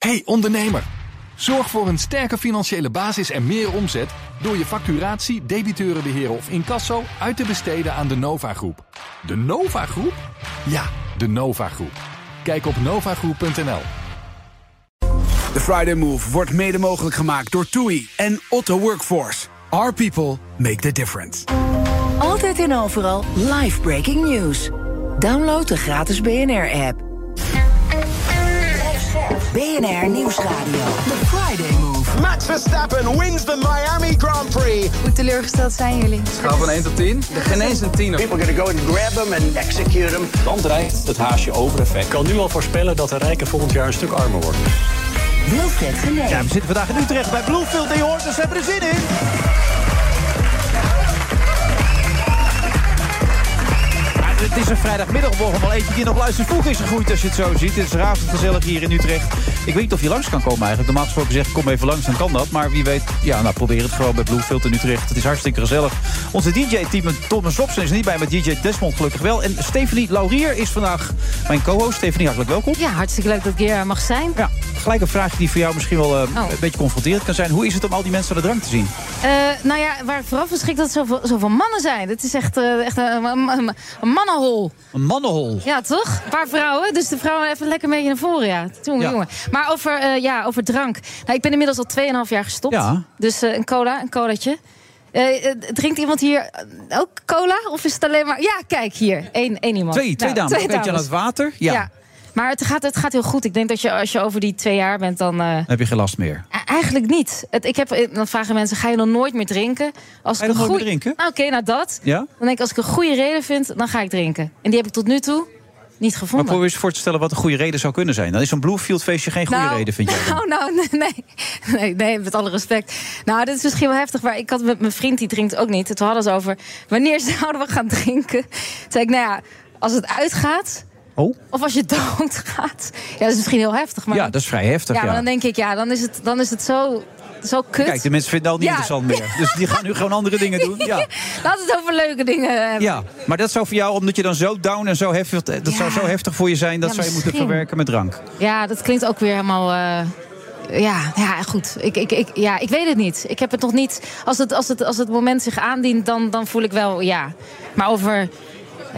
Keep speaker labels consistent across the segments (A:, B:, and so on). A: Hey ondernemer, zorg voor een sterke financiële basis en meer omzet door je facturatie, debiteurenbeheer of incasso uit te besteden aan de Nova Groep. De Nova Groep? Ja, de Nova Groep. Kijk op novagroep.nl.
B: De Friday Move wordt mede mogelijk gemaakt door TUI en Otto Workforce. Our people make the difference.
C: Altijd en overal live breaking news. Download de gratis BNR-app. BNR Nieuwsradio. The Friday Move.
D: Max Verstappen wins the Miami Grand Prix.
E: Hoe teleurgesteld zijn jullie?
F: Schaal van 1 tot 10? Er geen eens een 10.
G: People are gonna go and grab him and execute him.
H: Dan dreigt het haasje over effect.
I: Ik kan nu al voorspellen dat de rijken volgend jaar een stuk armer worden.
C: Wilfred Genee.
J: Ja, we zitten vandaag in Utrecht bij Bloemfield en je hoort, dus hebben er zin in. het is een vrijdagmiddagborrel. Wel eentje die nog luister vroeg is gegroeid als je het zo ziet. Het is razend gezellig hier in Utrecht. Ik weet niet of je langs kan komen eigenlijk. Normaal gesproken zeg ik kom even langs, dan kan dat. Maar wie weet, ja, nou probeer het gewoon bij Bluefield in Utrecht. Het is hartstikke gezellig. Onze DJ-team, Thomas Robson, is niet bij, maar DJ Desmond gelukkig wel. En Stephanie Laurier is vandaag mijn co-host. Stephanie, hartelijk welkom.
E: Ja, hartstikke leuk dat ik hier mag zijn.
J: Ja, gelijk een vraag die voor jou misschien wel uh, oh. een beetje confronterend kan zijn. Hoe is het om al die mensen aan de drank te zien?
E: Uh, nou ja, waar ik vooraf verschrik dat er zoveel, zoveel, mannen zijn. Het is echt, uh, echt een, een, een mannen mannenhol.
J: Een mannenhol.
E: Ja, toch? Een paar vrouwen. Dus de vrouwen even lekker een beetje naar voren. Ja, toen ja. jongen. Maar over, uh, ja, over drank. Nou, ik ben inmiddels al 2,5 jaar gestopt. Ja. Dus uh, een cola, een colaatje. Uh, drinkt iemand hier ook cola? Of is het alleen maar... Ja, kijk hier. Eén, één iemand.
J: Twee, twee nou, dames. Twee dames. Eentje aan het water. ja. ja.
E: Maar het gaat, het gaat heel goed. Ik denk dat je, als je over die twee jaar bent, dan. Uh...
J: heb je geen last meer?
E: Eigenlijk niet. Het, ik heb, eh, dan vragen mensen: ga je dan nooit meer drinken?
J: Als ga je dan nooit meer drinken?
E: Nou, Oké, okay, nou dat. Ja? Dan denk ik: als ik een goede reden vind, dan ga ik drinken. En die heb ik tot nu toe niet gevonden.
J: Maar probeer eens voor te stellen wat een goede reden zou kunnen zijn. Dan is zo'n Bluefield feestje geen goede
E: nou,
J: reden, vind jij?
E: Nou, nou, nee, nee, nee, nee, met alle respect. Nou, dit is misschien wel heftig, maar ik had met mijn vriend, die drinkt ook niet. Het hadden ze over wanneer zouden we gaan drinken. Toen zei ik: nou ja, als het uitgaat.
J: Oh.
E: Of als je dood gaat. Ja, dat is misschien heel heftig. Maar
J: ja, dat is vrij heftig.
E: Ja,
J: ja.
E: Maar dan denk ik, ja, dan is het, dan is het zo, zo kut.
J: Kijk, de mensen vinden het al niet ja. interessant meer. Dus die gaan nu gewoon andere dingen doen. Ja.
E: Laat het over leuke dingen hebben.
J: Ja, maar dat zou voor jou, omdat je dan zo down en zo heftig... dat ja. zou zo heftig voor je zijn, dat zou je moeten verwerken met drank.
E: Ja, dat klinkt ook weer helemaal... Uh ja, ja goed. Ik, ik, ik, ja, ik weet het niet. Ik heb het nog niet. Als het, als het, als het moment zich aandient, dan, dan voel ik wel ja. Maar over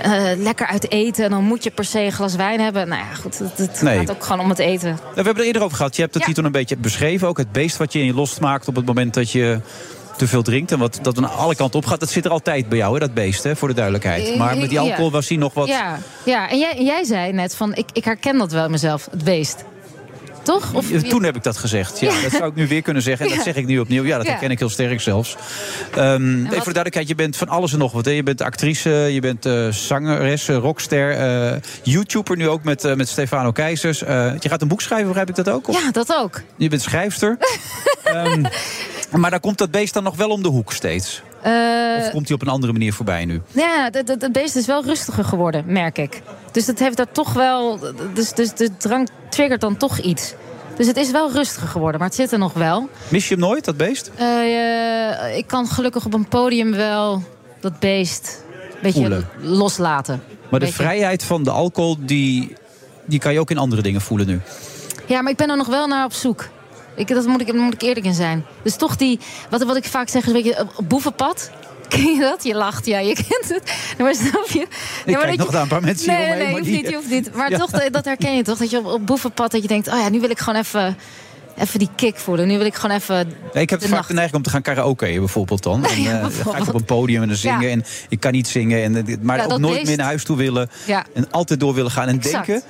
E: uh, lekker uit eten en dan moet je per se een glas wijn hebben. Nou ja, goed. Het, het nee. gaat ook gewoon om het eten. Nou,
J: we hebben er eerder over gehad. Je hebt het ja. hier toen een beetje beschreven. Ook het beest wat je in je lost maakt op het moment dat je te veel drinkt en wat dat aan alle kanten op gaat. Dat zit er altijd bij jou, hè, dat beest, hè, voor de duidelijkheid. Maar met die alcohol was hij nog wat.
E: Ja, ja. en jij, jij zei net van ik, ik herken dat wel mezelf, het beest toch?
J: Of... Eh, Toen heb ik dat gezegd. Ja, ja, Dat zou ik nu weer kunnen zeggen. En dat zeg ik nu opnieuw. Ja, dat herken ik heel sterk zelfs. Um, wat... Even voor de duidelijkheid, je bent van alles en nog wat. Hè? Je bent actrice, je bent uh, zangeres, rockster, uh, YouTuber nu ook met, uh, met Stefano Keizers. Eh, je gaat een boek schrijven, begrijp ik dat ook?
E: Of? Ja, dat ook.
J: Je bent schrijfster. um, maar daar komt dat beest dan nog wel om de hoek steeds.
E: Eh,
J: of komt hij op een andere manier voorbij nu?
E: Ja, het beest is wel rustiger geworden, merk ik. Dus dat heeft daar toch wel. Dus, dus de drank triggert dan toch iets. Dus het is wel rustiger geworden, maar het zit er nog wel.
J: Mis je hem nooit, dat beest?
E: Uh, uh, ik kan gelukkig op een podium wel dat beest een beetje voelen. loslaten.
J: Maar de vrijheid van de alcohol, die, die kan je ook in andere dingen voelen nu.
E: Ja, maar ik ben er nog wel naar op zoek. Ik, dat moet ik, daar moet ik eerlijk in zijn. Dus toch die, wat, wat ik vaak zeg, is een beetje eh, boevenpad. Ken je dat? Je lacht, ja, je kent het. Maar snap je?
J: Nee, maar ik nog je... een paar mensen
E: Nee, nee, nee, hoeft niet, je hoeft niet. Maar ja. toch, dat herken je toch? Dat je op, op boevenpad, dat je denkt... oh ja, nu wil ik gewoon even... Even die kick voelen. Nu wil ik gewoon even.
J: Nee, ik heb de vaak de neiging om te gaan karaokeën bijvoorbeeld dan. En, ja, bijvoorbeeld. Dan ga ik op een podium en dan zingen. Ja. En ik kan niet zingen. En, eh, maar ook nooit meest... meer naar huis toe willen. En altijd door willen gaan. En exact. denken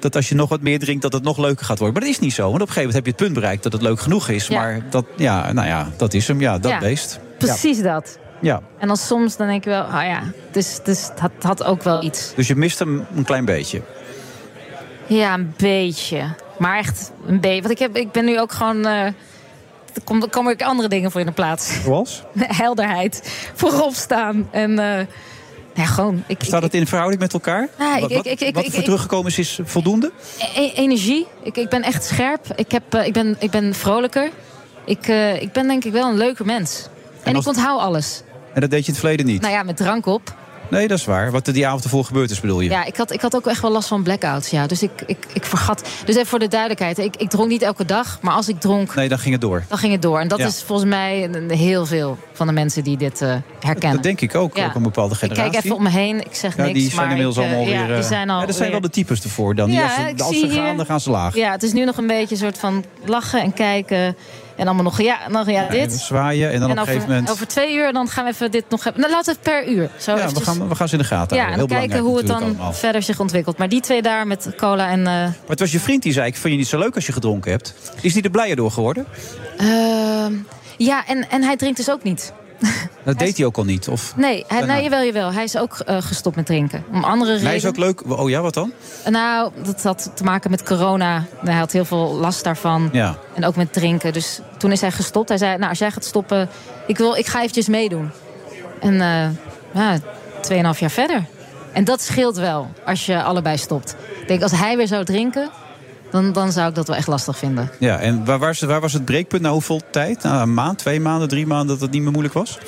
J: dat als je nog wat meer drinkt, dat het nog leuker gaat worden. Maar dat is niet zo. Want op een gegeven moment heb je het punt bereikt dat het leuk genoeg is. Maar dat, ja, nou ja, dat is hem. Ja, dat beest.
E: Precies dat.
J: Ja.
E: En dan soms dan denk je wel, ah oh ja, dus, dus het had, had, ook wel iets.
J: Dus je mist hem een klein beetje?
E: Ja, een beetje. Maar echt een beetje. Want ik, heb, ik ben nu ook gewoon... Uh, er komen, komen ook andere dingen voor in de plaats.
J: Zoals?
E: Helderheid. Voorop staan. En... Uh, ja, gewoon, ik,
J: Staat het in verhouding met elkaar?
E: Nou,
J: wat,
E: ik, ik,
J: wat voor teruggekomen is, is voldoende?
E: e-, Energie. Ik, ik ben echt scherp. Ik, heb, uh, ik, ben, ik ben vrolijker. Ik, eh, ik ben denk ik wel een leuke mens. En, en als... ik onthoud alles.
J: En dat deed je in het verleden niet?
E: Nou ja, met drank op.
J: Nee, dat is waar. Wat er die avond ervoor gebeurd is, bedoel je?
E: Ja, ik had, ik had ook echt wel last van blackouts. Ja. Dus ik, ik, ik vergat. Dus even voor de duidelijkheid: ik, ik dronk niet elke dag, maar als ik dronk,
J: Nee, dan ging het door.
E: dan ging het door. En dat
J: Ja.
E: is volgens mij een- een- heel veel van de mensen die dit eh, herkennen.
J: Dat denk ik ook,
E: Ja.
J: ook een bepaalde
E: Ik
J: generatie.
E: kijk even om me heen, ik zeg
J: Ja,
E: niks.
J: die zijn
E: maar
J: inmiddels
E: ik, eh,
J: allemaal
E: ja,
J: weer... eh,
E: die zijn al
J: ja, dat zijn wel
E: weer-
J: de types ervoor dan. Die
E: Ja,
J: als
E: ik
J: ze, als
E: zie
J: ze gaan,
E: hier-
J: dan gaan ze laag.
E: Ja, het is nu nog een beetje een soort van lachen en kijken. En allemaal nog, ja, nog, ja
J: En
E: dit.
J: zwaaien en dan op
E: en
J: een
E: over,
J: gegeven moment...
E: over twee uur dan gaan we even dit nog hebben. Nou, laten we het per uur. Zo
J: ja, we
E: eventjes-
J: gaan, we gaan ze in de gaten
E: ja, en
J: houden.
E: dan
J: Heel belangrijk
E: kijken hoe het dan
J: natuurlijk allemaal.
E: verder zich ontwikkelt. Maar die twee daar met cola en... eh,
J: Maar het was je vriend die zei, ik vind je niet zo leuk als je gedronken hebt. Is die er blijer door geworden?
E: ehm, ja, en, en hij drinkt dus ook niet.
J: Dat deed hij ook al niet. Of...
E: Nee, hij,
J: Daarna.
E: nee jawel, jawel. Hij is ook eh, gestopt met drinken. Om andere
J: Hij is
E: redenen.
J: ook leuk. Oh ja, wat dan?
E: Nou, dat had te maken met corona. Hij had heel veel last daarvan.
J: Ja.
E: En ook met drinken. Dus toen is hij gestopt. Hij zei, nou, als jij gaat stoppen, ik, wil, ik ga eventjes meedoen. En eh ja, tweeënhalf jaar verder. En dat scheelt wel, als je allebei stopt. Ik denk, als hij weer zou drinken, dan, dan zou ik dat wel echt lastig vinden.
J: Ja, en waar, waar, is- waar was het breekpunt na hoeveel tijd? Na een maand, twee maanden, drie maanden dat het niet meer moeilijk was?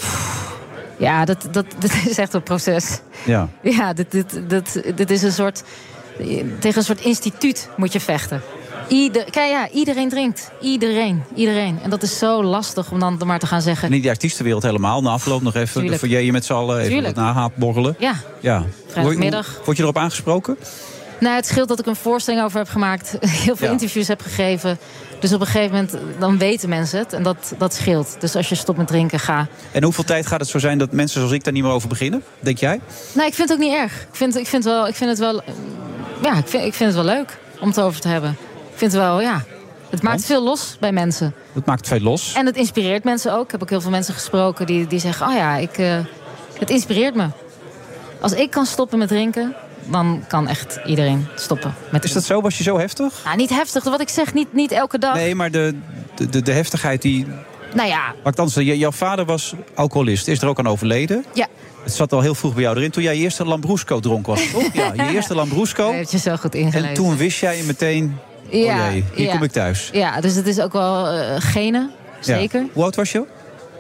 E: Ja, dat, dat, dat is echt een proces.
J: Ja.
E: Ja, dit, dit, dit, dit is een soort... Tegen een soort instituut moet je vechten. Ieder, kijk, ja, iedereen drinkt. Iedereen. Iedereen. En dat is zo lastig om dan maar te gaan zeggen...
J: En in die artiestenwereld helemaal. Na afloop nog even
E: Tuurlijk.
J: de foyer met z'n allen. Even
E: Tuurlijk.
J: wat nahaap borrelen.
E: Ja.
J: Ja.
E: Vrijdagmiddag.
J: Word je- Word je erop aangesproken?
E: Nou, het scheelt dat ik een voorstelling over heb gemaakt. Heel veel
J: Ja.
E: interviews heb gegeven. Dus op een gegeven moment, dan weten mensen het. En dat, dat scheelt. Dus als je stopt met drinken, ga.
J: En hoeveel tijd gaat het zo zijn dat mensen zoals ik daar niet meer over beginnen? Denk jij?
E: Nou, ik vind het ook niet erg. Ik vind, ik vind, wel, ik vind het wel... eh, Ja, ik vind, ik vind het wel leuk om het over te hebben. Ik vind het wel, ja... Het maakt
J: Want?
E: veel los bij mensen.
J: Dat maakt veel los.
E: En het inspireert mensen ook. Ik heb ook heel veel mensen gesproken die, die zeggen... oh ja, ik, eh, het inspireert me. Als ik kan stoppen met drinken... dan kan echt iedereen stoppen met
J: Is dat
E: drinken.
J: zo? Was je zo heftig?
E: Nou, niet heftig. Wat ik zeg, niet, niet elke dag.
J: Nee, maar de, de, de, de heftigheid die...
E: Nou ja,
J: Maakt anders. J- jouw vader was alcoholist. Is er ook aan overleden.
E: ja.
J: Het zat al heel vroeg bij jou erin. Toen jij je eerste Lambrusco dronk was, het, toch? Oh Ja, je eerste Lambrusco.
E: Dat heb je zo goed ingelezen.
J: En toen wist jij meteen...
E: Ja,
J: oh jee, hier
E: ja.
J: kom ik thuis.
E: Ja, dus het is ook wel eh, genen,
J: Ja.
E: zeker.
J: Hoe oud was je?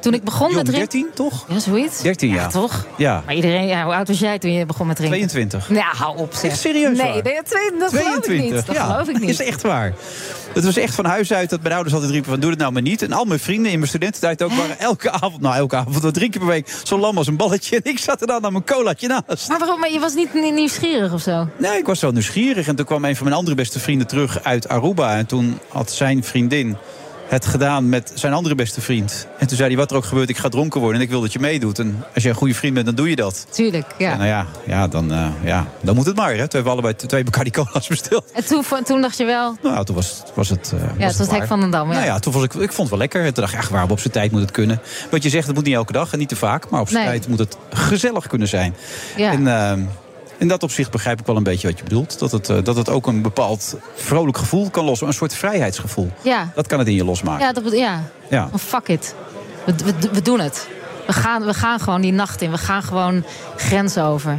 E: Toen ik begon
J: Jong,
E: met drinken...
J: 13 toch?
E: Ja, zoiets.
J: 13, ja.
E: toch?
J: Ja,
E: Maar iedereen, ja, hoe oud was jij toen je begon met drinken?
J: 22.
E: Nou, hou op zeg.
J: Echt serieus
E: Nee,
J: waar?
E: nee, dat, twee- dat geloof ik niet. Dat
J: ja.
E: geloof ik
J: is
E: niet.
J: echt waar. Het was echt van huis uit dat mijn ouders altijd riepen van doe het nou maar niet. En al mijn vrienden in mijn studententijd ook waren elke avond, nou elke avond, wat drie keer per week, zo lam als een balletje. En ik zat er dan aan mijn colaatje Nou, naast.
E: Maar waarom? Maar je was niet, niet nieuwsgierig of zo?
J: Nee, ik was wel nieuwsgierig. En toen kwam een van mijn andere beste vrienden terug uit Aruba. En toen had zijn vriendin het gedaan met zijn andere beste vriend. En toen zei hij, wat er ook gebeurt, ik ga dronken worden en ik wil dat je meedoet. En als je een goede vriend bent, dan doe je dat.
E: Tuurlijk, ja.
J: Ja. Nou ja, ja, dan, eh, ja, dan moet het maar. Hè. Toen hebben we allebei t- twee Bacardi Cola's besteld.
E: En toen, vo- toen dacht je wel...
J: Nou, ja, toen was, het- was het. eh,
E: Ja, het was het
J: waar.
E: hek van den Dam. Ja.
J: Nou ja, toen was ik, ik vond het wel lekker. En Toen dacht ik, ach, waarom op zijn tijd moet het kunnen. Wat je zegt, het moet niet elke dag en niet te vaak. Maar op zijn
E: Nee.
J: tijd moet het gezellig kunnen zijn.
E: Ja.
J: En eh, in dat opzicht begrijp ik wel een beetje wat je bedoelt. Dat het, eh, dat het ook een bepaald vrolijk gevoel kan lossen. Een soort vrijheidsgevoel.
E: Ja.
J: Dat kan het in je losmaken.
E: Ja, dat, bedo- ja.
J: Ja.
E: Van fuck it. We, we, we doen het. We gaan, we gaan gewoon die nacht in. We gaan gewoon grenzen over.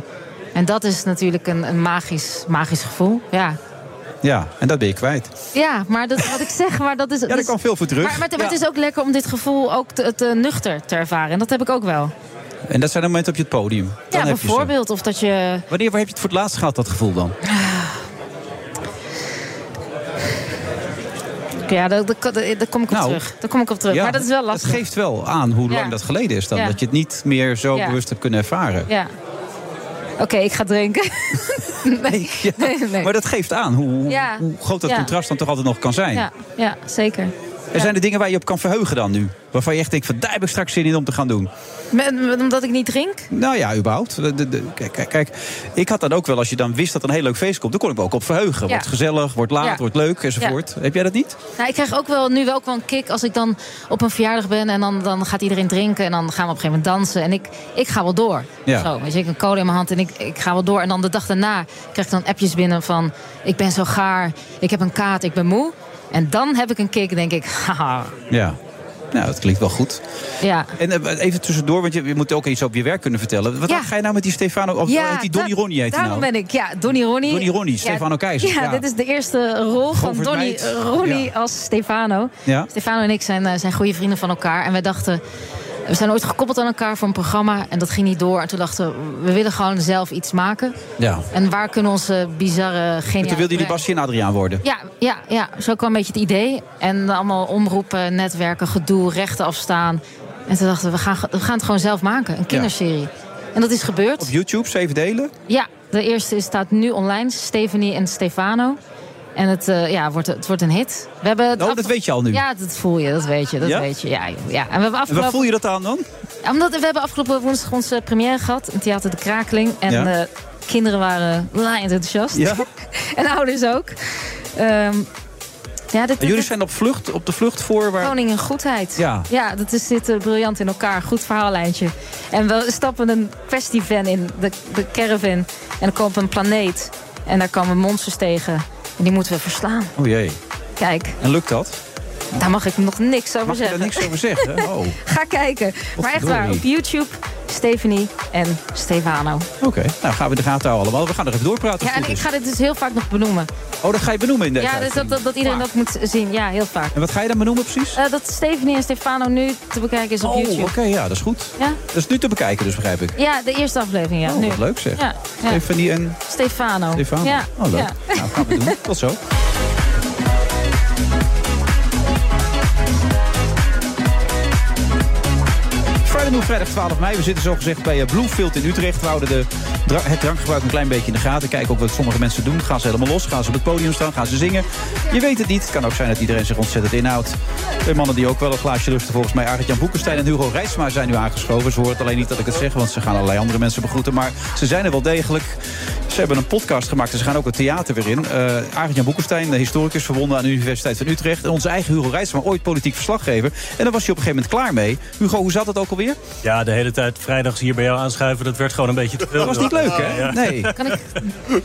E: En dat is natuurlijk een, een magisch, magisch gevoel. Ja.
J: Ja, en dat ben je kwijt.
E: ja, maar dat, wat ik zeg, maar dat is... dus
J: Ja, daar kwam veel voor terug.
E: Maar, maar, het- maar
J: Ja.
E: het is ook lekker om dit gevoel ook te, te nuchter te ervaren. En dat heb ik ook wel.
J: En dat zijn de momenten op je het podium. Dan
E: ja,
J: heb je ze.
E: bijvoorbeeld. Of dat je...
J: Wanneer waar heb je het voor het laatst gehad, dat gevoel dan?
E: Ja, daar, daar, daar- daar kom ik op
J: Nou,
E: terug. Daar kom ik op terug. maar dat is wel lastig.
J: Het geeft wel aan hoe
E: Ja.
J: lang dat geleden is dan.
E: Ja.
J: Dat je het niet meer zo
E: Ja.
J: bewust hebt kunnen ervaren.
E: Ja. Oké, ik ga drinken. nee.
J: Ja,
E: nee, nee.
J: Maar dat geeft aan hoe, hoe-
E: Ja.
J: hoe groot dat
E: Ja.
J: contrast dan toch altijd nog kan zijn.
E: Ja, ja, zeker.
J: Er zijn er dingen waar je op kan verheugen dan nu. Waarvan je echt denkt, van, daar heb ik straks zin in om te gaan doen.
E: Met- met- omdat ik niet drink?
J: Nou ja, überhaupt. De- de- de- kijk, kijk, kijk, ik had dan ook wel, als je dan wist dat er een heel leuk feest komt... dan kon ik me ook op verheugen.
E: Ja.
J: Wordt gezellig, wordt laat,
E: Ja.
J: wordt leuk, enzovoort. Heb jij dat niet?
E: Nou, ik krijg ook wel, nu wel ook wel een kick als ik dan op een verjaardag ben en dan, dan gaat iedereen drinken en dan gaan we op een gegeven moment dansen. En ik, ik ga wel door.
J: Ja.
E: Zo, weet je, ik heb een code in mijn hand en ik, ik ga wel door. En dan de dag daarna krijg ik dan appjes binnen van ik ben zo gaar, ik heb een kaart, ik ben moe. En dan heb ik een kick, denk ik. Haha.
J: Ja. Nou, dat klinkt wel goed.
E: Ja.
J: En eh, even tussendoor, want je, je moet ook iets op je werk kunnen vertellen. Wat
E: Ja.
J: ga je nou met die Stefano... Of
E: ja,
J: heet die Donny
E: da-
J: Ronnie heet die
E: Daarom
J: nou?
E: ben ik, ja, Donny Ronnie.
J: Donny Ronnie, Stefano Keizer,
E: Ja,
J: ja.
E: dit is de eerste rol van
J: Govert
E: Donny
J: Meid.
E: Ronnie
J: Ja.
E: als Stefano.
J: Ja.
E: Stefano en ik zijn, eh, zijn goede vrienden van elkaar. En wij dachten, We zijn ooit gekoppeld aan elkaar voor een programma en dat ging niet door. En toen dachten we, we willen gewoon zelf iets maken.
J: Ja.
E: En waar kunnen onze bizarre
J: En
E: geniale...
J: toen wilde jullie Bastien en Adriaan worden.
E: Ja, ja, ja, zo kwam een beetje het idee. En allemaal omroepen, netwerken, gedoe, rechten afstaan. En toen dachten we, we gaan, we gaan het gewoon zelf maken. Een kinderserie. En dat is gebeurd.
J: Op YouTube, zeven delen.
E: Ja, de eerste is- staat nu online. Stephanie en Stefano. En het, eh, ja, wordt, het wordt een hit. We hebben het
J: Oh,
E: af-
J: dat weet je al nu.
E: Ja, dat voel je, dat weet je, dat
J: Ja?
E: weet je. Ja, joh, ja. En we hebben
J: En waar
E: afgelopen...
J: voel je dat aan dan?
E: Ja, Omdat we hebben afgelopen woensdag onze première gehad in Theater de Krakeling. En
J: Ja.
E: eh, kinderen waren laaiend enthousiast.
J: Ja.
E: en ouders ook. Ehm, ja, dit,
J: En jullie
E: dit-
J: zijn op, vlucht, op de vlucht voor waar...
E: Koning en goedheid.
J: Ja.
E: dat is, zit eh, briljant in elkaar. Goed verhaallijntje. En we stappen een questievan in, de, de caravan. En dan komt een planeet. En daar komen monsters tegen. En die moeten we verslaan.
J: O Oh, jee.
E: Kijk,
J: En lukt dat?
E: daar mag ik nog niks over
J: Mag je daar
E: zeggen.
J: niks over zeggen? hè? Oh,
E: Ga kijken. Maar echt waar, op
J: verdorie.
E: YouTube, Stephanie en Stefano.
J: oké. Nou, gaan we de gaten houden allemaal. We gaan er even doorpraten.
E: Ja,
J: als het
E: en
J: goed
E: ik
J: is.
E: ga dit dus heel vaak nog benoemen.
J: Oh, dat ga je benoemen in deze
E: Ja, dus dat, dat, dat iedereen
J: Vaak.
E: dat moet zien. Ja, heel vaak.
J: En wat ga je dan benoemen precies?
E: Eh, dat Stephanie en Stefano nu te bekijken is op
J: oh, oké,
E: YouTube.
J: ja, dat is goed.
E: Ja?
J: Dat is nu te bekijken dus, begrijp ik.
E: ja, de eerste aflevering, ja.
J: Oh,
E: nu.
J: wat leuk zeg.
E: Ja, ja.
J: Stefanie en
E: Stefano.
J: Stefan.
E: Ja.
J: Oh, leuk.
E: ja.
J: Nou, gaan we doen. Tot zo. Friday Move, vrijdag 12 mei. We zitten zogezegd bij eh, Bloomfield in Utrecht. We houden de, dra- het drankgebruik een klein beetje in de gaten. Kijken ook wat sommige mensen doen. Gaan ze helemaal los? Gaan ze op het podium staan? Gaan ze zingen? Je weet het niet. Het kan ook zijn dat iedereen zich ontzettend inhoudt. Twee mannen die ook wel een glaasje lusten. Volgens mij Arend-Jan Boekenstein en Hugo Reitsma zijn nu aangeschoven. Ze horen het alleen niet dat ik het zeg, want ze gaan allerlei andere mensen begroeten. Maar ze zijn er wel degelijk. Ze hebben een podcast gemaakt en ze gaan ook het theater weer in. Eh Arend-Jan Boekenstein, de historicus verbonden aan de Universiteit van Utrecht. En onze eigen Hugo Reitsma, ooit politiek verslaggever. En daar was hij op een gegeven moment klaar mee. Hugo, hoe zat het ook
K: Eh,
J: alweer?
K: Ja, de hele tijd vrijdags hier bij jou aanschuiven, dat werd gewoon een beetje te veel.
J: Dat was niet leuk, hè? Nee.
E: Kan ik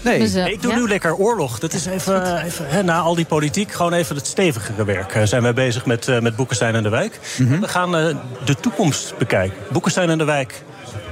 J: nee.
E: mezelf-
K: Ik doe
E: ja?
K: nu lekker oorlog. Dat is even, even hè, na al die politiek, gewoon even het stevigere werk. Eh, zijn wij bezig met, eh, met Boekenstein en de Wijk.
J: Mhm.
K: We gaan eh, de toekomst bekijken. Boekenstein en de Wijk.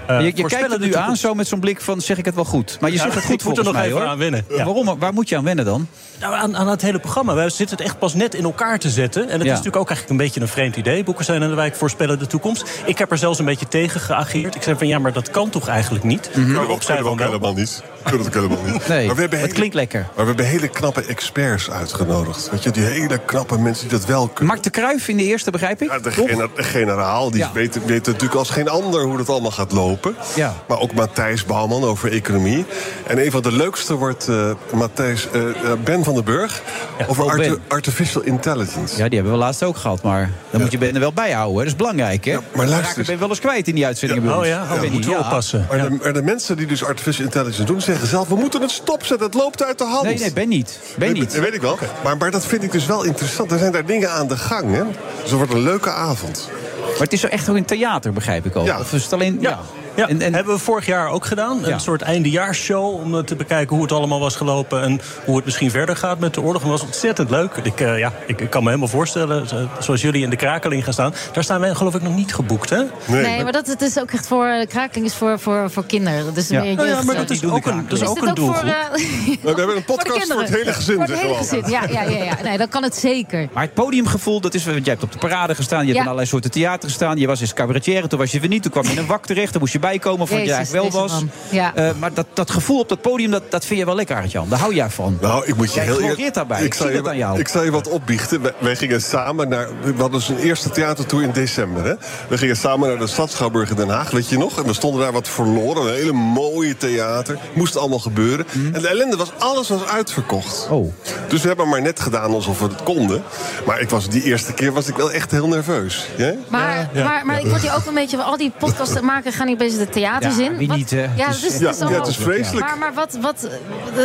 K: eh,
J: Je, je kijkt
K: voorspellen
J: het
K: de
J: nu aan
K: toekomst.
J: zo met zo'n blik van zeg ik het wel goed. Maar je
K: Ja,
J: zegt het
K: ik
J: goed
K: moet er
J: volgens
K: nog
J: mij
K: even
J: hoor.
K: aan wennen. Ja.
J: Waarom, waar moet je aan wennen dan?
K: Nou, aan, aan het hele programma. Wij zitten het echt pas net in elkaar te zetten. En het is
J: Ja.
K: natuurlijk ook eigenlijk een beetje een vreemd idee. Boekenstein en de Wijk voorspellen de toekomst. Ik heb er zelfs een beetje tegen geageerd. Ik zei van ja, maar dat kan toch eigenlijk niet? Nou, Maar
L: Dat kunnen we ook helemaal niet. Kunnen we ook helemaal niet.
J: Mhm. Nee,
L: we hebben
J: het klinkt lekker.
L: Maar we hebben hele knappe experts uitgenodigd. Weet je, die hele knappe mensen die dat wel kunnen.
J: Mark de Kruijf in de eerste, begrijp ik?
L: Ja, de,
J: Toch?
L: gener- de generaal, die
J: Ja.
L: weet, weet natuurlijk als geen ander hoe dat allemaal gaat lopen.
J: Ja.
L: Maar ook Matthijs Bouwman over economie. En een van de leukste wordt eh, Matthijs, eh, eh, Ben van den Burg over
J: oh,
L: arti-
J: Ben.
L: artificial intelligence.
J: Ja, die hebben we laatst ook gehad, maar dan moet je Ben er wel bij houden. hè. Dat is belangrijk, hè?
L: maar luister
J: We raken
L: eens.
J: Ben wel eens kwijt in die uitzendingen. bij
K: Oh
J: ons.
K: ja, oh,
J: Benny,
K: moeten we
J: ja.
K: oppassen.
L: Maar, de, maar de mensen die dus artificial intelligence doen, zeggen zelf: we moeten het stopzetten, het loopt uit de hand.
J: Nee, nee, Ben niet. Ben
L: Nee,
J: niet.
L: Dat weet ik wel. Maar, maar dat vind ik dus wel interessant. Er zijn daar dingen aan de gang, hè? Dus het wordt een leuke avond.
J: Maar het is zo echt ook in theater, begrijp ik ook.
L: Ja.
J: Of is het alleen... Ja.
K: Ja. Ja,
J: En, en,
K: hebben we vorig jaar ook gedaan.
J: Ja.
K: Een soort eindejaarsshow om eh, te bekijken hoe het allemaal was gelopen... en hoe het misschien verder gaat met de oorlog. Het was ontzettend leuk. Ik, eh, ja, ik, ik kan me helemaal voorstellen, zo- zoals jullie in de krakeling gaan staan... daar staan wij geloof ik nog niet geboekt, hè?
E: Nee, maar dat het is ook echt voor. De krakeling is voor, voor, voor kinderen. Dus
J: Ja.
E: meer
J: Nou
K: Nou ja,
E: jeugd.
K: maar
E: zo.
K: dat is
J: doen de
K: ook een, dat is
E: Is
K: ook
E: dit
K: een
E: ook
K: doelgroep.
E: voor, eh,
L: We hebben een
E: voor de
L: podcast voor
E: kinderen?
L: het hele gezin.
E: Voor het
L: zeg
E: hele
L: maar.
E: gezin, ja, ja, ja, ja. Nee, dan kan het zeker.
J: Maar het podiumgevoel, dat is, want jij hebt op de parade gestaan, je hebt
E: Ja.
J: in allerlei soorten theater gestaan, je was eens cabaretier, toen was je weer niet, toen kwam je in een wak terecht, toen moest je bijkomen, vond je
E: Jezus,
J: eigenlijk wel
E: deze
J: was.
E: man. Ja.
J: Eh, maar dat, dat gevoel op dat podium, dat, dat vind je wel lekker, Arjan. Daar hou jij van.
L: Nou, ik moet je
J: Jij
L: heel
J: floreert
L: eerlijk-
J: daarbij. Ik
L: zal
J: zie
L: je,
J: dat aan jou.
L: Ik zal je wat opbiechten. Wij, wij gingen samen naar. We hadden dus een eerste theatertour in december. Hè? We gingen samen naar de Stadschouwburg in Den Haag, weet je nog? En we stonden daar wat verloren. Een hele mooie theater. Moest allemaal gebeuren. En de ellende was: alles was uitverkocht.
J: Mhm. Oh.
L: Dus we hebben maar net gedaan alsof we het konden. Maar ik was, die eerste keer was ik wel echt heel nerveus. Jij?
E: Maar,
J: eh,
E: maar, maar ik word hier ook een beetje... Al die podcasten maken gaan hier bezig de theaters
J: Ja,
E: in.
J: wie
E: Wat-
J: niet, hè?
E: Ja,
J: Het
E: dat
J: is-
E: is,
L: Ja,
E: is allemaal-
L: ja, het is vreselijk.
E: Maar, maar wat, wat,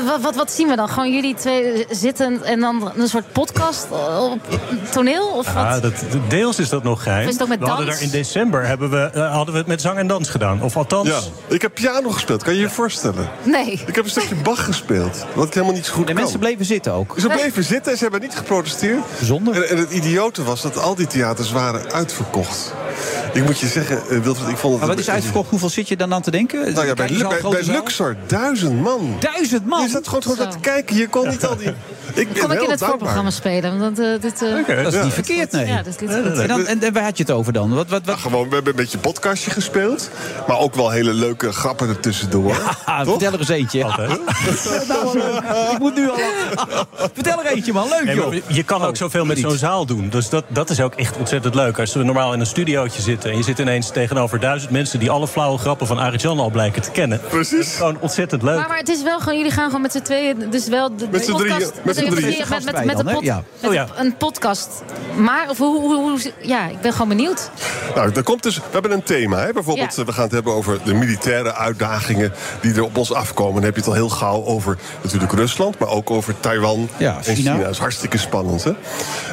E: wat, wat, wat zien we dan? Gewoon jullie twee zitten en dan een soort podcast op toneel? Of
K: Ja,
E: wat?
K: Ah, dat, deels is dat nog geheim.
E: Is het ook met
K: we hadden
E: dans?
K: daar in december hebben we, eh, hadden we het met zang en dans gedaan. Of althans,
L: Ja. Ik heb piano gespeeld, kan je je voorstellen?
E: Nee.
L: Ik heb een stukje Bach gespeeld, wat ik helemaal niet zo goed
J: De
L: kan.
J: mensen bleven zitten ook.
L: Ze bleven zitten en ze hebben niet geprotesteerd.
J: Zonde.
L: En, en het idiote was dat al die theaters waren uitverkocht. Ik moet je zeggen, eh, Wilfried, ik vond het...
J: Maar wat is uitverkocht? Hoeveel zit je dan aan te denken?
L: Nou ja, bij,
J: Kijk je zo'n
L: bij,
J: grote
L: bij
J: zaal?
L: Luxor, duizend man.
J: Duizend man?
L: Je zat gewoon, gewoon
E: Zo.
L: aan te kijken. Je kon niet al die... Ik ben
E: Kom ik
L: heel
E: in het
L: dankbaar.
E: voorprogramma spelen? Want, eh, dit, eh,
J: dat is niet verkeerd, nee.
E: Ja, dat is niet goed.
J: En, dan, en, en waar had je het over dan? Wat, wat, wat?
L: Nou, Gewoon, we hebben een beetje podcastje gespeeld. Maar ook wel hele leuke grappen ertussendoor.
J: Ah, vertel er eens eentje. Nou, eh, ik moet nu al... Vertel er eentje, man. Leuk,
K: Nee, maar
J: joh.
K: je kan
E: Oh,
K: ook zoveel met zo'n zaal doen. Dus dat, dat is ook echt ontzettend leuk. Als we normaal in een studiootje zitten... en je zit ineens tegenover duizend mensen... die alle flauwe grappen van Arjan al blijken te kennen.
L: Precies.
K: Dat is gewoon ontzettend leuk.
E: Maar, maar het is wel gewoon, jullie gaan gewoon met z'n tweeën, dus wel de, de
K: Met z'n drieën,
E: podcast.
K: met z'n
E: de-
K: drieën.
E: Met, met, met,
K: Gast bij
E: een
K: dan, hè?
E: pod-
K: Ja.
E: met
K: Oh ja.
E: een- een podcast. Maar, of hoe, hoe, hoe- ja, ik ben gewoon benieuwd.
L: Nou, er komt dus, we hebben een thema. Hè? Bijvoorbeeld,
E: Ja.
L: eh, we gaan het hebben over de militaire uitdagingen die er op ons afkomen. Dan heb je het al heel gauw over natuurlijk Rusland, maar ook over Taiwan en China. Dat is hartstikke spannend. Hè?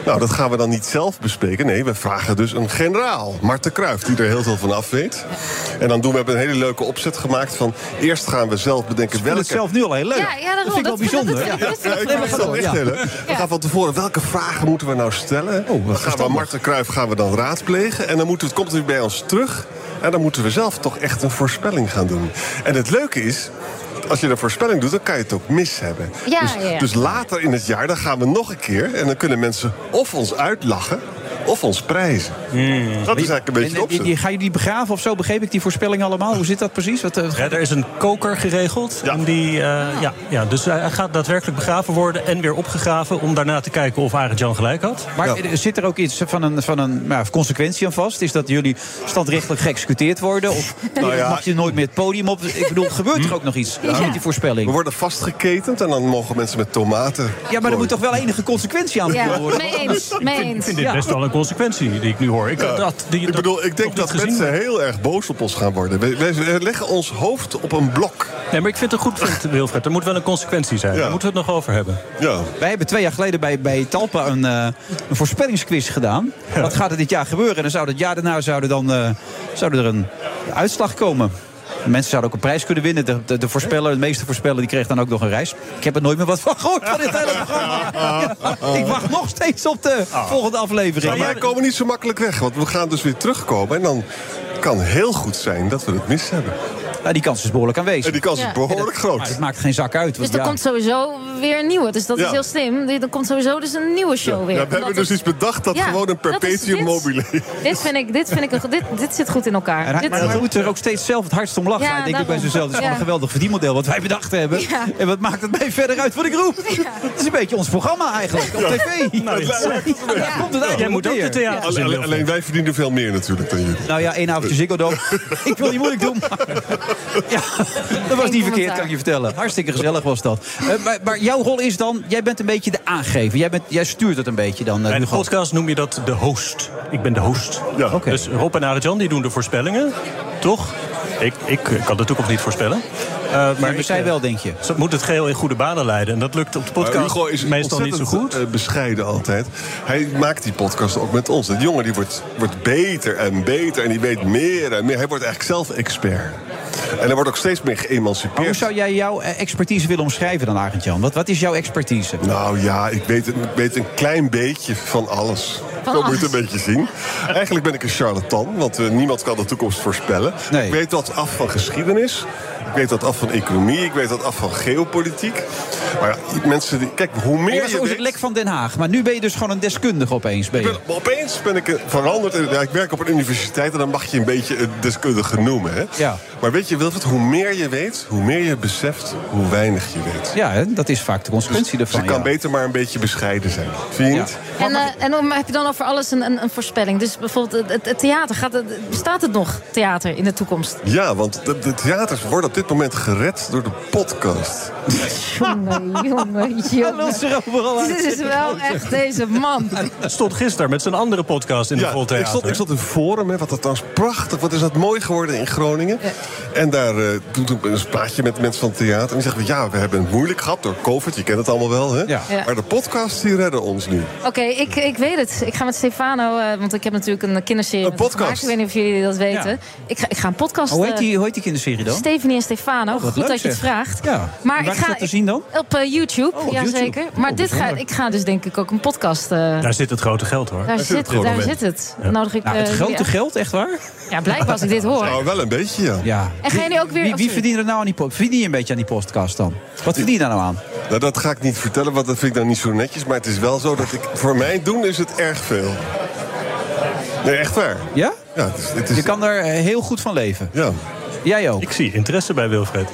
L: Nou, dat gaan we dan niet zelf bespreken. Nee, we vragen dus een generaal, Marten Kruijf, die er heel veel van af weet. En dan doen we hebben een hele leuke opzet gemaakt van eerst gaan we zelf bedenken welke...
J: het zelf nu al heel leuk. Ja, ja, daarom. Dat vind ik wel Dat- dat- bijzonder. dat- dat- dat- dat-
L: Ja, ik
J: dat-
L: vind het
J: dat-
L: wel echt
J: ja.
L: heel leuk. We gaan van tevoren, welke vragen moeten we nou stellen? dan gaan we Marten Kruijf gaan we dan raadplegen. En dan moeten, we- het komt hij bij ons terug. En dan moeten we zelf toch echt een voorspelling gaan doen. En het leuke is, als je een voorspelling doet, dan kan je het ook mis hebben.
E: Ja,
L: dus,
E: ja, ja.
L: dus later in het jaar, dan gaan we nog een keer. En dan kunnen mensen of ons uitlachen, of ons prijzen. Dat is eigenlijk een beetje de
J: Hmm. En, en,
L: opzet.
J: die- Ga je die begraven of zo? Begreep ik die voorspelling allemaal? Hoe zit dat precies? Wat, eh,
K: Ja, er is een koker geregeld. En die, eh,
E: Ah.
K: ja, ja, dus hij hij gaat daadwerkelijk begraven worden en weer opgegraven... om daarna te kijken of Arjan gelijk had.
J: Maar er- zit er ook iets van een, van een nou, consequentie aan vast? Is dat jullie standrechtelijk geëxecuteerd worden? Of
L: Nou ja. Hm.
J: mag je nooit meer het podium op? Ik bedoel, gebeurt er ook nog iets
L: Ja.
J: met die voorspelling?
L: We worden vastgeketend en dan mogen mensen met tomaten.
J: Ja, maar er moet toch wel enige consequentie aan
E: Ja,
J: verbonden worden?
E: mee eens, mee
K: Ik
E: eens.
K: vind dit best wel een consequentie die ik nu hoor. Ik,
L: Ja.
K: dat, die,
L: ik bedoel, ik denk dat mensen heel erg boos op ons gaan worden. Wij, wij- wij leggen ons hoofd op een blok.
K: Nee, maar ik vind het goed, vindt, Wilfred. Er moet wel een consequentie zijn. Daar moeten we het nog over hebben.
L: Ja.
J: Wij hebben twee jaar geleden bij, bij Talpa een, eh, een voorspellingsquiz gedaan. Wat gaat er dit jaar gebeuren? En dan zou dat jaar daarna zouden dan, eh, zouden er een uitslag komen. De Mensen zouden ook een prijs kunnen winnen. De, de, de voorspeller, de meeste voorspeller, die kreeg dan ook nog een reis. Ik heb er nooit meer wat van gehoord van dit hele programma. Ja, ik wacht nog steeds op de
K: Ah.
J: volgende aflevering.
L: Maar wij komen niet zo makkelijk weg, want we gaan dus weer terugkomen. En dan kan heel goed zijn dat we het mis hebben.
J: Nou, die kans is behoorlijk aanwezig.
L: En die kans is
E: Ja.
L: behoorlijk groot.
J: Maar het maakt geen zak uit.
E: Dus
J: want
E: er
J: ja.
E: komt sowieso weer een nieuwe. Dus dat
L: Ja.
E: is heel slim. Er komt sowieso dus een nieuwe show
L: Ja,
E: weer.
L: we hebben
E: Omdat
L: dus
E: het-
L: iets bedacht dat
E: Ja,
L: gewoon een
E: dat is
L: perpetuum
E: dit.
L: mobile is.
E: Dit vind ik, dit vind ik, een- dit, dit zit goed in elkaar.
J: En hij-
E: Dit-
J: maar hij moet er ook steeds zelf het hardst om lachen.
E: Ja,
J: hij denkt ook bij
E: daarom.
J: zichzelf, dit is dus gewoon
E: Ja.
J: een geweldig verdienmodel wat wij bedacht hebben.
E: Ja.
J: En wat maakt het mij verder uit wat ik roep? Het is een beetje ons programma eigenlijk, op tv.
K: Nou,
J: Ja,
K: ja.
J: daar komt het
K: Jij
J: eigenlijk
K: moet
J: op
K: ook
J: neer.
K: de theater
L: Alleen, alleen- alleen wij verdienen veel meer natuurlijk dan jullie.
J: Nou ja, één avondje Ziggo Dome. ik wil niet moeilijk doen. maar- ja, dat was niet verkeerd,
E: commentaar.
J: kan ik je vertellen. Hartstikke gezellig was dat. Eh, maar, maar jouw rol is dan, jij bent een beetje de aangever. Jij, bent, jij stuurt het een beetje dan. eh,
K: Bij de
J: Hugo.
K: podcast noem je dat de host. Ik ben de host.
L: Ja.
J: Oké.
K: Dus Rob en Arjan die doen de voorspellingen, toch? Ik, ik kan de toekomst niet voorspellen. Eh, maar
J: maar
K: ik,
J: zij
K: eh,
J: wel, denk je.
K: Ze moet het geheel in goede banen leiden. En dat lukt op de podcast
L: Maar Hugo is
K: meestal niet zo
L: ontzettend,
K: goed.
L: eh, bescheiden altijd. Hij maakt die podcast ook met ons. Dat jongen die wordt, wordt beter en beter en die weet meer en meer. Hij wordt eigenlijk zelf expert. En hij wordt ook steeds meer
J: Maar hoe
L: geëmancipeerd.
J: zou jij jouw eh, expertise willen omschrijven dan, Arend-Jan? Wat, wat is jouw expertise?
L: Nou ja, ik weet, ik weet een klein beetje van alles. Zo
E: Van
L: moet je
E: alles.
L: het een beetje zien. Eigenlijk ben ik een charlatan, want eh, niemand kan de toekomst voorspellen.
J: Nee.
L: Ik weet wat af van geschiedenis. Ik weet wat af van economie. Ik weet wat af van geopolitiek. Maar ja, mensen die... Kijk, hoe meer
J: Je was
L: je
J: ooit
L: weet...
J: het lek van Den Haag, maar nu ben je dus gewoon een deskundige opeens. Ben
L: Ik
J: je.
L: ben- opeens ben ik eh, veranderd. En, ja, ik werk op een universiteit en dan mag je een beetje een deskundige noemen. Hè?
J: Ja.
L: Maar weet je, Wilfred, hoe meer je weet, hoe meer je beseft hoe weinig je weet.
J: Ja, hè, dat is vaak de consequentie
L: Dus je
J: ervan.
L: kan
J: ja.
L: beter maar een beetje bescheiden zijn. Vind je
J: Ja.
L: niet?
E: En, eh, en om, heb je dan over alles een, een, een voorspelling? Dus bijvoorbeeld het, het- het theater, gaat het, bestaat het nog, theater, in de toekomst?
L: Ja, want de, de theaters worden op dit moment gered door de podcast.
E: Jongen, jongen, jongen.
J: Lult ze er overal uit.
E: Dit is wel echt deze man.
K: Stond gisteren met zijn andere podcast in de
L: Ja,
K: Voltheater.
L: ik stond, ik stond in Forum, hè, wat dat trouwens prachtig, wat is dat mooi geworden in Groningen. En daar eh, toen toen een praatje met mensen van het theater. En die zeggen, ja, we hebben het moeilijk gehad door COVID, je kent het allemaal wel. Hè?
J: Ja.
E: Ja.
L: Maar de podcasts die redden ons nu.
E: Oké, ik, ik weet het. Ik ga met Stefano, eh, want ik heb natuurlijk een kinderserie
L: Een
E: met hem
L: podcast.
E: gemaakt. Ik weet niet of jullie dat weten.
J: Ja.
E: Ik, ga, ik ga een podcast...
J: Hoe heet
E: eh,
J: die, hoe heet die kinderserie dan? Oh,
E: Stefanie en Stefano, goed
J: leuk,
E: dat je het
J: zeg.
E: vraagt.
J: Ja. Waar
E: Maar ik
J: is
E: ga,
J: dat te
E: ik-
J: zien dan?
E: Op eh, YouTube,
J: Oh, op
E: ja
J: YouTube.
E: zeker. Maar
J: Oh,
E: dit ga,
J: bijzonder.
E: ik ga dus denk ik ook een podcast... eh,
K: Daar zit het grote geld hoor.
L: zit
E: daar
L: het
E: zit het,
L: gewoon
E: daar
L: mee.
E: zit het. Dan Nodig ik,
J: Nou, het
E: eh,
J: grote
E: ja.
J: geld, echt waar?
E: Ja, blijkbaar als ik dit hoor.
L: Nou, wel een beetje, ja.
J: Ja.
E: En ga je nu ook
J: Wie,
E: weer- oh,
J: wie
E: sorry.
J: verdient er nou aan die podcast? Verdien je een beetje aan die podcast dan? Wat verdien je daar nou aan?
L: Nou, dat ga ik niet vertellen, want dat vind ik dan niet zo netjes. Maar het is wel zo dat ik... Voor mij doen is het erg veel. Nee, echt waar.
J: Ja?
L: ja het is, het is-
J: Je kan er eh, heel goed van leven.
L: Ja.
J: Jij ook.
K: Ik zie interesse bij Wilfred.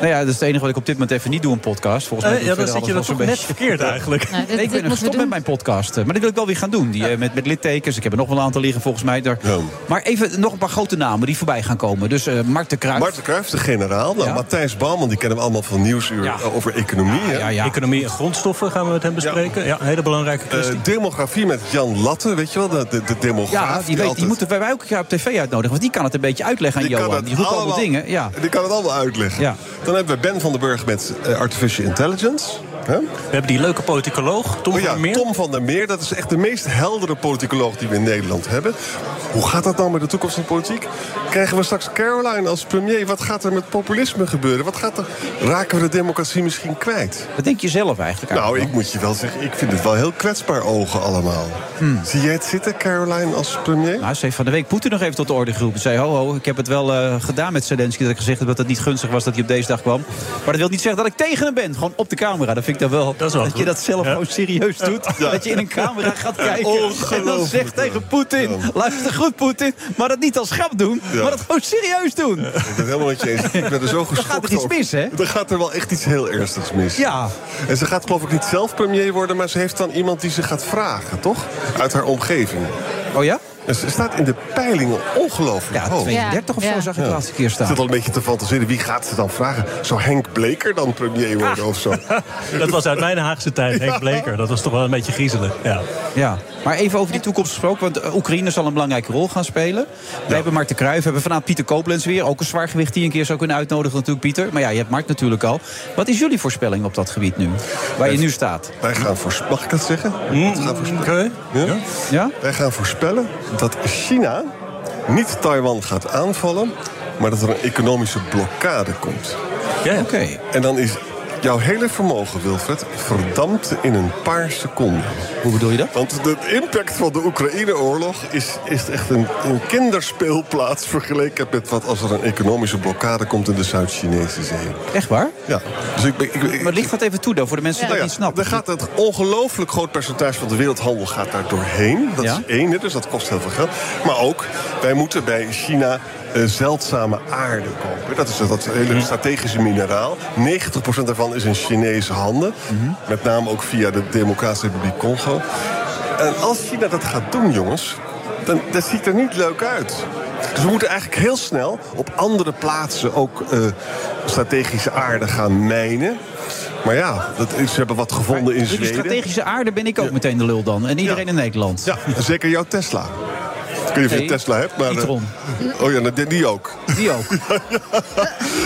J: Nou ja, dat is het enige wat ik op dit moment even niet doe, een podcast. Volgens mij
K: Eh,
J: doe ik
K: ja, dan
J: verder
K: zit je
J: alles
K: dat
J: wel
K: toch
J: zo'n
K: net
J: beetje.
K: verkeerd eigenlijk.
E: Nou,
J: Nee,
E: dit-
J: ik
E: dit
J: ben er
E: moeten we
J: gestopt
E: doen.
J: met mijn podcast. eh, Maar dat wil ik wel weer gaan doen. Die, eh, met, met littekens. Ik heb er nog wel een aantal liggen volgens mij. Daar. Maar even nog een paar grote namen die voorbij gaan komen. Dus eh Marten Kruijf.
L: Marten Cruijff, de generaal. Nou, Matthijs Bouwman, die kennen we allemaal van Nieuwsuur eh, over economie. hè?
K: Economie en grondstoffen gaan we met hem bespreken. Ja, een hele belangrijke kwestie.
L: Eh, demografie met Jan Latte, weet je wel, de, de, de demograaf.
J: Ja, die, weet, die
L: altijd-
J: moeten wij ook een keer op tv uitnodigen. Want die kan het een beetje uitleggen aan
L: Die kan
J: Johan.
L: het
J: Die roept allemaal
L: allemaal-
J: dingen. Ja.
L: Die kan het allemaal uitleggen. Dan hebben we Ben van den Burg met eh, Artificial Intelligence. We
K: hebben die leuke politicoloog, Tom
L: van der Meer. Tom van der Meer, dat is echt de meest heldere politicoloog die we in Nederland hebben. Hoe gaat dat nou met de toekomst van politiek? Krijgen we straks Caroline als premier? Wat gaat er met populisme gebeuren? Wat gaat er... Raken we de democratie misschien kwijt?
J: Wat denk je zelf eigenlijk?
L: Nou, ik moet je wel zeggen, ik vind het wel heel kwetsbaar ogen allemaal.
J: Hmm.
L: Zie jij het zitten, Caroline, als premier?
J: Nou, ze heeft van de week Poetin nog even tot de orde geroepen. Ze zei, ho, ho, ik heb het wel eh, gedaan met Zelensky. Dat ik gezegd heb dat het niet gunstig was dat hij op deze dag kwam. Maar dat wil niet zeggen dat ik tegen hem ben. Gewoon op de camera. Dat vind ik dan wel. Dat, je dat zelf gewoon serieus doet. Dat je in een camera gaat kijken. En dan
L: Ongelooflijk,
J: zegt tegen Poetin. Luister goed, Poetin. Maar dat niet als grap doen.
L: Ja.
J: Maar dat gewoon serieus doen.
L: Ik ben het helemaal met je eens. Ik ben er zo
J: Dan
L: geschokt
J: gaat er iets
L: over.
J: mis, hè?
L: Er gaat er wel echt iets heel ernstigs mis.
J: Ja.
L: En ze gaat geloof ik niet zelf premier worden... maar ze heeft dan iemand die ze gaat vragen, toch? Uit haar omgeving.
J: Oh ja?
L: Ze staat in de peilingen ongelooflijk
J: Ja,
L: hoog.
J: 32 of zo Ja. zag ik de laatste keer staan.
L: Ik zit al een beetje te fantaseren. Wie gaat ze dan vragen? Zou Henk Bleker dan premier worden
J: Ah.
L: of zo?
K: Dat was uit mijn Haagse tijd, Henk Bleker. Dat was toch wel een beetje griezelig. Ja.
J: Ja, maar even over die toekomst gesproken. Want eh, Oekraïne zal een belangrijke rol gaan spelen. We hebben Marten Cruijff, we hebben vanavond Pieter Koblenz weer. Ook een zwaargewicht die je een keer zou kunnen uitnodigen natuurlijk, Pieter. Maar ja, je hebt Mart natuurlijk al. Wat is jullie voorspelling op dat gebied nu? Waar je nu staat?
L: Wij gaan voorspellen, mag ik dat zeggen? We gaan voorspellen. Ja? Wij gaan voorspellen dat China niet Taiwan gaat aanvallen... maar dat er een economische blokkade komt.
K: Ja,
J: oké.
L: En dan is jouw hele vermogen, Wilfred, verdampt in een paar seconden.
J: Hoe bedoel je dat?
L: Want de impact van de Oekraïne-oorlog is, is echt een, een kinderspeelplaats... vergeleken met wat als er een economische blokkade komt in de Zuid-Chinese zee.
J: Echt waar?
L: Ja. Dus ik, ik, ik,
J: Maar licht dat even toe dan, voor de mensen die
L: nou
J: dat
L: ja,
J: niet snappen.
L: Er gaat het ongelooflijk groot percentage van de wereldhandel gaat daar doorheen. Dat is één, hè, dus dat kost heel veel geld. Maar ook, wij moeten bij China eh, zeldzame aarde kopen. Dat is dat, dat hele strategische mineraal. 90% daarvan is in Chinese handen. Met name ook via de Democratische Republiek Congo. En als China dat gaat doen, jongens, dan dat ziet er niet leuk uit. Dus we moeten eigenlijk heel snel op andere plaatsen ook eh, strategische aarde gaan mijnen. Maar ja, dat is, ze hebben wat gevonden in
J: Door die
L: Zweden.
J: strategische aarde ben ik ook meteen de lul dan. En iedereen in Nederland.
L: Ja, zeker jouw Tesla. Ik weet niet of je een
J: Nee,
L: Tesla hebt, maar... eh,
J: e-tron.
L: oh ja, nou, die- die ook.
J: Die ook.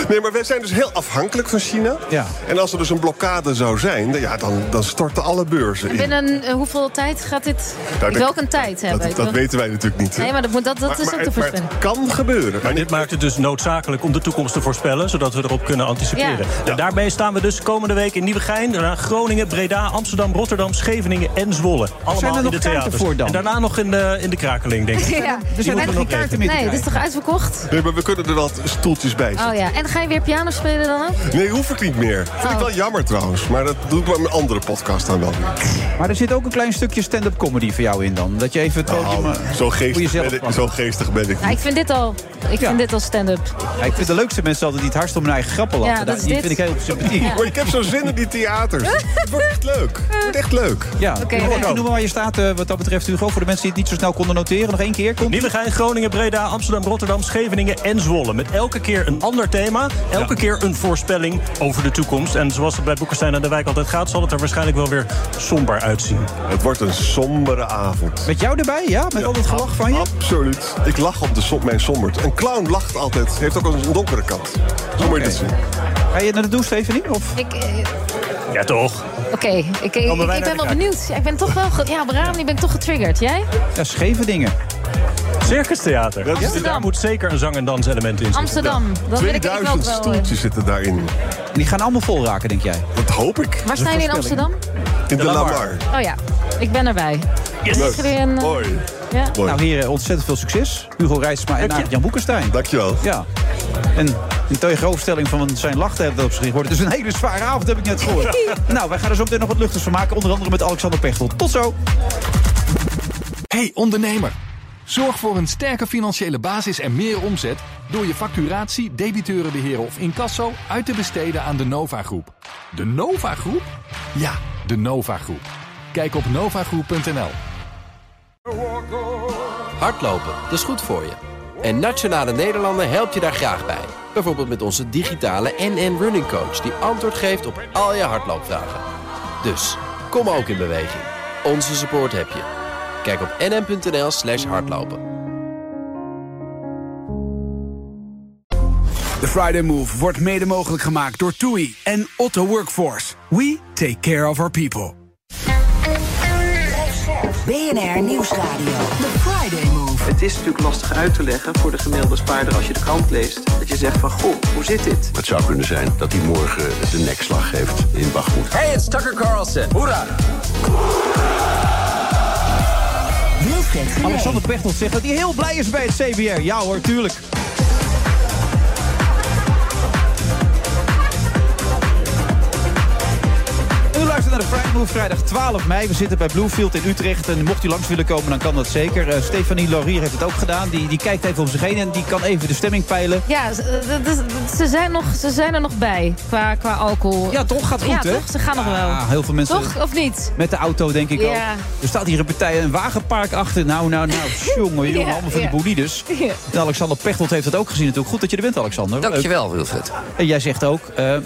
L: Nee, maar wij zijn dus heel afhankelijk van China.
J: Ja.
L: En als er dus een blokkade zou zijn, dan- ja, dan, dan storten alle beurzen in.
E: Binnen eh, hoeveel tijd gaat dit...
L: dat-
E: Welk een tijd hebben?
L: Dat,
E: Ik
L: dat
E: bedoel-
L: weten wij natuurlijk niet. hè.
E: Nee, maar dat, moet, dat, dat
L: Maar-
E: is
L: maar
E: ook de
L: het- maar het
E: voorspelling.
L: kan gebeuren.
K: Maar dit maakt het dus noodzakelijk om de toekomst te voorspellen... zodat we erop kunnen anticiperen.
E: Ja.
K: En daarmee staan we dus komende week in Nieuwegein... daarna Groningen, Breda, Amsterdam, Rotterdam, Scheveningen en Zwolle. Allemaal
J: Zijn er
K: in
J: nog
K: de
J: kaarten
K: theaters.
J: voor dan?
K: En daarna nog in de, in de krakeling,
J: Dus
K: denk ik.
E: Ja. Dus
K: Die moeten we nog regelen.
E: Nee, dit is toch uitverkocht?
L: Nee, maar we kunnen er wat stoeltjes bij zetten.
E: Oh ja, en ga je weer piano spelen dan ook?
L: Nee, hoef ik niet meer. Vind ik wel jammer trouwens. Maar dat doe ik bij mijn andere podcast dan wel weer.
J: Maar er zit ook een klein stukje stand-up comedy voor jou in dan. Dat je even het podium... eh,
L: Nou, Zo
J: voor
L: geestig,
J: jezelf
L: ben ik,
J: pakt.
L: zo geestig ben ik
E: Nou, ik vind dit al, ik vind dit al stand-up.
J: Ja, ik vind de leukste mensen altijd die het hardst om hun eigen grappen lachen. Nou,
E: Ja, dat is
J: die
E: dit.
J: vind ik heel sympathiek.
L: Maar ik heb zo zin in die theaters. Het wordt echt leuk. Het wordt echt leuk.
J: Ja,
E: Oké,
J: Noem-
E: nee.
J: noem maar waar je staat eh, wat dat betreft, Hugo. Voor de mensen die het niet zo snel konden noteren. Nog één keer. Komt.
K: Nieuwegein, Groningen, Breda, Amsterdam, Rotterdam, Scheveningen en Zwolle. Met elke keer een ander thema. Elke keer een voorspelling over de toekomst. En zoals het bij Boekenstein aan de Wijk altijd gaat... zal het er waarschijnlijk wel weer somber uitzien.
L: Het wordt een sombere avond.
J: Met jou erbij, ja? Met al dat gelach van je?
L: Absoluut. Ik lach op de som mijn sombert. Een clown lacht altijd. Heeft ook een donkere kant. Zo moet je dat zien.
J: Ga je naar de douche, Stephanie? Of?
E: Ik, eh,
K: Ja, toch?
E: Oké, ik, ik, ik
K: Komen wij naar
E: ben
K: de
E: wel
K: kijk?
E: benieuwd. Ja, ik ben toch wel, ge- ja, op Raam, die ben ik toch getriggerd. Jij?
J: Ja, scheve dingen.
K: Circus Theater.
L: Dat is-
K: Daar moet zeker een zang- en danselement in zitten.
E: Amsterdam, dat wil ik ik ook
L: 2000
E: wel. eh.
L: stoeltjes zitten daarin.
J: En die gaan allemaal vol raken, denk jij?
L: Dat hoop ik.
E: Waar sta je in Amsterdam?
L: In de Lamar.
E: Oh ja, ik ben erbij. Yes.
L: Hoi.
E: eh, ja.
L: Mooi.
J: Nou, heren, ontzettend veel succes. Hugo Reitsma en Jan Boekenstein.
L: Dankjewel.
J: Ja. En Een tegenoverstelling van zijn lachtempo op zich worden. Dus een hele zware avond heb ik net gehoord. nou, wij gaan er zo meteen nog wat luchters van maken. Onder andere met Alexander Pechtel. Tot zo.
A: Hey ondernemer, zorg voor een sterke financiële basis en meer omzet door je facturatie, debiteurenbeheer of incasso uit te besteden aan de Nova Groep. De Nova Groep? Ja, de Nova Groep. Kijk op novagroep.nl.
M: Hardlopen, dat is goed voor je. En Nationale Nederlanden helpt je daar graag bij. Bijvoorbeeld met onze digitale NN Running Coach die antwoord geeft op al je hardloopvragen. Dus, kom ook in beweging. Onze support heb je. Kijk op nn.nl slash hardlopen.
B: De Friday Move wordt mede mogelijk gemaakt door TUI en Otto Workforce. We take care of our people.
C: BNR Nieuwsradio. The Friday Move.
N: Het is natuurlijk lastig uit te leggen voor de gemiddelde spaarder als je de krant leest. Dat je zegt van, goh, hoe zit dit?
O: Het zou kunnen zijn dat hij morgen de nekslag geeft in Bagmoed.
P: Hey, it's Tucker Carlson. Hoera!
C: Wilfred Genee.
J: Alexander Pechtel zegt dat hij heel blij is bij het CBR. Ja hoor, tuurlijk. U luistert naar de Friday Move vrijdag 12 mei. We zitten bij Bluefield in Utrecht. En mocht u langs willen komen, dan kan dat zeker. Eh, Stefanie Laurier heeft het ook gedaan. Die, die kijkt even om zich heen en die kan even de stemming peilen.
E: Ja, eh, ze- dat is- ze zijn, nog, ze zijn er nog bij qua, qua alcohol.
J: Ja, toch? Gaat goed,
E: ja,
J: hè?
E: toch? Ze gaan nog wel.
J: Ah, heel veel mensen-
E: Toch? Of niet?
J: Met de auto, denk ik
E: Ja.
J: ook. Er staat hier een partij, een wagenpark achter. Nou, nou, nou, jongen, jongen.
E: Ja,
J: allemaal van
E: ja.
J: die bolides.
E: Ja.
J: En Alexander Pechtold heeft dat ook gezien natuurlijk. Goed dat je er bent, Alexander.
M: Dankjewel, Wilfred.
J: En jij zegt ook, eh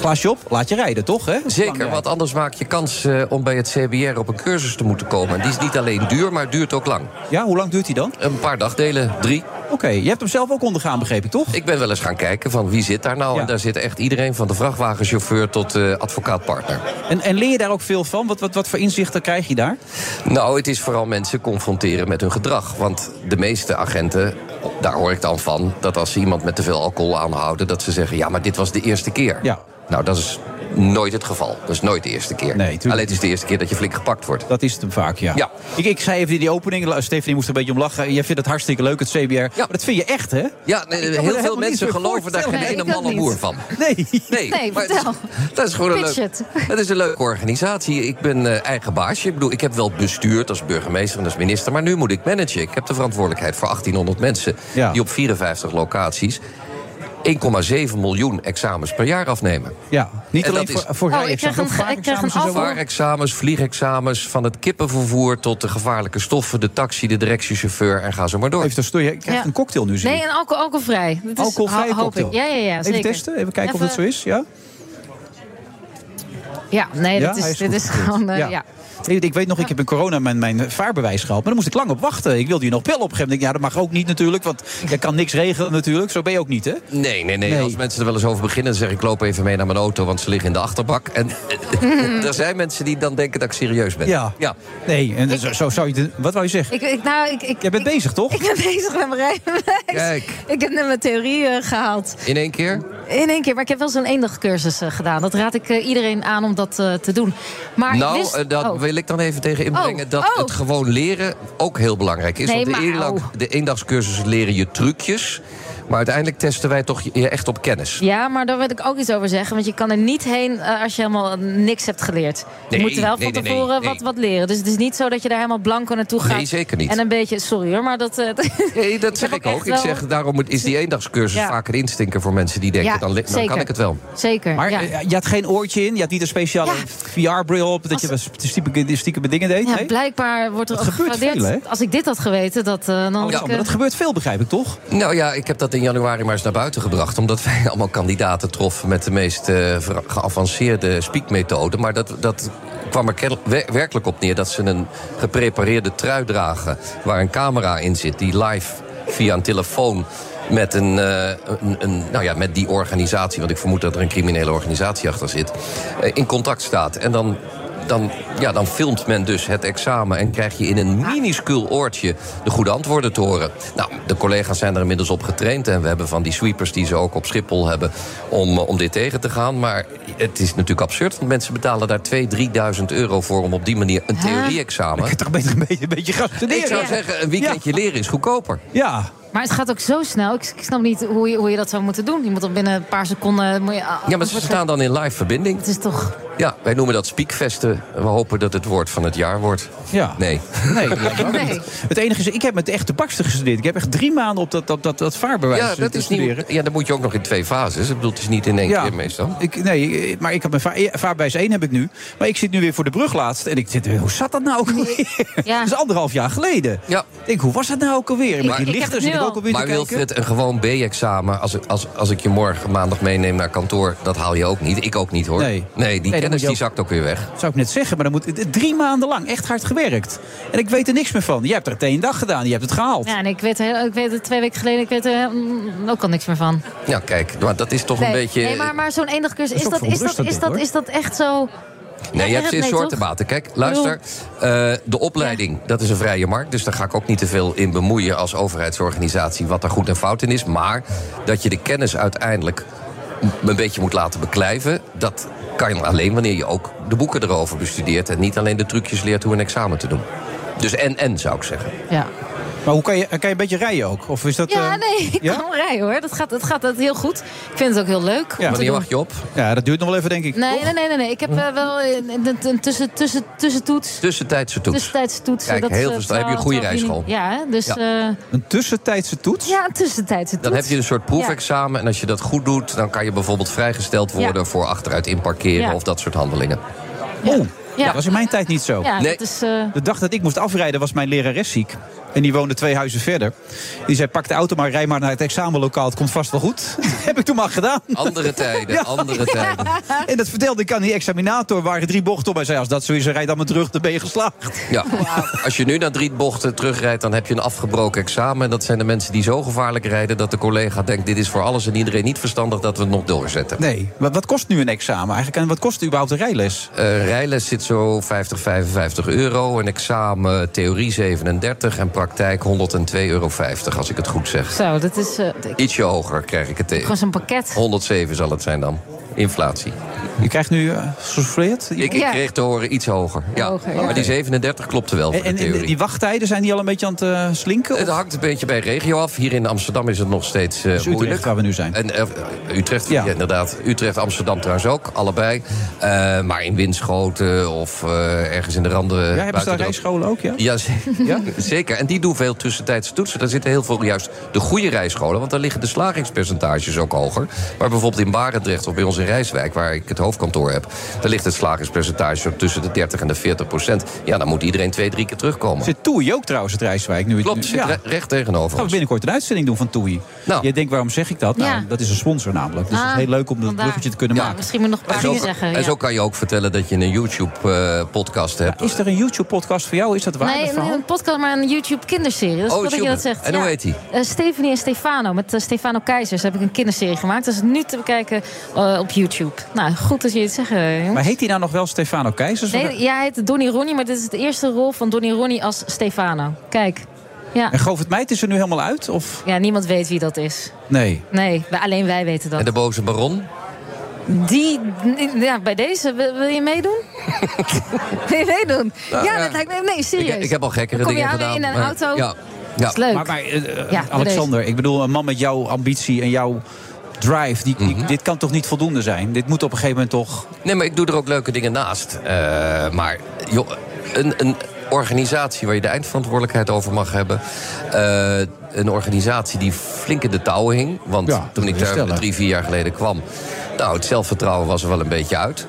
J: glaasje op, laat je rijden, toch? Hè?
M: Zeker, want anders maak je kans eh, om bij het CBR op een cursus te moeten komen. En die is niet alleen duur, maar duurt ook lang.
J: Ja, hoe lang duurt die dan?
M: Een paar dagdelen, drie.
J: Oké, je hebt hem zelf ook ondergaan, begreep ik, toch?
M: Ik ben wel eens gaan kijken van wie zit daar nou. En daar zit echt iedereen, van de vrachtwagenchauffeur tot eh, advocaatpartner.
J: En, en leer je daar ook veel van? Wat, wat, wat voor inzichten krijg je daar?
M: Nou, het is vooral mensen confronteren met hun gedrag. Want de meeste agenten, daar hoor ik dan van... dat als ze iemand met te veel alcohol aanhouden... dat ze zeggen, ja, maar dit was de eerste keer.
J: Ja.
M: Nou, dat is nooit het geval. Dat is nooit de eerste keer. Alleen het is de eerste keer dat je flink gepakt wordt.
J: Dat is het hem vaak, ja. Ik, ik zei even in die opening, La- Stefanie moest er een beetje om lachen. Jij vindt het hartstikke leuk, het CBR. Maar dat vind je echt, hè?
M: Ja, nee,
J: Ik kan me er
M: heel
J: helemaal
M: veel
J: niet
M: mensen
J: meer
M: geloven daar geen
J: voorstellen.
M: ene man of boer van.
J: Nee.
M: Nee,
E: Nee,
M: maar het is-
E: vertel.
M: dat is gewoon een
E: Pitch
M: leuk.
E: it.
M: Het is een leuke organisatie. Ik ben eh, eigen baasje. Ik bedoel, ik heb wel bestuurd als burgemeester en als minister, maar nu moet ik managen. Ik heb de verantwoordelijkheid voor 1800 mensen
J: Ja.
M: die op 54 locaties 1,7 miljoen examens per jaar afnemen.
J: Ja, niet
M: En
J: alleen
M: dat is-
J: voor, voor
E: Oh, ik
J: rijexamen,
E: krijg
J: ook
E: een- ik krijg een
J: vaartexamens en zo.
E: afval.
M: Vaarexamens, vliegexamens, van het kippenvervoer tot de gevaarlijke stoffen, de taxi, de directiechauffeur en ga zo maar door.
J: Even stoor, je krijgt
E: Ja.
J: een cocktail nu, zie
E: Nee,
J: ik.
E: en alcohol, alcoholvrij. Dat is-
J: Alcoholvrij
E: ho- hoop
J: cocktail.
E: ik. Ja, ja, ja.
J: Even
E: Zeker.
J: testen, even kijken of
E: Even-
J: dat zo is. Ja?
E: Ja, nee,
J: Ja,
E: dat
J: hij
E: is,
J: is
E: dit
J: goed
E: is gewoon. eh, ja.
J: Ik, ik weet nog, ik heb in corona mijn, mijn vaarbewijs gehaald. Maar daar moest ik lang op wachten. Ik wilde je nog wel opgeven. Ik denk, Ja, dat mag ook niet natuurlijk. Want je kan niks regelen natuurlijk. Zo ben je ook niet, hè?
M: Nee, nee, nee,
J: Nee.
M: Als mensen er wel eens over beginnen, dan zeg ik: ik loop even mee naar mijn auto, want ze liggen in de achterbak. En er zijn mensen die dan denken dat ik serieus ben.
J: Ja.
M: ja.
J: Nee, en dus, zo, zo zou je... de- Wat wou je zeggen?
E: Ik, ik, nou, ik, ik,
J: Jij bent bezig, toch?
E: ik ben bezig met mijn rijbewijs.
M: Kijk.
E: Ik heb net mijn theorie eh, gehaald.
M: In één keer?
E: In één keer, maar ik heb wel zo'n eendagcursus eh, gedaan. Dat raad ik eh, iedereen aan om dat eh, te doen. Maar ik
M: nou,
E: wist-
M: eh, dat
E: oh.
M: wil ik dan even tegen inbrengen.
E: Oh,
M: Dat
E: oh.
M: het gewoon leren ook heel belangrijk is.
E: Nee,
M: Want de,
E: maar
M: eendag,
E: au.
M: de eendagscursus leren je trucjes. Maar uiteindelijk testen wij toch je echt op kennis.
E: Ja, maar daar wil ik ook iets over zeggen. Want je kan er niet heen eh, als je helemaal eh, niks hebt geleerd.
M: Nee,
E: je moet wel
M: nee,
E: van
M: nee, nee,
E: tevoren
M: nee.
E: Wat, wat leren. Dus het is niet zo dat je daar helemaal blanco naartoe gaat.
M: Nee, zeker niet.
E: En een beetje, sorry hoor, maar dat... eh,
M: Nee, dat zeg
E: heb
M: ik ook.
E: echt
M: Ik
E: wel-
M: zeg, daarom moet- is die eendagscursus
E: Ja.
M: vaak een instinker voor mensen die denken:
E: Ja,
M: dan, li- dan
E: zeker.
M: kan ik het wel.
E: Zeker,
J: Maar
E: ja.
J: eh, je had geen oortje in, je had niet een speciale VR-bril op... dat je wel stiekem, stiekem dingen deed,
E: Ja,
J: nee?
E: blijkbaar wordt er
J: Dat
E: ook
J: gebeurt
E: gewaardeerd.
J: veel, hè?
E: Als ik dit had geweten, dat, eh, dan
M: Oh,
E: had ik...
J: Alexander,
E: eh,
J: dat gebeurt veel, begrijp ik, toch?
M: Nou ja, ik heb dat in januari maar eens naar buiten gebracht. Omdat wij allemaal kandidaten troffen met de meest eh, ver- geavanceerde speakmethode. Maar dat, dat kwam er ken- wer- werkelijk op neer dat ze een geprepareerde trui dragen. waar een camera in zit, die live via een telefoon. Met, een, eh, een, een- nou ja, met die organisatie, want ik vermoed dat er een criminele organisatie achter zit. eh, in contact staat. En dan dan, ja, dan filmt men dus het examen en krijg je in een minuscuul oortje de goede antwoorden te horen. Nou, de collega's zijn er inmiddels op getraind en we hebben van die sweepers die ze ook op Schiphol hebben om, eh, om dit tegen te gaan. Maar het is natuurlijk absurd, want mensen betalen daar 2.000, 3.000 euro voor om op die manier een theorie-examen.
J: Toch beter een beetje, een beetje gaan studeren.
M: Ik zou zeggen, een weekendje leren is goedkoper.
J: Ja.
E: Maar het gaat ook zo snel. Ik, ik snap niet hoe je, hoe je dat zou moeten doen. Je moet dan binnen een paar seconden... Moet je,
M: Ja, maar ze staan dan in live verbinding. Het
E: is toch...
M: Ja, wij noemen dat speakfesten. We hopen dat het woord van het jaar wordt.
J: Ja.
M: Nee.
J: Nee, Het enige is, ik heb met echt de bakste gestudeerd. Ik heb echt drie maanden op dat, dat, dat, dat vaarbewijs
M: Ja, dat
J: te
M: is
J: studeren.
M: niet, ja, dan moet je ook nog in twee fases. Ik bedoel, het is niet in één
J: Ja.
M: keer meestal.
J: Ik, nee, maar ik heb mijn va- eh, vaarbewijs 1 heb ik nu. Maar ik zit nu weer voor de brug laatst. En ik zit, hoe zat dat nou ook alweer? Dat is anderhalf jaar geleden.
M: Ja.
J: Ik denk, hoe was dat nou ook alweer? Met
M: Maar-
J: die lichten zit ik ook alweer te
M: Maar
J: kijken.
M: Wilfred, een gewoon B-examen, als, ik- als, als ik je morgen maandag meeneem naar kantoor, dat haal je ook niet. Ik ook niet hoor.
J: Nee.
M: die
J: dan moet
M: kennis
J: je
M: die
J: ook-
M: zakt ook weer weg.
J: zou ik net zeggen, maar dan moet het- drie maanden lang echt hard gewerkt. En ik weet er niks meer van. Jij hebt er het één dag gedaan, je hebt het gehaald.
E: Ja, en ik weet, heel- ik weet het twee weken geleden, ik weet er heel- mm, ook al niks meer van.
M: Ja, kijk, maar dat is toch een
E: Nee.
M: beetje.
E: Nee, maar, maar zo'n enig cursus,
M: Dat is
E: is
M: ook
E: dat, is, dat,
M: verontrustend,
E: is, dat,
M: hoor.
E: is dat echt zo...
M: Nee, je hebt ze in
E: nee,
M: soorten
E: toch?
M: baten. Kijk, luister. eh, de opleiding, dat is een vrije markt. Dus daar ga ik ook niet te veel in bemoeien als overheidsorganisatie. wat daar goed en fout in is. Maar dat je de kennis uiteindelijk m- een beetje moet laten beklijven. dat kan alleen wanneer je ook de boeken erover bestudeert. en niet alleen de trucjes leert hoe een examen te doen. Dus en-en zou ik zeggen.
E: Ja.
J: Maar hoe kan je, kan je een beetje rijden ook? Of is dat,
E: Ja,
J: eh,
E: nee, ik
J: ja?
E: kan rijden hoor. Dat gaat, dat gaat dat heel goed. Ik vind het ook heel leuk. om te
J: Wanneer
E: doen.
J: wacht
M: je op?
J: Ja, dat duurt nog wel even, denk ik.
E: Nee, nee, nee, nee, nee. Ik heb eh, wel een, een, een tussen, tussen, tussentijdse
M: Tussentijdse
E: toets.
M: toets.
E: Tussentijdse toets.
M: Kijk,
E: dat is,
M: heel
E: eh,
M: veel- dan heb je een goede
E: 12 juni.
M: rijschool.
E: Ja, hè, dus...
M: Ja.
E: eh,
J: Een tussentijdse toets?
E: ja, een tussentijdse toets.
M: Dan heb je dus een soort proefexamen. En als je dat goed doet, dan kan je bijvoorbeeld vrijgesteld worden
E: Ja.
M: voor achteruit inparkeren
E: Ja. Oh.
M: of dat soort handelingen.
J: Oeh,
E: Ja.
J: Oh, dat was in mijn tijd niet zo.
E: Ja, dat is... eh,
J: De dag dat ik moest afrijden was mijn lerares ziek. En die woonde twee huizen verder. Die zei, pak de auto maar, rij maar naar het examenlokaal. Het komt vast wel goed. heb ik toen maar gedaan.
M: Andere tijden,
J: Ja.
M: andere tijden.
J: En dat vertelde ik aan die examinator. waren drie bochten om. Hij zei, als dat zo is, rijd dan maar terug. Dan ben je geslaagd.
M: Ja. Als je nu naar drie bochten terugrijdt, dan heb je een afgebroken examen. En dat zijn de mensen die zo gevaarlijk rijden dat de collega denkt: dit is voor alles en iedereen niet verstandig dat we het nog doorzetten.
J: Nee, wat, wat kost nu een examen eigenlijk? En wat kost überhaupt een rijles?
M: Eh, rijles zit zo 50, 55 euro. Een examen theorie 37 en praktijk 102,50 euro, als ik het goed zeg.
E: Zo, dat is... eh, ik-
M: Ietsje hoger krijg ik het tegen.
E: gewoon zo'n pakket.
M: 107 zal het zijn dan. Inflatie.
J: Je krijgt nu uh, gesouffleerd?
M: Ik, ik
E: Ja.
M: kreeg te horen iets hoger. Ja.
E: Hoger, ja.
M: Maar die 37 klopte wel voor
J: En,
M: de
J: en- en
M: theorie.
J: die wachttijden, zijn die al een beetje aan het eh, slinken?
M: Het
J: Of-
M: hangt een beetje bij regio af. Hier in Amsterdam is het nog steeds eh,
J: Utrecht
M: moeilijk.
J: waar we nu zijn.
M: En, eh, Utrecht, ja. inderdaad. Utrecht, Amsterdam trouwens ook, allebei. Eh, maar in Winschoten of eh, ergens in de randen.
J: ja, hebben ze dus daar
M: buiten de-
J: rijscholen ook? Ja?
M: ja, ze-
J: Ja?
M: zeker. En die doen veel tussentijdse toetsen. Daar zitten heel veel juist de goede rijscholen. Want daar liggen de slagingspercentages ook hoger. Maar bijvoorbeeld in Barendrecht of bij ons in Rijswijk... waar ik het hoofdkantoor heb... daar ligt het slagingspercentage zo tussen de 30 en de 40 procent. Ja, dan moet iedereen twee, drie keer terugkomen.
J: Zit Eh, Toei ook trouwens, het Rijswijk? Nu,
M: Klopt,
J: nu-
M: zit re- recht tegenover
J: Gaan we
M: ons.
J: binnenkort een uitzending doen van Toei. Je denkt, waarom zeg ik dat? Nou,
E: Ja.
J: dat is een sponsor namelijk. Dus
E: Ah,
J: het is heel leuk om dat
E: vandaar.
J: bruggetje te kunnen
E: Ja,
J: maken.
E: Misschien moet ik nog een paar
M: En
E: dingen
M: zo,
E: zeggen.
M: en
E: ja.
M: zo kan je ook vertellen dat je een YouTube-podcast hebt.
J: Is er een YouTube-podcast voor jou? Is dat waar? dat
E: Nee,
J: verhaal?
E: nee, een podcast, maar een YouTube kinderserie. Dat is
M: Oh,
E: goed dat je dat
M: tjoe.
E: zegt.
M: En hoe
E: Ja.
M: heet die?
E: Eh, Stephanie en Stefano. Met eh, Stefano Keizers heb ik een kinderserie gemaakt. Dat is nu te bekijken eh, op YouTube. Nou, goed dat je het zegt, eh, jongens.
J: Maar heet hij dus nou nog wel Stefano Keizers? Of-
E: Nee, ja, hij heet Donnie Ronnie, maar dit is de eerste rol van Donnie Ronnie als Stefano. Kijk. Ja.
J: En Govert Meid is er nu helemaal uit? Of?
E: ja, niemand weet wie dat is.
J: Nee.
E: Nee, wij- alleen wij weten dat.
M: En de boze baron?
E: Die, ja, bij deze, wil, wil je meedoen? wil je meedoen?
M: Nou,
E: ja,
M: ja.
E: dat lijkt me, nee, serieus.
M: Ik, ik heb al gekkere
E: Dan kom je
M: dingen
E: aan
M: gedaan.
E: in een
M: maar-
E: auto.
M: Ja. Ja.
E: Dat is leuk.
J: Maar, maar, eh,
E: Ja,
J: Alexander, ik bedoel, een man met jouw ambitie en jouw drive... Die,
M: Mhm.
J: die- dit kan toch niet voldoende zijn? Dit moet op een gegeven moment toch...
M: Nee, maar ik doe er ook leuke dingen naast. Eh, maar joh, een, een organisatie waar je de eindverantwoordelijkheid over mag hebben. eh, een organisatie die flink in de touwen hing. Want
J: Ja, dat
M: toen ik
J: wil je
M: daar
J: stellen.
M: drie, vier jaar geleden kwam... nou, het zelfvertrouwen was er wel een beetje uit.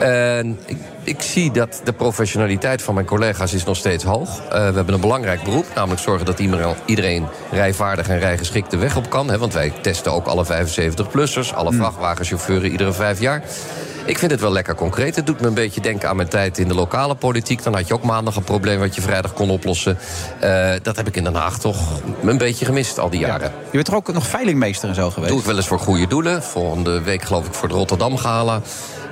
M: En ik, ik zie dat de professionaliteit van mijn collega's is nog steeds hoog. Eh, we hebben een belangrijk beroep, namelijk zorgen dat iedereen, iedereen rijvaardig en rijgeschikt de weg op kan. Hè, want wij testen ook alle 75-plussers, alle vrachtwagenchauffeuren iedere vijf jaar. Ik vind het wel lekker concreet. Het doet me een beetje denken aan mijn tijd in de lokale politiek. Dan had je ook maandag een probleem wat je vrijdag kon oplossen. Eh, dat heb ik in Den Haag toch een beetje gemist al die jaren.
J: Je bent toch ook nog veilingmeester en zo geweest?
M: Doe ik wel eens voor goede doelen. Volgende week geloof ik voor de Rotterdam Gala.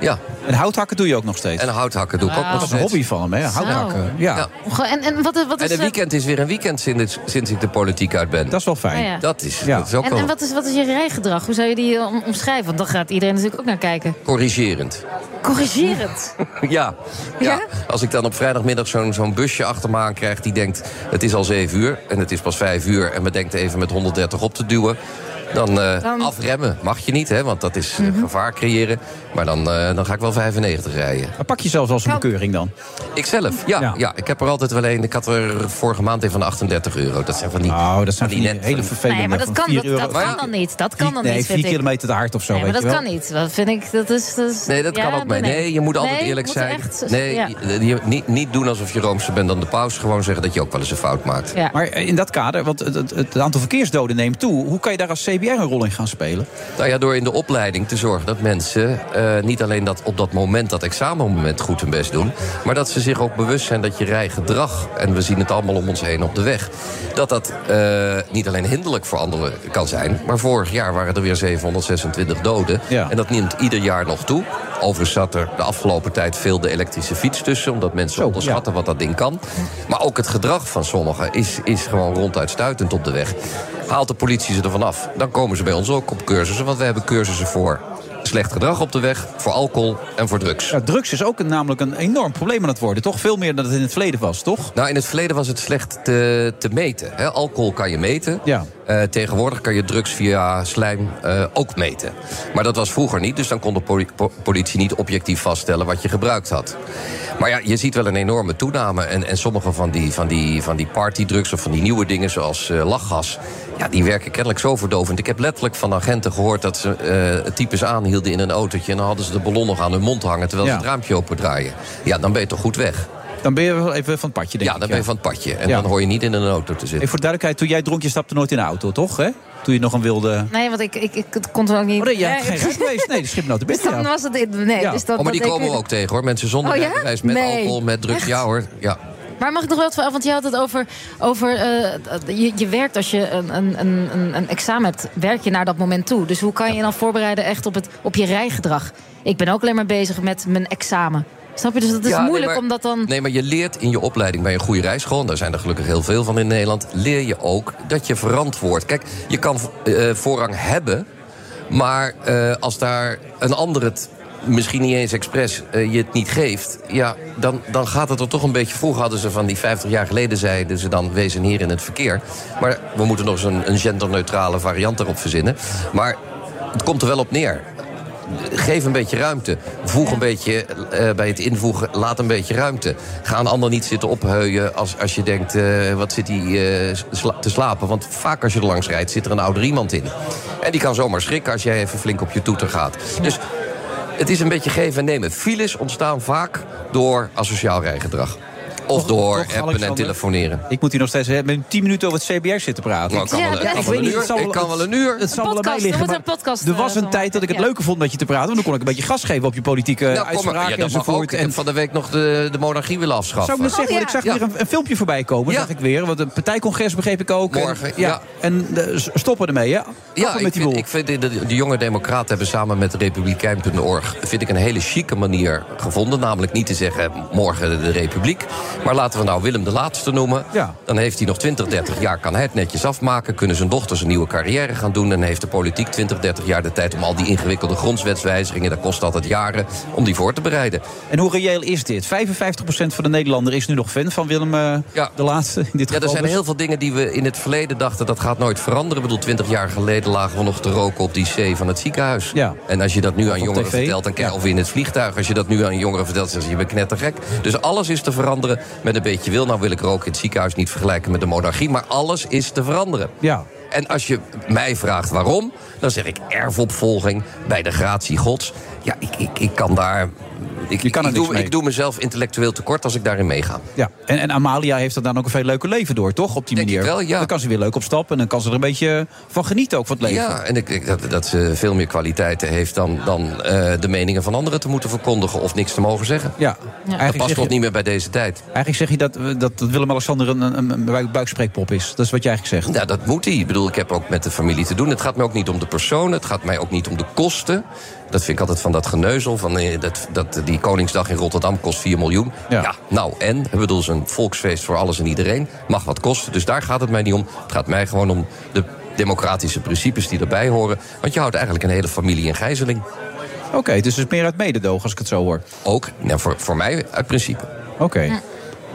M: Ja.
J: En houthakken doe je ook nog steeds?
M: En houthakken doe ik ook nog
J: Dat is een
M: steeds.
J: hobby van hem, hè? Houthakken. Ja.
E: En, en wat, wat
M: En
E: is
M: een
E: eh,
M: weekend is weer een weekend sinds, sinds ik de politiek uit ben. Dat
J: is wel fijn.
E: Ah, ja.
M: Dat is, dat is ook
E: en,
M: wel
E: en wat is, wat is je rijgedrag? Hoe zou je die eh, om- omschrijven? Want dan gaat iedereen natuurlijk ook naar kijken.
M: corrigerend.
E: Corrigerend.
M: Ja. ja. Als ik dan op vrijdagmiddag zo'n zo'n busje achter me aan krijg... die denkt, het is al 7 uur en het is pas 5 uur... en we denken even met 130 op te duwen... Dan, eh,
E: Dan- Mhm.
M: afremmen mag je niet, hè, want dat is eh, gevaar creëren. Maar dan, eh, dan ga ik wel 95 rijden.
J: Maar pak je zelfs als een bekeuring dan?
M: Ikzelf, ja, ja. Ik heb er altijd wel een. Ik had er vorige maand een van 38 euro. Dat zijn van die... Nou,
J: dat zijn van die hele vervelende
E: Nee, maar dat
J: van
E: kan,
J: vier
E: dat, dat
J: euro.
E: kan dan niet. Dat kan dan
J: nee,
E: niet,
J: vier
E: vind ik.
J: kilometer te hard of zo.
E: Nee, maar
J: weet
E: dat
J: je wel.
E: kan niet. Dat vind ik, dat is... Dat is
M: Nee, dat kan ook mee. Nee, je moet altijd
E: Nee,
M: eerlijk
E: moet
M: zijn.
E: echt-
M: nee,
E: ja.
M: je- je- niet, niet doen alsof je roomser bent dan de paus. Gewoon zeggen dat je ook wel eens een fout maakt.
E: Ja.
J: Maar in dat kader, want het, het, het aantal verkeersdoden neemt toe. Hoe kan je daar als CBR een rol in gaan spelen?
M: Nou ja, door in de opleiding te zorgen dat mensen eh, niet alleen dat op dat moment, dat examenmoment, goed hun best doen. Maar dat ze zich ook bewust zijn dat je rijgedrag, en we zien het allemaal om ons heen op de weg, dat dat eh, niet alleen hinderlijk voor anderen kan zijn. Maar vorig jaar waren er weer 726 doden. En dat neemt ieder jaar nog toe. Overigens zat er de afgelopen tijd veel de elektrische fiets tussen, omdat mensen onderschatten wat dat ding kan. Maar ook het gedrag van sommigen is, is gewoon ronduit stuitend op de weg. Haalt de politie ze ervan af, dan komen ze bij ons ook op cursussen. Want we hebben cursussen voor slecht gedrag op de weg, voor alcohol en voor drugs.
J: Ja, drugs is ook een, namelijk een enorm probleem aan het worden, toch? Veel meer dan het in het verleden was, toch?
M: Nou, in het verleden was het slecht te, te meten. Hè? Alcohol kan je meten. Eh, tegenwoordig kan je drugs via slijm eh, ook meten. Maar dat was vroeger niet, dus dan kon de poli- po- politie niet objectief vaststellen wat je gebruikt had. Maar ja, je ziet wel een enorme toename. En, en sommige van die, van, die, van die partydrugs of van die nieuwe dingen zoals eh, lachgas... Ja, die werken kennelijk zo verdovend. Ik heb letterlijk van agenten gehoord dat ze eh, types aanhielden in een autootje... en dan hadden ze de ballon nog aan hun mond hangen terwijl ze
J: Ja.
M: het raampje opendraaien. Ja, dan ben je toch goed weg.
J: Dan ben je wel even van het padje, denk
M: Ja,
J: ik.
M: dan ben je van het padje. En
J: Ja.
M: dan hoor je niet in een auto te
J: Even
M: zitten.
J: voor de duidelijkheid, toen jij dronk, je stapte nooit in de auto, toch? Hè? Toen je nog een wilde...
E: Nee, want ik, ik, ik het kon toen ook niet...
J: Oh, Nee, jij hebt
E: Nee.
J: geen recht geweest. Nee, de schipnoten
E: Dus dan was het... Nee, dus dat,
M: oh, maar die
E: dat
M: komen
E: ik-
M: we ook tegen hoor. Mensen zonder
E: Oh, ja?
M: rijbewijs, met
E: Nee.
M: alcohol, met drugs.
E: Echt?
M: Ja hoor. Ja.
E: Maar mag ik nog wel wat van... Want je had het over... over eh, je, je werkt als je een, een, een, een- een examen hebt... werk je naar dat moment toe. Dus hoe kan je je dan voorbereiden echt op, het, op je rijgedrag? Ik ben ook alleen maar bezig met mijn examen. Snap je? Dus dat is
M: Ja, nee,
E: moeilijk
M: maar-
E: om dat dan...
M: Nee, maar je leert in je opleiding bij een goede rijschool... en daar zijn er gelukkig heel veel van in Nederland... leer je ook dat je verantwoord. Kijk, je kan eh, voorrang hebben... maar eh, als daar een ander het misschien niet eens expres eh, je het niet geeft... ja, dan, dan gaat het er toch een beetje... vroeg hadden ze van die 50 jaar geleden zeiden ze dan... wees een heer in het verkeer. Maar we moeten nog eens een, een genderneutrale variant erop verzinnen. Maar het komt er wel op neer. Geef een beetje ruimte. Voeg een beetje eh, bij het invoegen, laat een beetje ruimte. Ga een ander niet zitten opheuien als, als je denkt, eh, wat zit hij te slapen? Want vaak als je er langs rijdt, zit er een ouder iemand in. En die kan zomaar schrikken als jij even flink op je toeter gaat. Dus het is een beetje geven en nemen. Files ontstaan vaak door asociaal rijgedrag. Of door appen en
J: Alexander?
M: telefoneren.
J: Ik moet hier nog steeds hè, met 10 minuten over het CBR zitten praten.
M: Nou, ik kan Ja, wel- ik kan wel een
J: niet,
M: uur.
J: het zal
M: Ik kan wel een uur.
J: Het zal wel aan mij
E: podcast, we
J: liggen.
E: moeten
J: maar
E: een podcast,
J: er
E: eh,
J: was een
E: van
J: tijd dat ik het
E: maken,
J: leuker vond met je te praten. Want dan kon ik een beetje gas geven op je politieke
M: Nou, kom maar. Ja, dat
J: uitspraken
M: mag ook.
J: enzovoort.
M: Ik heb van de week nog de, de monarchie willen afschaffen.
J: Zou ik net zeggen, want ik zag weer een, een filmpje voorbij komen,
M: Ja.
J: zag ik weer. Want een partijcongres begreep ik ook.
M: Morgen,
J: en, ja.
M: ja.
J: En eh, s- stoppen ermee, hè?
M: Ja,
J: Kappen
M: ik
J: met die
M: vind,
J: boel.
M: ik vind de, de- de jonge democraten hebben samen met republikein.org... vind ik een hele chique manier gevonden. Namelijk niet te zeggen morgen de republiek. Maar laten we nou Willem de Laatste noemen.
J: Ja.
M: Dan heeft hij nog 20, 30 jaar, kan hij het netjes afmaken... kunnen zijn dochters een nieuwe carrière gaan doen... en heeft de politiek 20, 30 jaar de tijd om al die ingewikkelde grondwetswijzigingen... dat kost altijd jaren, om die voor te bereiden.
J: En hoe reëel is dit? 55% van de Nederlander is nu nog fan van Willem eh, de Laatste. In dit
M: Ja, er
J: geval
M: zijn
J: dus.
M: heel veel dingen die we in het verleden dachten... dat gaat nooit veranderen. Ik bedoel, 20 jaar geleden lagen we nog te roken op die C van het ziekenhuis.
J: Ja.
M: En als je dat nu aan
J: op
M: jongeren
J: tv.
M: vertelt, dan, of in het vliegtuig... als je dat nu aan jongeren vertelt, zeggen ze, je bent knettergek. Dus alles is te veranderen met een beetje wil. Nou wil ik roken in het ziekenhuis niet vergelijken met de monarchie... maar alles is te veranderen.
J: Ja.
M: En als je mij vraagt waarom, dan zeg ik erfopvolging bij de gratie gods. Ja, ik, ik, ik kan daar ik, je kan ik, ik doe, mee. ik doe mezelf intellectueel tekort als ik daarin meega.
J: Ja, en, en Amalia heeft er dan ook een veel leuker leven door, toch? Op die
M: Denk
J: manier.
M: Wel, ja.
J: Dan kan ze weer leuk op stap en dan kan ze er een beetje van genieten ook van het leven.
M: Ja, en ik, ik, dat, dat ze veel meer kwaliteiten heeft dan, dan uh, de meningen van anderen te moeten verkondigen of niks te mogen zeggen.
J: Ja,
M: ja. dat past toch niet meer bij deze tijd.
J: Eigenlijk zeg je dat, eh, dat, dat Willem-Alexander een, een, een buikspreekpop is. Dat is wat je eigenlijk zegt.
M: Ja, Nou, dat moet hij. Ik bedoel, ik heb ook met de familie te doen. Het gaat mij ook niet om de persoon, het gaat mij ook niet om de kosten. Dat vind ik altijd van dat geneuzel. Van, eh, dat, dat, die Koningsdag in Rotterdam kost 4 miljoen. Ja, ja nou en? Ik bedoel, zo'n volksfeest voor alles en iedereen. Mag wat kosten. Dus daar gaat het mij niet om. Het gaat mij gewoon om de democratische principes die erbij horen. Want je houdt eigenlijk een hele familie in gijzeling.
J: Oké, okay, dus het is meer uit mededogen als ik het zo hoor.
M: Ook, nou, voor, voor mij uit principe.
J: Oké. Okay. Ja.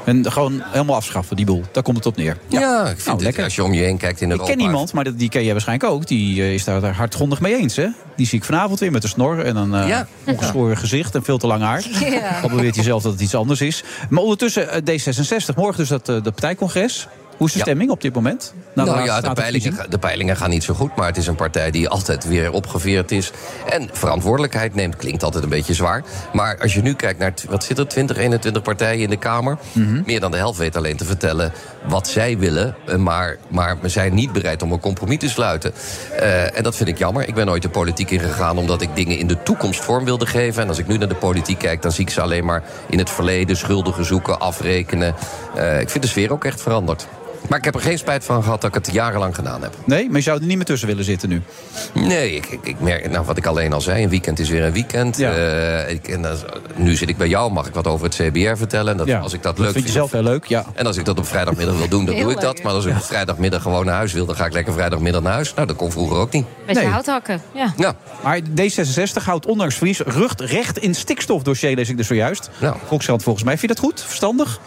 J: En gewoon helemaal afschaffen, die boel. Daar komt het op neer.
M: Ja, ja ik vind nou, het, lekker. als je om je heen kijkt in
J: ik
M: Europa...
J: Ik ken iemand, maar die ken jij waarschijnlijk ook. Die eh, is daar hardgrondig mee eens, hè? Die zie ik vanavond weer met een snor en een uh, ja. ongeschoren gezicht en veel te lang haar. Ja. Dan beweert hij zelf dat het iets anders is. Maar ondertussen, eh, D66, morgen dus dat, dat partijcongres. Hoe is de stemming op dit moment?
M: Nou, nou ja, de peilingen, de peilingen gaan niet zo goed. Maar het is een partij die altijd weer opgeveerd is. En verantwoordelijkheid neemt. Klinkt altijd een beetje zwaar. Maar als je nu kijkt naar. wat zit er? 20, 21 partijen in de Kamer. Mm -hmm. Meer dan de helft weet alleen te vertellen wat zij willen. eh, Maar, maar we zijn niet bereid om een compromis te sluiten. Uh, en dat vind ik jammer. Ik ben nooit de politiek ingegaan omdat ik dingen in de toekomst vorm wilde geven. En als ik nu naar de politiek kijk, dan zie ik ze alleen maar in het verleden schuldigen zoeken, afrekenen. Uh, ik vind de sfeer ook echt veranderd. Maar ik heb er geen spijt van gehad dat ik het jarenlang gedaan heb.
J: Nee, maar je zou er niet meer tussen willen zitten nu?
M: Nee, ik, ik, ik merk, nou, wat ik alleen al zei, een weekend is weer een weekend. Ja. Uh, ik, en, uh, nu zit ik bij jou, mag ik wat over het CBR vertellen. Dat,
J: ja.
M: als ik dat,
J: dat
M: leuk
J: vind. je zelf heel leuk, ja.
M: En als ik dat op vrijdagmiddag wil doen, dan doe ik dat. Leuk, maar als ik ja. vrijdagmiddag gewoon naar huis wil, dan ga ik lekker vrijdagmiddag naar huis. Nou, dat kon vroeger ook niet.
E: Beetje nee. houthakken, ja.
M: ja.
J: Maar D66 houdt ondanks verlies rug recht in stikstofdossier, lees ik dus zojuist. Nou. Volkskrant volgens mij. Vind je dat goed? Verstandig?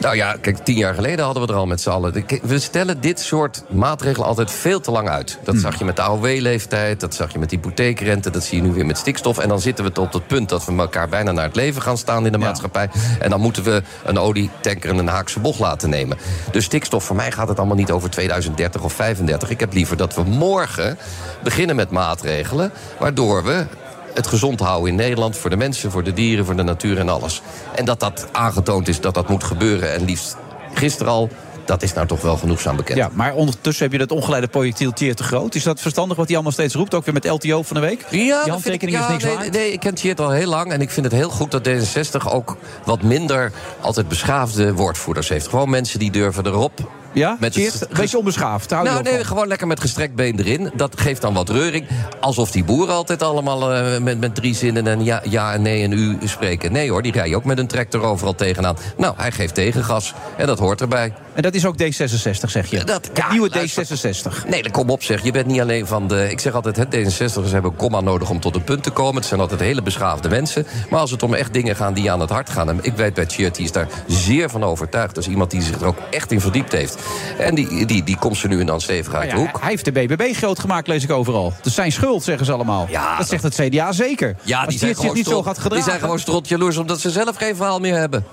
M: Nou ja, kijk, tien jaar geleden hadden we er al met z'n allen we stellen dit soort maatregelen altijd veel te lang uit. Dat zag je met de AOW-leeftijd, dat zag je met hypotheekrente, dat zie je nu weer met stikstof. En dan zitten we tot op het punt dat we elkaar bijna naar het leven gaan staan in de ja. maatschappij. En dan moeten we een olietanker en een Haakse bocht laten nemen. Dus stikstof, voor mij gaat het allemaal niet over 2030 of 35. Ik heb liever dat we morgen beginnen met maatregelen, waardoor we het gezond houden in Nederland. Voor de mensen, voor de dieren, voor de natuur en alles. En dat dat aangetoond is dat dat moet gebeuren. En liefst gisteren al dat is nou toch wel genoegzaam bekend.
J: Ja, maar ondertussen heb je dat ongeleide projectieltje te groot. Is dat verstandig wat hij allemaal steeds roept? Ook weer met LTO van de week?
M: Ja,
J: Die handtekening
M: ik,
J: ja, is niks
M: nee,
J: waard.
M: Nee, ik ken Tjeerd al heel lang. En ik vind het heel goed dat D66 ook wat minder altijd beschaafde woordvoerders heeft. Gewoon mensen die durven erop
J: ja? Met het... een beetje onbeschaafd. Hou
M: nou, nee, van. gewoon lekker met gestrekt been erin. Dat geeft dan wat reuring. Alsof die boeren altijd allemaal uh, met, met drie zinnen en ja, ja en nee en u spreken. Nee hoor, die rijden ook met een tractor overal tegenaan. Nou, hij geeft tegengas en dat hoort erbij.
J: En dat is ook D66, zeg je?
M: Dat,
J: ja, nieuwe luister, D66.
M: Nee, kom op zeg. Je bent niet alleen van de... Ik zeg altijd, het D66'ers hebben een komma nodig om tot een punt te komen. Het zijn altijd hele beschaafde mensen. Maar als het om echt dingen gaan die je aan het hart gaan... en ik weet bij Tjeerd, die is daar zeer van overtuigd. Dat is iemand die zich er ook echt in verdiept heeft. En die, die, die komt ze nu en dan stevig uit de hoek. Ja,
J: Ah hij heeft de BBB groot gemaakt, lees ik overal. Dat is zijn schuld, zeggen ze allemaal. Ja, dat, dat, zegt het CDA zeker.
M: Ja,
J: Als
M: die, zijn
J: zich niet
M: strot,
J: zo gaat gedragen.
M: die zijn gewoon strot jaloers omdat ze zelf geen verhaal meer hebben.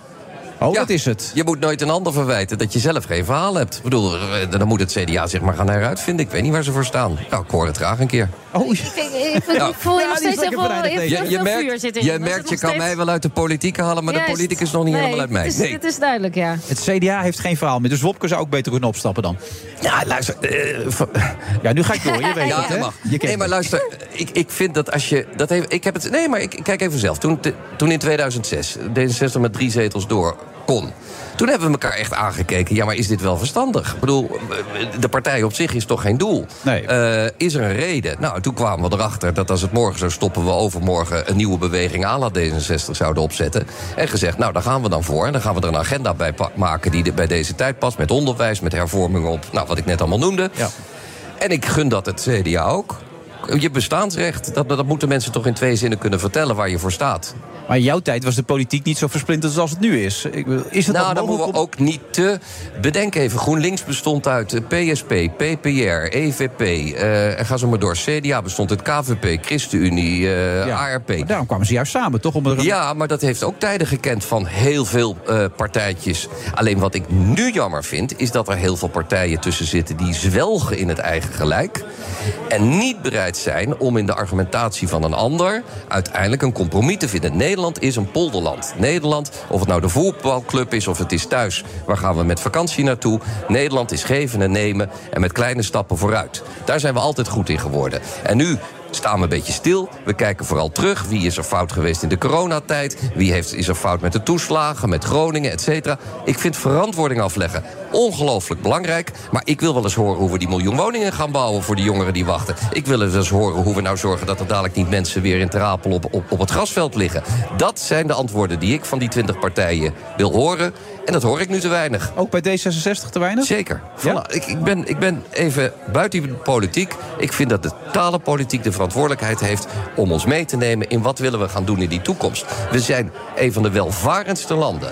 J: Oh, ja, dat is het.
M: Je moet nooit een ander verwijten dat je zelf geen verhaal hebt. Ik bedoel, eh, dan moet het CDA zich maar gaan heruitvinden. Ik weet niet waar ze voor staan. Nou, ik hoor het graag een keer.
E: Oh, ik, ik, ik, nou, ik voel je nog steeds echt wel... Je,
M: je
E: merkt,
M: je merkt, je
E: steeds...
M: kan mij wel uit de politiek halen... maar Juist. de politiek is nog niet
E: nee,
M: helemaal uit mij.
E: Het is, nee, het is duidelijk, ja.
J: Het CDA heeft geen verhaal meer. Dus Wopke zou ook beter kunnen opstappen dan. eh,
M: Ja, luister... Uh,
J: ja, nu ga ik door, je weet
M: ja,
J: het, hè?
M: Mag. nee, maar luister, ik, ik vind dat als je... Dat heeft, ik heb het, nee, maar ik, kijk even zelf. Toen, toen in 2006, D66 met drie zetels door kon. Toen hebben we elkaar echt aangekeken. Ja, maar is dit wel verstandig? Ik bedoel, de partij op zich is toch geen doel?
J: Nee.
M: Uh, is er een reden? Nou, toen kwamen we erachter dat als het morgen zou stoppen... we overmorgen een nieuwe beweging aan laat D66 zouden opzetten. En gezegd, nou, daar gaan we dan voor. En dan gaan we er een agenda bij maken die bij deze tijd past. Met onderwijs, met hervormingen op, nou, wat ik net allemaal noemde.
J: Ja.
M: En ik gun dat het CDA ook je bestaansrecht. Dat, dat moeten mensen toch in twee zinnen kunnen vertellen waar je voor staat.
J: Maar in jouw tijd was de politiek niet zo versplinterd als het nu is. is het
M: nou, dan moeten we om... ook niet te. Bedenk even: GroenLinks bestond uit PSP, PPR, EVP. Uh, en ga zo maar door. CDA bestond uit KVP, ChristenUnie, uh, ja, ARP.
J: Maar daarom kwamen ze juist samen, toch? Om
M: er... Ja, maar dat heeft ook tijden gekend van heel veel uh, partijtjes. Alleen wat ik nu jammer vind, is dat er heel veel partijen tussen zitten die zwelgen in het eigen gelijk. En niet bereid zijn om in de argumentatie van een ander uiteindelijk een compromis te vinden. Nee, Nederland is een polderland. Nederland, of het nou de voetbalclub is of het is thuis, waar gaan we met vakantie naartoe? Nederland is geven en nemen en met kleine stappen vooruit. Daar zijn we altijd goed in geworden. En nu staan we een beetje stil. We kijken vooral terug. Wie is er fout geweest in de coronatijd? Wie heeft, is er fout met de toeslagen, met Groningen, et cetera? Ik vind verantwoording afleggen ongelooflijk belangrijk. Maar ik wil wel eens horen hoe we die miljoen woningen gaan bouwen voor de jongeren die wachten. Ik wil wel eens horen hoe we nou zorgen dat er dadelijk niet mensen weer in Terapel op, op, op het grasveld liggen. Dat zijn de antwoorden die ik van die twintig partijen wil horen. En dat hoor ik nu te weinig.
J: Ook bij D66 te weinig?
M: Zeker. Voilà. Ik, ik, ben, ik ben even buiten die politiek. Ik vind dat de talenpolitiek de verantwoordelijkheid heeft om ons mee te nemen in wat willen we gaan doen in die toekomst. We zijn een van de welvarendste landen.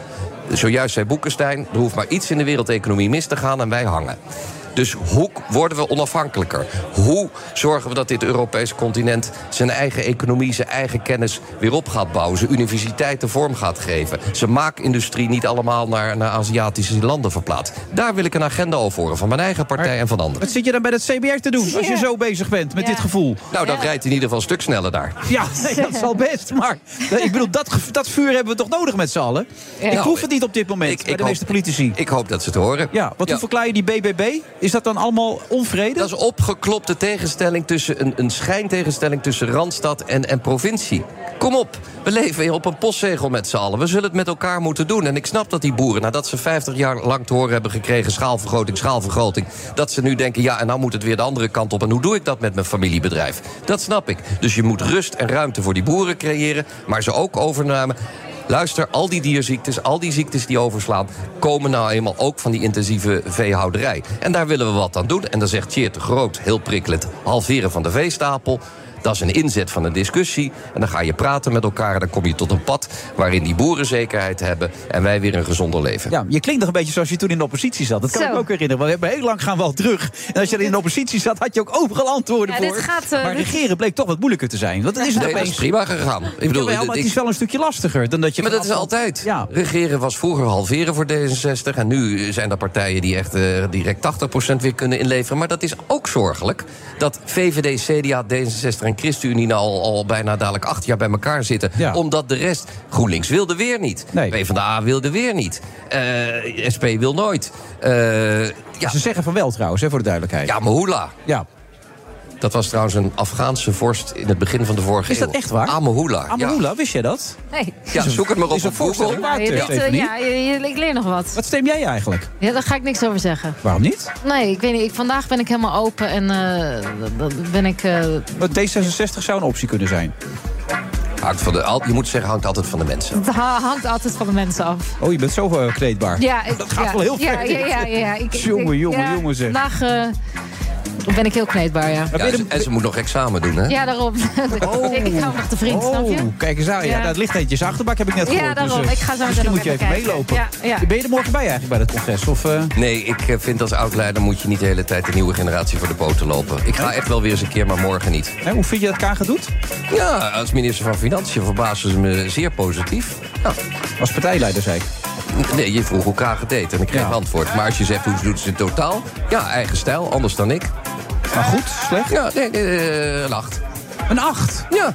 M: Zojuist zei Boekenstein, er hoeft maar iets in de wereldeconomie mis te gaan en wij hangen. Dus hoe worden we onafhankelijker? Hoe zorgen we dat dit Europese continent zijn eigen economie, zijn eigen kennis weer op gaat bouwen? Zijn universiteiten vorm gaat geven? Zijn maakindustrie niet allemaal naar, naar Aziatische landen verplaatst? Daar wil ik een agenda over horen, van mijn eigen partij en van anderen.
J: Wat zit je dan bij het CBR te doen als je zo bezig bent met
M: Ja.
J: dit gevoel?
M: Nou, dat rijdt in ieder geval een stuk sneller daar.
J: Ja, nee, dat zal best. Maar ik bedoel, dat, gev- dat vuur hebben we toch nodig met z'n allen? Ik
M: Nou,
J: hoef het niet op dit moment bij de meeste politici.
M: Ik hoop dat ze het horen.
J: Ja, want hoe verklaar je die BBB? Is dat dan allemaal onvrede?
M: Dat is opgeklopte tegenstelling tussen een, een schijntegenstelling tussen Randstad en, en provincie. Kom op, we leven op een postzegel met z'n allen. We zullen het met elkaar moeten doen. En ik snap dat die boeren, nadat ze 50 jaar lang te horen hebben gekregen... schaalvergroting, schaalvergroting... dat ze nu denken, ja, en nou moet het weer de andere kant op. En hoe doe ik dat met mijn familiebedrijf? Dat snap ik. Dus je moet rust en ruimte voor die boeren creëren... maar ze ook overnemen. Luister, al die dierziektes, al die ziektes die overslaan... komen nou eenmaal ook van die intensieve veehouderij. En daar willen we wat aan doen. En dan zegt Tjeerd de Groot, heel prikkelend... halveren van de veestapel. Dat is een inzet van een discussie. En dan ga je praten met elkaar en dan kom je tot een pad... waarin die boeren zekerheid hebben en wij weer een gezonder leven.
J: Ja, je klinkt nog een beetje zoals je toen in de oppositie zat. Dat kan
E: Zo.
J: ik me ook herinneren. want We hebben heel lang gaan wel terug. En als je er in de oppositie zat, had je ook overal antwoorden
E: Ja,
J: voor.
E: dit gaat, eh,
J: maar
E: dit-
J: regeren bleek toch wat moeilijker te zijn. Want dan is het
M: Nee, dat
J: opeens...
M: is prima gegaan. Ik bedoel,
J: Jawel, maar
M: dit-
J: het
M: ik-
J: is wel een stukje lastiger dan dat je...
M: Maar
J: van
M: dat is
J: afstand-
M: altijd.
J: Ja.
M: Regeren was vroeger halveren voor D66. En nu zijn er partijen die echt eh, direct 80% weer kunnen inleveren. Maar dat is ook zorgelijk. Dat VVD, CDA, D66 en ChristenUnie nou al, al bijna dadelijk acht jaar bij elkaar zitten. Omdat de rest. GroenLinks wilde weer niet. PvdA wilde weer niet. Eh, SP wil nooit. Eh, ja.
J: Ze zeggen van wel trouwens, hè, voor de duidelijkheid.
M: Ja, maar hoela.
J: Ja.
M: Dat was trouwens een Afghaanse vorst in het begin van de vorige
J: Is dat
M: eeuw.
J: echt waar?
M: Amahula.
J: Amahula, wist jij dat?
E: Nee.
M: Ja, zoek het maar op
J: Is een
M: op Google.
J: voorstelling waard,
E: Je
J: eh,
E: weet, eh,
J: Stefanie?
E: ja, je- je- ik leer nog wat.
J: Wat stem jij eigenlijk?
E: Ja, daar ga ik niks over zeggen.
J: Waarom niet?
E: Nee, ik weet niet. Ik, vandaag ben ik helemaal open en eh, dat- dat ben ik... eh,
J: Want D66 zou een optie kunnen zijn.
M: Hangt van de, al- je moet zeggen, hangt altijd van de mensen.
E: het ha- hangt altijd van de mensen af.
J: Oh, je bent zo eh, kleedbaar.
E: Ja, ik-
J: dat gaat
E: ja,
J: wel heel
E: ja,
J: ver.
E: Ja, ja, ja. Ik, ik-
J: Jongen,
E: ik-
J: jongen,
E: ja,
J: jongen zeg.
E: Vandaag eh, ben ik heel kneedbaar, ja.
M: Ja, en ze- en ze moet nog examen doen, hè?
E: Ja, daarom. ik, ik hou nog de vriend, snap je?
J: Oh, kijk eens aan. Ja,
E: Ja.
J: dat ligt netjes achterbak, heb ik net
E: Ja,
J: gehoord.
E: daarom.
J: eh,
E: Ik ga zo meteen
J: misschien
E: ook
J: moet je even
E: even kijken.
J: meelopen.
E: Ja, ja.
J: Ben je er morgen bij eigenlijk bij dat congres? Of, eh,
M: Nee, ik eh, vind als oud-leider moet je niet de hele tijd de nieuwe generatie voor de poten lopen. Ik ga echt wel weer eens een keer, maar morgen niet.
J: hè, hoe vind je dat Kagen doet?
M: Ja, als minister van Financiën verbazen ze me zeer positief. Ja.
J: Als partijleider, zei ik.
M: Nee, je vroeg hoe Kagen het deed en ik kreeg antwoord. Maar als je zegt hoe doet ze het in totaal? Ja, eigen stijl, anders dan ik.
J: Maar goed, slecht?
M: Ja, nee, eh, een acht.
J: Een acht?
M: Ja.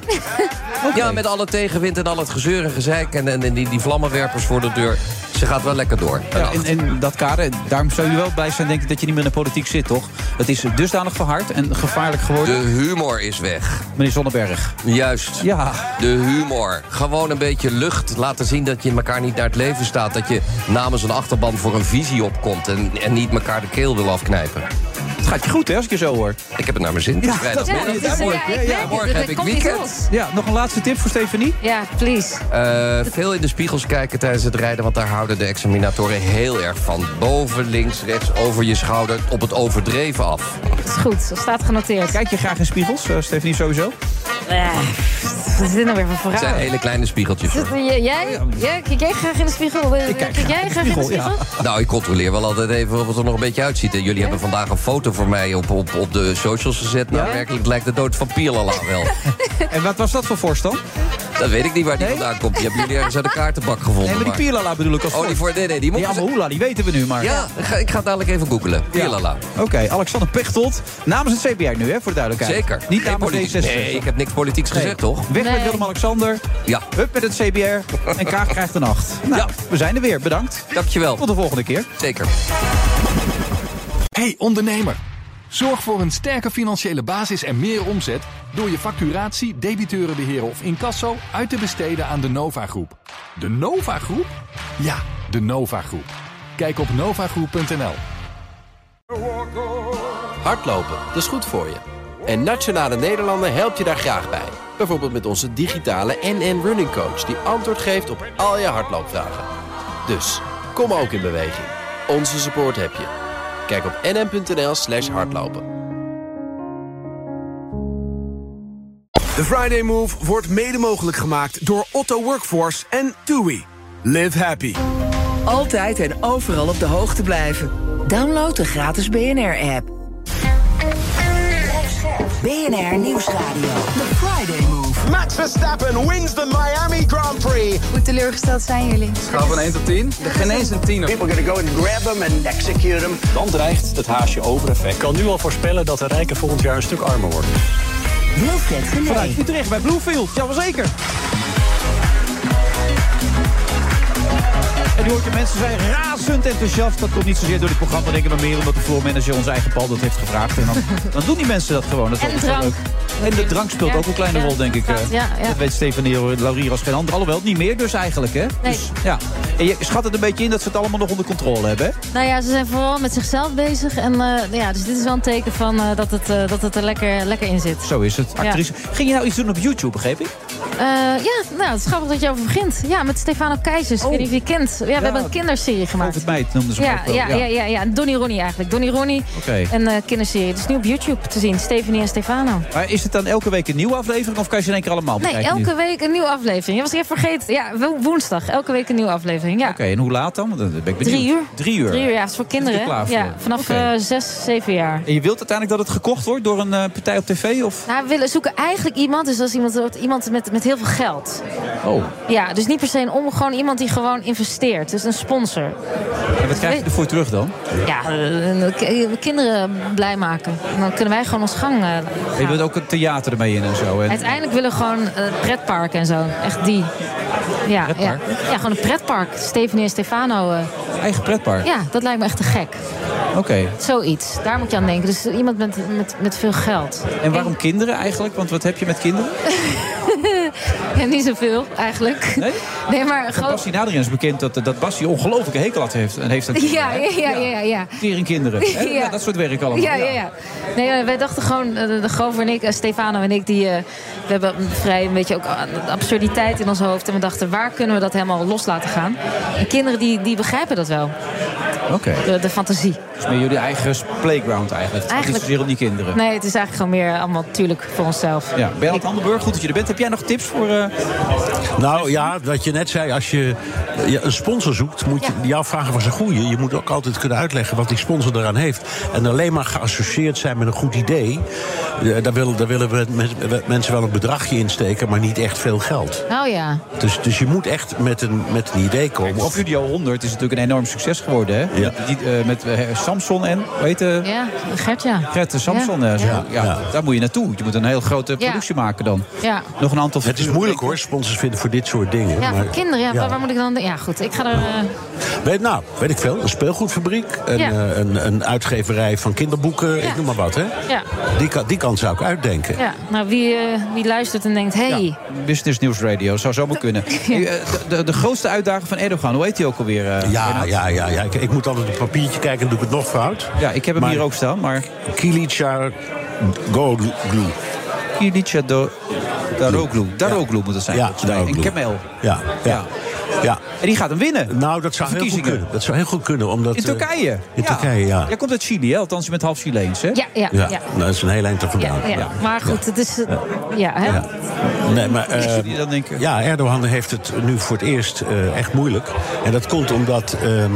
M: Ja, met alle tegenwind en al het gezeur en gezeik en, en, en die, die vlammenwerpers voor de deur. Ze gaat wel lekker door. Een
J: Ja,
M: acht.
J: en, en dat kader, daarom zou je wel blij zijn denk ik, dat je niet meer in de politiek zit, toch? Het is dusdanig verhard en gevaarlijk geworden.
M: De humor is weg.
J: Meneer Zonneberg.
M: Juist.
J: Ja.
M: De humor. Gewoon een beetje lucht. Laten zien dat je elkaar niet naar het leven staat. Dat je namens een achterban voor een visie opkomt. En, en niet elkaar de keel wil afknijpen.
J: Het gaat je goed, hè, als ik je zo hoor.
M: Ik heb het naar mijn zin. Het is
J: dat
M: vrijdagmiddag.
E: Ja, dat is- ja, ik weet het.
M: morgen heb
E: Er
M: ik
E: komt iets
M: weekend.
E: los.
J: Ja, nog een laatste tip voor Stefanie?
E: Ja, please.
M: Eh, veel in de spiegels kijken tijdens het rijden, want daar houden de examinatoren heel erg van. Boven, links, rechts, over je schouder, op het overdreven af.
E: Dat is goed. Dat staat genoteerd.
J: Kijk je graag in spiegels, eh, Stefanie sowieso?
E: Eh, Wat is dit nou weer voor verhaal?
M: Het zijn hele kleine spiegeltjes. hoor.
E: Zit- Jij, jij, jij, kijk jij graag in de spiegel? Ik kijk jij graag in de spiegel?
M: Nou, ik controleer wel altijd even of het er nog een beetje uitziet. En jullie hebben vandaag een foto voor mij op, op, op de socials gezet. Nou, werkelijk het lijkt de dood van Pierlala wel.
J: En wat was dat voor voorstel?
M: Dat weet ik niet waar die vandaan komt. Die hebben jullie ergens uit de kaartenbak gevonden.
J: Nee, maar die Pierlala bedoel ik als
M: Oh, die voor... Nee, nee, die
J: Die
M: mocht...
J: Amahula, die weten we nu maar.
M: Ja, ik ga, ik ga dadelijk even googelen. Pierlala.
J: Oké, Alexander Pechtold. Namens het CBR nu, hè, voor de duidelijkheid.
M: Zeker.
J: Niet
M: Geen
J: namens
M: politiek-
J: D66.
M: Nee, ik heb niks politieks
J: Nee.
M: gezegd, toch?
J: Weg met Willem-Alexander.
M: Ja.
J: Hup met het CBR. En Kaag krijgt een acht. Nou, we zijn er weer. Bedankt.
M: Dankjewel.
J: Tot de volgende keer.
M: Zeker.
A: Hey ondernemer, zorg voor een sterke financiële basis en meer omzet door je facturatie, debiteurenbeheer of incasso uit te besteden aan de Nova Groep. De Nova Groep? Ja, de Nova Groep. Kijk op novagroep.nl.
Q: Hardlopen, dat is goed voor je. En Nationale Nederlanden helpt je daar graag bij. Bijvoorbeeld met onze digitale NN Running Coach... die antwoord geeft op al je hardloopvragen. Dus, kom ook in beweging. Onze support heb je. Kijk op nn.nl slash hardlopen.
B: De Friday Move wordt mede mogelijk gemaakt door Otto Workforce en TUI. Live happy.
C: Altijd en overal op de hoogte blijven. Download de gratis BNR-app. BNR Nieuwsradio. The Friday Move.
D: Max Verstappen wins the Miami Grand Prix.
R: Hoe teleurgesteld zijn jullie?
F: Schaal van 1 tot 10. Er geen eens een 10
G: People are going to go and grab him and execute him.
I: Dan dreigt het haasje over effect. Kan nu al voorspellen dat de rijken volgend jaar een stuk armer worden.
J: Vanuit Utrecht bij Bluefield. Jazeker. En nu hoort je mensen zijn razend enthousiast. Dat komt niet zozeer door dit programma, denk ik, maar meer omdat de floormanager ons eigen pal dat heeft gevraagd. En dan, dan doen die mensen dat gewoon. Dat is
E: En
J: altijd wel
E: drank.
J: leuk. En de drank speelt
E: Ja,
J: ook een kleine
E: ja,
J: rol, denk ik.
E: ja,
J: eh.
E: ja.
J: Dat weet Stefanie Laurier als geen ander. Alhoewel, niet meer dus eigenlijk, hè?
E: Nee.
J: Dus, ja. En je schat het een beetje in dat ze het allemaal nog onder controle hebben, hè?
E: Nou ja, ze zijn vooral met zichzelf bezig. En eh, ja, dus dit is wel een teken van eh, dat, het, eh, dat het er lekker, lekker in zit.
J: Zo is het. Actrice. Ging je nou iets doen op YouTube, begreep ik?
E: Eh, ja, nou, het is grappig dat je over begint. Ja, met Stefano Keizers. Ik weet niet of je kent. Ja, we hebben een kinderserie gemaakt.
J: Over het meid noemden ze hem
E: Ja,
J: ook wel.
E: ja, ja, ja, ja. Donnie Ronnie eigenlijk. Donnie Ronnie,
J: Oké.
E: een eh, kinderserie. Dus nu op YouTube te zien. Stephanie en Stefano.
J: Maar is het dan elke week een nieuwe aflevering of kan je ze in één keer allemaal
E: Nee,
J: bekijken nu?
E: elke week een nieuwe aflevering. Je was ik even vergeten. Ja, wo- woensdag. Elke week een nieuwe aflevering. Ja.
J: Oké, en hoe laat dan? Want Dan ben ik benieuwd.
E: Drie uur.
J: Drie uur.
E: Drie uur, ja. Dat is voor kinderen.
J: je
E: hè?
J: klaar voor?
E: Ja, vanaf
J: Oké.
E: eh, zes, zeven jaar.
J: En je wilt uiteindelijk dat het gekocht wordt door een eh, partij op tv? Of?
E: Nou, we willen zoeken eigenlijk iemand, dus als iemand, iemand met, met heel veel geld.
J: Oh.
E: Ja, dus niet per se een om, gewoon iemand die gewoon investeert. Dus een sponsor.
J: En wat krijg je ervoor terug dan?
E: Ja, eh, k- kinderen blij maken. En dan kunnen wij gewoon ons gang. eh,
J: En Je wilt ook het theater ermee in en zo. En...
E: Uiteindelijk willen we gewoon eh pretpark en zo. Echt die. Ja, ja. ja, gewoon een pretpark. Stephanie en Stefano. eh.
J: Eigen pretpark?
E: Ja, dat lijkt me echt te gek.
J: Oké.
E: Zoiets. Daar moet je aan denken. Dus iemand met, met, met veel geld.
J: En waarom kinderen eigenlijk? Want wat heb je met kinderen?
E: ja, niet zoveel, eigenlijk. Nee, maar
J: Van
E: gewoon...
J: Bassie Naderens is bekend dat, dat Bassie een ongelofelijke hekel had heeft, en heeft aan kinderen.
E: Ja, ja, ja, ja, ja.
J: Tering kinderen. Hè?
E: Ja.
J: Nou, dat soort werk allemaal.
E: Ja, ja, ja. Nee, eh, wij dachten gewoon, eh, de, de Grover en ik, eh, Stefano en ik, die, eh, we hebben een vrij een beetje ook a- absurditeit in ons hoofd. En we dachten, waar kunnen we dat helemaal los laten gaan? En kinderen die, die begrijpen dat wel,
J: Oké.
E: de, de fantasie.
J: Dus met jullie eigen playground eigenlijk. Het gaat
E: Eigenlijk-
J: niet zozeer om die kinderen.
E: Nee, het is eigenlijk gewoon meer eh, allemaal natuurlijk voor onszelf.
J: Ja, Bernhard Handenburg, goed dat je er bent. Heb jij nog tips voor... eh,
S: Nou ja, wat je net zei, als je ja, een sponsor zoekt, moet je jou vragen was een goede. Je moet ook altijd kunnen uitleggen wat die sponsor eraan heeft. En alleen maar geassocieerd zijn met een goed idee, eh, daar willen, daar willen we, met- met- mensen wel een bedragje insteken, maar niet echt veel geld.
E: Oh ja.
S: Dus, dus je moet echt met een, met een idee komen.
J: Of Studio 100 is natuurlijk een enorm succes geworden. Hè? Met, die, eh, met eh, Samson en, hoe heet eh,
E: Ja, Gert, ja.
J: Gert en Samson. eh, zo. Ja. Daar moet je naartoe. Je moet een heel grote
E: Ja.
J: productie maken dan.
E: Ja.
J: Nog een aantal
S: Het is moeilijk hoor, sponsors vinden voor dit soort dingen.
E: Ja,
S: maar-
E: voor kinderen, ja,
S: Ja.
E: Waar, waar moet ik dan... Ja, goed, ik ga er... eh,
S: Weet, nou, weet ik veel. Een speelgoedfabriek, een,
E: Ja.
S: eh, een, een uitgeverij van kinderboeken, ik noem maar wat. Hè?
E: ja.
S: Die, kan- die kant zou ik uitdenken.
E: ja, nou, wie, eh, wie luistert en denkt, hey,
J: Business News Radio, zou zomaar kunnen. Nu, eh, de, de, de grootste uitdaging van Erdogan, hoe heet die ook alweer? eh,
S: Ja,
J: Bernard?
S: ja, ja, ja. Ik, ik moet altijd op papiertje kijken, dan doe ik het nog fout.
J: Ja, ik heb hem hier ook staan, maar...
S: Kilica Goglu.
J: Kilica Daroglu. Daroglu moet het zijn.
S: Ja,
J: volgens mij. En
S: Daroglu.
J: Kemel.
S: Ja, ja. ja.
J: En die gaat hem winnen.
S: Nou, dat zou, heel goed
J: verkiezingen.
S: kunnen. dat zou heel goed kunnen. Omdat,
J: In
S: eh,
J: Turkije.
S: in Turkije, ja.
J: Jij komt uit Chili, hè? althans je bent half Chileens, hè?
E: Ja, ja, ja.
S: Ja, nou, dat is een heel eind er vandaan.
E: Ja, ja. Maar goed, het is... eh, Ja, hè?
S: Nee, maar, eh,
J: Die dan denken,
S: ja, Erdogan heeft het nu voor het eerst eh, echt moeilijk. En dat komt omdat ehm,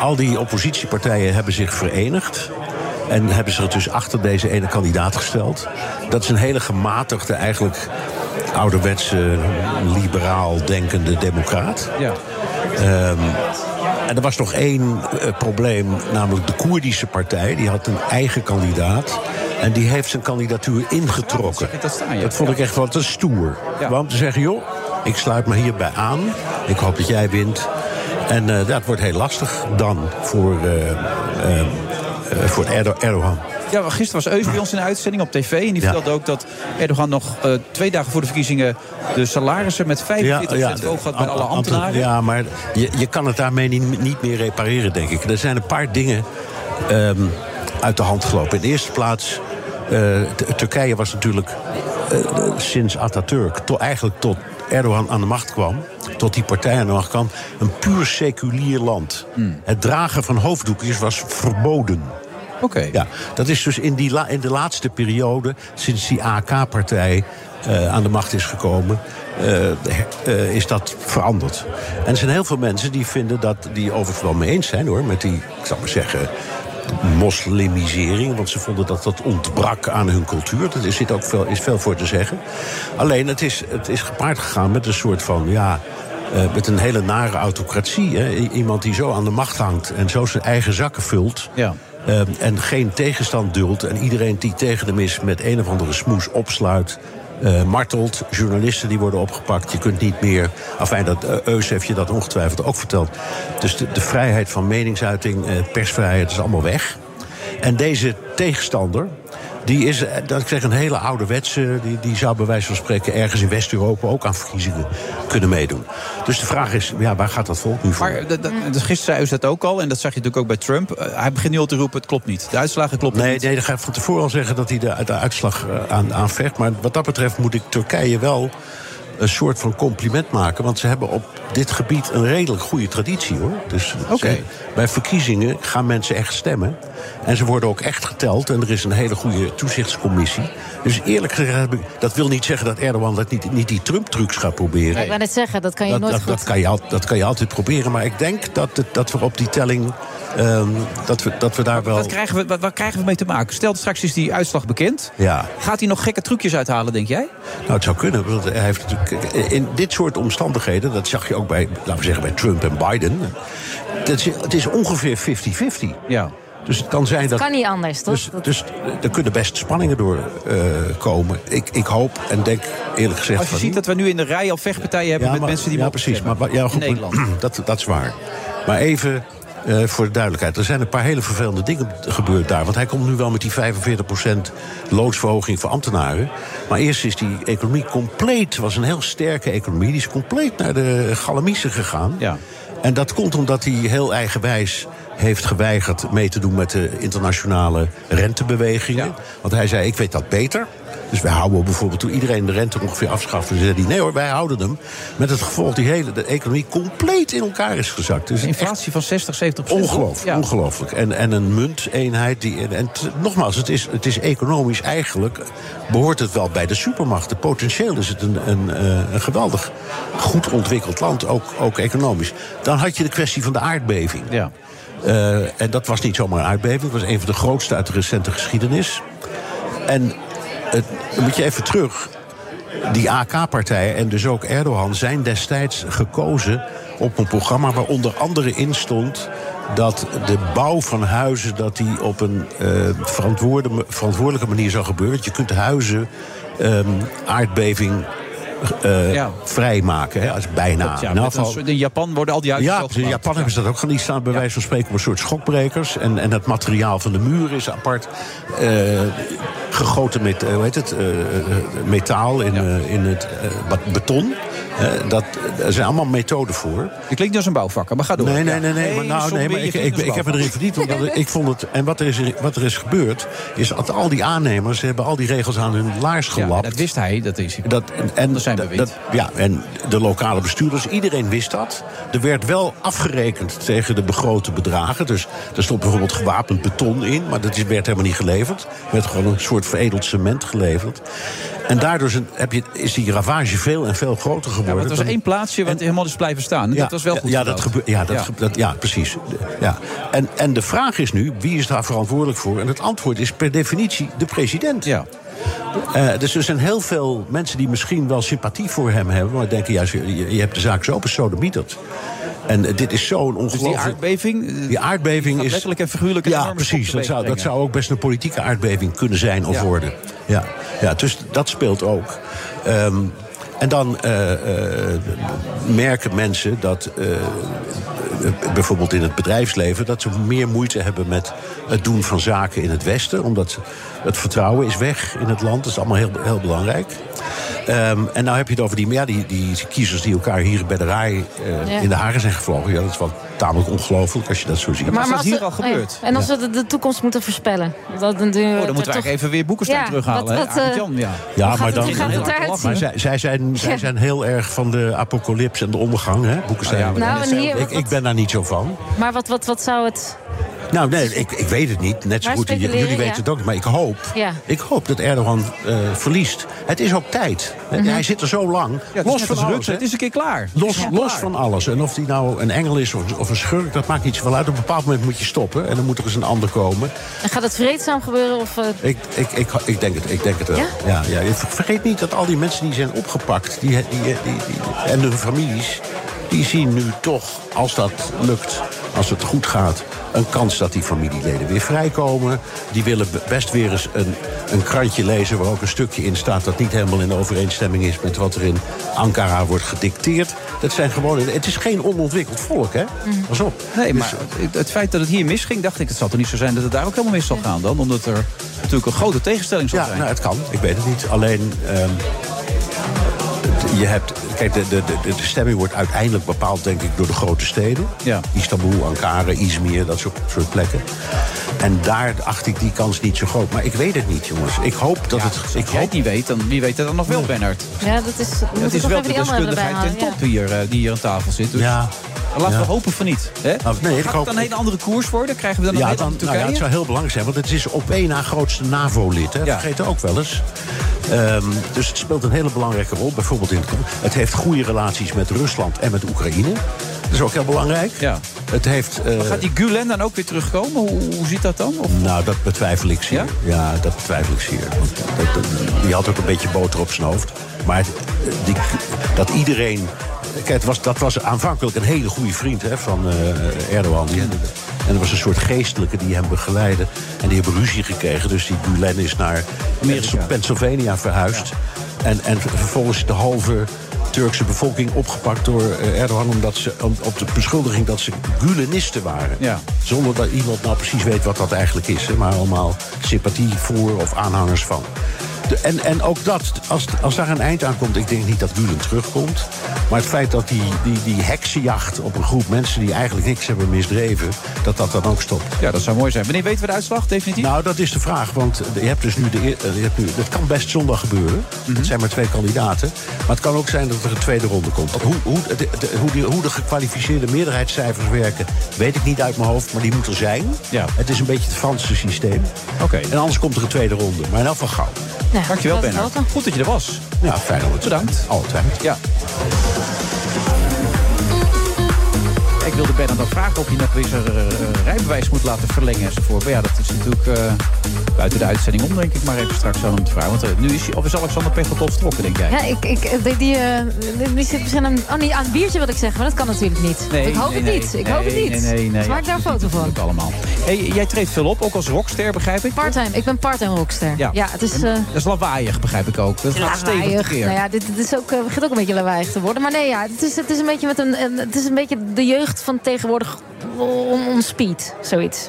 S: al die oppositiepartijen hebben zich verenigd. En hebben ze het dus achter deze ene kandidaat gesteld. Dat is een hele gematigde, eigenlijk ouderwetse, liberaal denkende democraat.
J: Ja.
S: Ehm, en er was nog één eh, probleem, namelijk de Koerdische partij. Die had een eigen kandidaat. En die heeft zijn kandidatuur ingetrokken. Dat vond ik echt wel te stoer. Waarom te zeggen, joh, ik sluit me hierbij aan. Ik hoop dat jij wint. En eh, dat wordt heel lastig dan voor, eh, eh, eh, voor Erdo- Erdogan.
J: Ja, maar gisteren was Eus bij ons in de uitzending op tv. En die vertelde ook dat Erdogan nog eh, twee dagen voor de verkiezingen... de salarissen met 45% hoog had bij alle
S: ambten-
J: ambtenaren.
S: Ja, maar je, je kan het daarmee niet, niet meer repareren, denk ik. Er zijn een paar dingen ehm, uit de hand gelopen. In de eerste plaats, eh, T- Turkije was natuurlijk eh, sinds Atatürk... To, eigenlijk tot Erdogan aan de macht kwam, tot die partij aan de macht kwam... een puur seculier land.
J: Hmm.
S: Het dragen van hoofddoekjes was verboden.
J: Oké.
S: Ja, dat is dus in, die la- in de laatste periode, sinds die AK-partij eh, aan de macht is gekomen, eh, her- eh, is dat veranderd. En er zijn heel veel mensen die vinden dat, die overigens wel mee eens zijn hoor, met die, ik zou maar zeggen, moslimisering. Want ze vonden dat dat ontbrak aan hun cultuur. Daar zit ook veel, is veel voor te zeggen. Alleen het is, het is gepaard gegaan met een soort van, ja. eh, met een hele nare autocratie. Hè? I- Iemand die zo aan de macht hangt en zo zijn eigen zakken vult.
J: Ja.
S: Ehm, en geen tegenstand duldt. En iedereen die tegen hem is met een of andere smoes opsluit. eh, martelt, journalisten die worden opgepakt. Je kunt niet meer. Afijn, dat, eh, Eus heeft je dat ongetwijfeld ook verteld. Dus de, de vrijheid van meningsuiting, eh, persvrijheid, is allemaal weg. En deze tegenstander, die is, eh, dat ik zeg, een hele ouderwetse. Die, die zou bij wijze van spreken ergens in West-Europa ook aan verkiezingen kunnen meedoen. Dus de vraag is, ja, waar gaat dat volk nu voor?
J: Maar eh, dat- dat- gisteren zei Eus dat ook al. En dat zag je natuurlijk ook bij Trump. Eh, hij begint nu al te roepen, het klopt niet. De uitslagen kloppen
S: Nee,
J: niet.
S: nee, dan ga ik van tevoren al zeggen dat hij de, de uitslag eh, aan, aanvecht. Maar wat dat betreft moet ik Turkije wel een soort van compliment maken. Want ze hebben op dit gebied een redelijk goede traditie hoor. Dus ze- bij verkiezingen gaan mensen echt stemmen. En ze worden ook echt geteld. En er is een hele goede toezichtscommissie. Dus eerlijk gezegd, heb ik, dat wil niet zeggen dat Erdogan dat niet, niet die Trump-trucs gaat proberen.
E: Ja, Ik wou net zeggen, dat kan je
S: Dat,
E: nooit
S: dat,
E: goed.
S: dat, kan je, al- dat kan je altijd proberen. Maar ik denk dat, het- dat we op die telling. ehm, dat, we, dat we daar wel.
J: Wat krijgen, we, wat, wat krijgen we mee te maken? Stel, straks is die uitslag bekend.
S: Ja.
J: Gaat hij nog gekke trucjes uithalen, denk jij?
S: Nou, het zou kunnen. Want hij heeft natuurlijk, in dit soort omstandigheden, dat zag je ook bij, laten we zeggen, bij Trump en Biden. dat is- het is ongeveer 50-50.
J: Ja.
S: Dus het kan zijn dat.
E: kan niet anders, toch?
S: Dus, dus er kunnen best spanningen door eh, komen. Ik, ik hoop en denk eerlijk gezegd.
J: Als je
S: van
J: ziet dat we nu in de rij al vechtpartijen hebben met
S: maar-
J: mensen die
S: ja,
J: mogen
S: precies. Maar,
J: stemmen.
S: maar- Nou, ja, goed,
J: in Nederland.
S: maar- Dat, dat is waar. Maar even eh, voor de duidelijkheid. Er zijn een paar hele vervelende dingen gebeurd daar. Want hij komt nu wel met die 45% loonsverhoging voor ambtenaren. Maar eerst is die economie compleet... was een heel sterke economie. Die is compleet naar de galamiezen gegaan.
J: Ja.
S: En dat komt omdat hij heel eigenwijs heeft geweigerd mee te doen met de internationale rentebewegingen. Want hij zei, ik weet dat beter. Dus wij houden bijvoorbeeld, toen iedereen de rente ongeveer afschafte... zei hij, nee hoor, wij houden hem. Met het gevolg dat die hele de economie compleet in elkaar is gezakt. Dus
J: Inflatie van 60, 70
S: Ongelooflijk, ongelooflijk. En, en een munteenheid die... En, en t- nogmaals, het is, het is economisch eigenlijk... behoort het wel bij de supermachten. Potentieel is het een, een, eh, een geweldig goed ontwikkeld land, ook, ook economisch. Dan had je de kwestie van de aardbeving.
J: Ja.
S: Eh, en dat was niet zomaar een aardbeving. Het was een van de grootste uit de recente geschiedenis. En het, dan moet je even terug. Die AK-partij en dus ook Erdogan zijn destijds gekozen op een programma waar onder andere in stond dat de bouw van huizen dat die op een eh, verantwoorde, verantwoordelijke manier zou gebeuren. Want je kunt huizen ehm, aardbeving eh,
J: Ja.
S: vrijmaken, hè, als bijna.
J: Klopt, ja,
S: In
J: met
S: afval-
J: een soort- in Japan worden al die
S: nou, ja,
J: uitslagen.
S: precies. in Japan hebben ze dat ook gedaan. Die staan bij wijze van spreken op een soort schokbrekers. En, en het materiaal van de muren is apart eh, gegoten met eh, hoe heet het, eh, eh, metaal in, eh, in het eh, ba- beton. Eh, dat, er zijn allemaal methoden voor.
J: Je klinkt als een bouwvakker, maar ga door.
S: Nee, nee,
J: Ja.
S: nee, nee. Maar,
J: Hey,
S: nou, nee,
J: zombie,
S: maar
J: je
S: ik,
J: klinkt
S: ik,
J: als
S: ik heb me erin verdiend. Omdat ik- ik vond het, en wat er, is, wat er is gebeurd, is dat al die aannemers hebben al die regels aan hun laars gelapt.
J: dat wist hij, dat is
S: dat, en, zijn dat, Ja, en de lokale bestuurders, iedereen wist dat. Er werd wel afgerekend tegen de begrote bedragen. Dus er stond bijvoorbeeld gewapend beton in, maar dat is- werd helemaal niet geleverd. Er werd gewoon een soort veredeld cement geleverd. En daardoor zijn- heb je, is die ravage veel en veel groter geworden.
J: maar het was
S: dan-
J: één plaatsje wat helemaal is blijven staan.
S: ja,
J: dat was wel goed.
S: Ja, dat
J: gebouwd.
S: gebeurt. Ja, dat
J: Ja.
S: ja. dat, ja precies. De- Ja. En, en de vraag is nu: wie is daar verantwoordelijk voor? En het antwoord is per definitie de president.
J: Ja.
S: dus er zijn heel veel mensen die misschien wel sympathie voor hem hebben, maar denken juist: je, je- je hebt de zaak zo besodemieterd. En eh, dit is
J: Dus
S: zo'n
J: die
S: ongelooflijk.
J: aardbeving, eh,
S: Die aardbeving
J: gaat
S: is.
J: letterlijk en figuurlijk een
S: Ja,
J: enorme schok
S: precies. Dat
J: teweeg
S: zou, dat
J: brengen.
S: zou ook best een politieke aardbeving kunnen zijn of
J: Ja.
S: worden. Ja. ja, dus dat speelt ook. Ehm, en dan eh, eh, merken mensen dat. eh, eh, Bijvoorbeeld in het bedrijfsleven, dat ze meer moeite hebben met het doen van zaken in het Westen. Omdat het vertrouwen is weg in het land. Dat is allemaal heel, heel belangrijk. Ehm, en nou heb je het over die, ja, die, die kiezers die elkaar hier bij de RAI eh,
E: Ja.
S: in de haren zijn gevlogen. Ja, dat is wel tamelijk ongelooflijk als je dat zo ziet.
E: als we- oh ja. En als we de, de toekomst moeten voorspellen. Dat, dan doen we
J: Oh, dan moeten we eigenlijk even weer Boekenstein
E: Ja,
J: terughalen.
E: wat-
J: hè?
E: wat, eh,
J: Arend Jan, ja.
E: Hoe gaat het- hoe gaat het eruit zien?
S: Maar zij, zij, zijn, zij
E: Ja.
S: zijn heel erg van de apocalyps en de ondergang, hè? Boekenstein.
E: Oh ja, maar Nou, dat is en heel- hier-
S: ik, ik ben daar niet zo van.
E: Maar wat, wat, wat zou het...
S: Nou, nee, ik, ik weet het niet. Net zo
E: Maar
S: goed. en j-
E: speculeren,
S: Jullie weten
E: ja.
S: het ook niet. Maar ik hoop,
E: Ja.
S: ik hoop dat Erdogan eh, verliest. Het is ook tijd. Hè,
J: Mhm.
S: Hij zit er zo lang.
J: het is
S: los
J: net
S: van
J: als
S: alles.
J: Rutte,
S: hè.
J: het is een keer klaar.
S: Los,
J: Ja.
S: los van alles. En of die nou een engel is of, of een schurk, dat maakt niet zoveel uit. Op een bepaald moment moet je stoppen. En dan moet er eens een ander komen.
E: En gaat het vreedzaam gebeuren? Of, eh,
S: Ik, ik, ik, ik, denk het, ik denk het wel.
E: Ja?
S: Ja? Ja, Je ver- Vergeet niet dat al die mensen die zijn opgepakt die, die, die, die- en hun families, die zien nu toch, als dat lukt, als het goed gaat, een kans dat die familieleden weer vrijkomen. Die willen be- best weer eens een, een krantje lezen waar ook een stukje in staat dat niet helemaal in overeenstemming is met wat er in Ankara wordt gedicteerd. Dat zijn gewoon, het is geen onontwikkeld volk, hè? Pas op.
J: Nee,
S: Dus-
J: maar het, het feit dat het hier misging, dacht ik, het zal toch niet zo zijn dat het daar ook helemaal mis zal gaan dan? Omdat er natuurlijk een grote tegenstelling zal
S: Ja,
J: zijn.
S: nou, het kan. Ik weet het niet. Alleen, ehm, het- je hebt... Kijk, de, de, de, de stemming wordt uiteindelijk bepaald, denk ik, door de grote steden.
J: Ja.
S: Istanbul, Ankara, Izmir, dat soort, soort plekken. En daar acht ik die kans niet zo groot. Maar ik weet het niet, jongens. Ik hoop dat het... Ik
J: Als jij het niet weet, dan wie weet het dan nog wel, Bernard.
E: ja, dat is... we
J: Het
E: moeten
J: is
E: toch
J: wel de
E: even die anderen erbij
J: deskundigheid
E: halen.
J: ten
E: ja.
J: top die hier, eh, die hier aan tafel zit. Dus
S: Ja.
J: Laten we
S: Ja. Nou,
J: hopen van niet. Hè?
S: nee, ik
J: Gaat het
S: hoop-
J: dan een hele andere koers worden? Krijgen we dan een
S: Ja,
J: hele
S: dan,
J: andere
S: nou ja,
J: Turkije?
S: het zou heel belangrijk zijn, want het is op één na grootste NAVO-lid. hè. Dat vergeet ook wel eens. Ehm, dus het speelt een hele belangrijke rol. Bijvoorbeeld in het, het heeft goede relaties met Rusland en met Oekraïne. Dat is ook heel belangrijk.
J: Ja.
S: Het heeft, eh,
J: Maar Gaat die Gulen dan ook weer terugkomen? Hoe, hoe zit dat dan? Of
S: Nou, dat betwijfel ik zeer. Ja, dat betwijfel ik zeer. Want dat- dat- die had ook een beetje boter op zijn hoofd. Maar het- die, dat iedereen. Kijk, het was, dat was aanvankelijk een hele goede vriend hè, van eh, Erdogan. Die- en er was een soort geestelijke die hem begeleidde. En die hebben ruzie gekregen. Dus die Gulen is naar Pennsylvania verhuisd. En, en vervolgens is de halve Turkse bevolking opgepakt door eh, Erdogan... Omdat ze, om- op de beschuldiging dat ze Gulenisten waren.
J: Ja.
S: Zonder dat iemand nou precies weet wat dat eigenlijk is. Hè, maar allemaal sympathie voor of aanhangers van. De- en, en ook dat, als, als daar een eind aan komt... ik denk niet dat Gulen terugkomt. Maar het feit dat die, die, die heksenjacht op een groep mensen... die eigenlijk niks hebben misdreven, dat dat dan ook stopt.
J: Ja, dat zou mooi zijn. Wanneer weten we de uitslag definitief?
S: Nou, dat is de vraag, want je hebt dus nu de, eer- eh, je hebt nu, dat kan best zondag gebeuren.
J: Mhm.
S: Het zijn maar twee kandidaten. Maar het kan ook zijn dat er een tweede ronde komt. Want Hoe, hoe, de, de- hoe, die, hoe de gekwalificeerde meerderheidscijfers werken, weet ik niet uit mijn hoofd, maar die moet er zijn.
J: Ja.
S: Het is een beetje het Franse systeem.
J: Oké.
S: En anders komt er een tweede ronde. Maar in elk geval gauw.
E: Nou,
J: Dankjewel,
E: laten we
J: Bernard.
E: hopen.
J: Goed dat je er was.
S: Ja, fijn om het te
J: Bedankt.
S: Altijd.
J: Ja. Ik wilde Bernard dan vragen of je nog weer zijn eh, eh, rijbewijs moet laten verlengen enzovoort. Maar ja, dat is natuurlijk eh, buiten de uitzending om, denk ik. Maar even straks aan hem te vragen. Want eh, nu is, hij- of is Alexander Pechtold vertrokken, denk jij?
E: Ja, ik, ik, die, die, eh, die- die zit zijn aan, oh, niet aan het biertje wat ik zeg, maar dat kan natuurlijk niet.
J: Nee,
E: ik hoop
J: nee,
E: het
J: nee.
E: niet. Ik hoop het
J: Nee,
E: niet.
J: nee, nee, nee.
E: Dus maak daar een foto van.
J: Natuurlijk allemaal. Hey, jij treedt veel op, ook als rockster, begrijp ik?
E: Parttime. Ik ben parttime rockster. Ja, het is... eh,
J: Dat is lawaaiig, begrijp ik ook. Dat gaat stevig
E: Lawaaiig.
J: keer.
E: Nou ja, dit, dit is ook, eh, begint ook een beetje lawaaiig te worden. Maar nee, ja, het, is, het, is een beetje met een, een- het is een beetje de jeugd van tegenwoordig on, on speed, zoiets.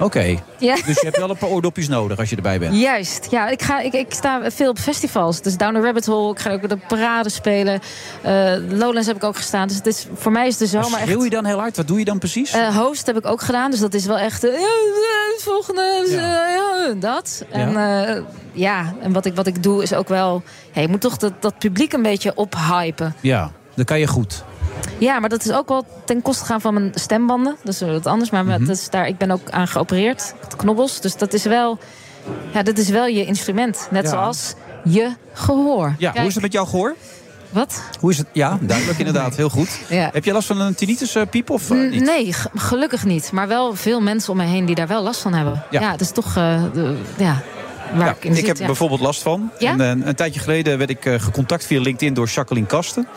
J: Oké.
E: Ja.
J: Dus je hebt wel een paar oordopjes nodig als je erbij bent.
E: Juist, ja. Ik, ga, ik, ik sta veel op festivals. Dus Down the Rabbit Hole, ik ga ook de parade spelen. Eh, Lowlands heb ik ook gestaan. Dus het is, voor mij is de zomer
J: Maar
E: echt...
J: schreeuw je dan heel hard? Wat doe je dan precies?
E: Eh, host heb ik ook gedaan, dus dat is wel echt. eh, eh, eh, volgende, eh, ja, dat. En, eh, ja, en wat ik, wat ik doe is ook wel. Ja, je moet toch dat, dat publiek een beetje ophypen.
J: Ja, dat kan je goed.
E: Ja, maar dat is ook wel ten koste gaan van mijn stembanden. Dat is weer wat anders. Maar
J: Mhm.
E: dat is daar, ik ben ook aan geopereerd. Knobbels. Dus dat is wel. Ja, dat is wel je instrument. Net
J: Ja.
E: zoals je gehoor.
J: Ja, hoe is het met jouw gehoor?
E: Wat?
J: Hoe is het? Ja, duidelijk inderdaad. Heel goed.
E: Ja.
J: Heb jij last van een tinnitus, eh, Piep? Of, eh,
E: N-
J: niet?
E: Nee, g- gelukkig niet. Maar wel veel mensen om me heen die daar wel last van hebben.
J: Ja.
E: Ja, het is toch... eh, de- ja, waar ik in
J: ik
E: zit,
J: heb
E: ja.
J: bijvoorbeeld last van.
E: Ja?
J: En, eh, een, tijdje geleden werd ik eh, gecontact via LinkedIn door Jacqueline Kasten.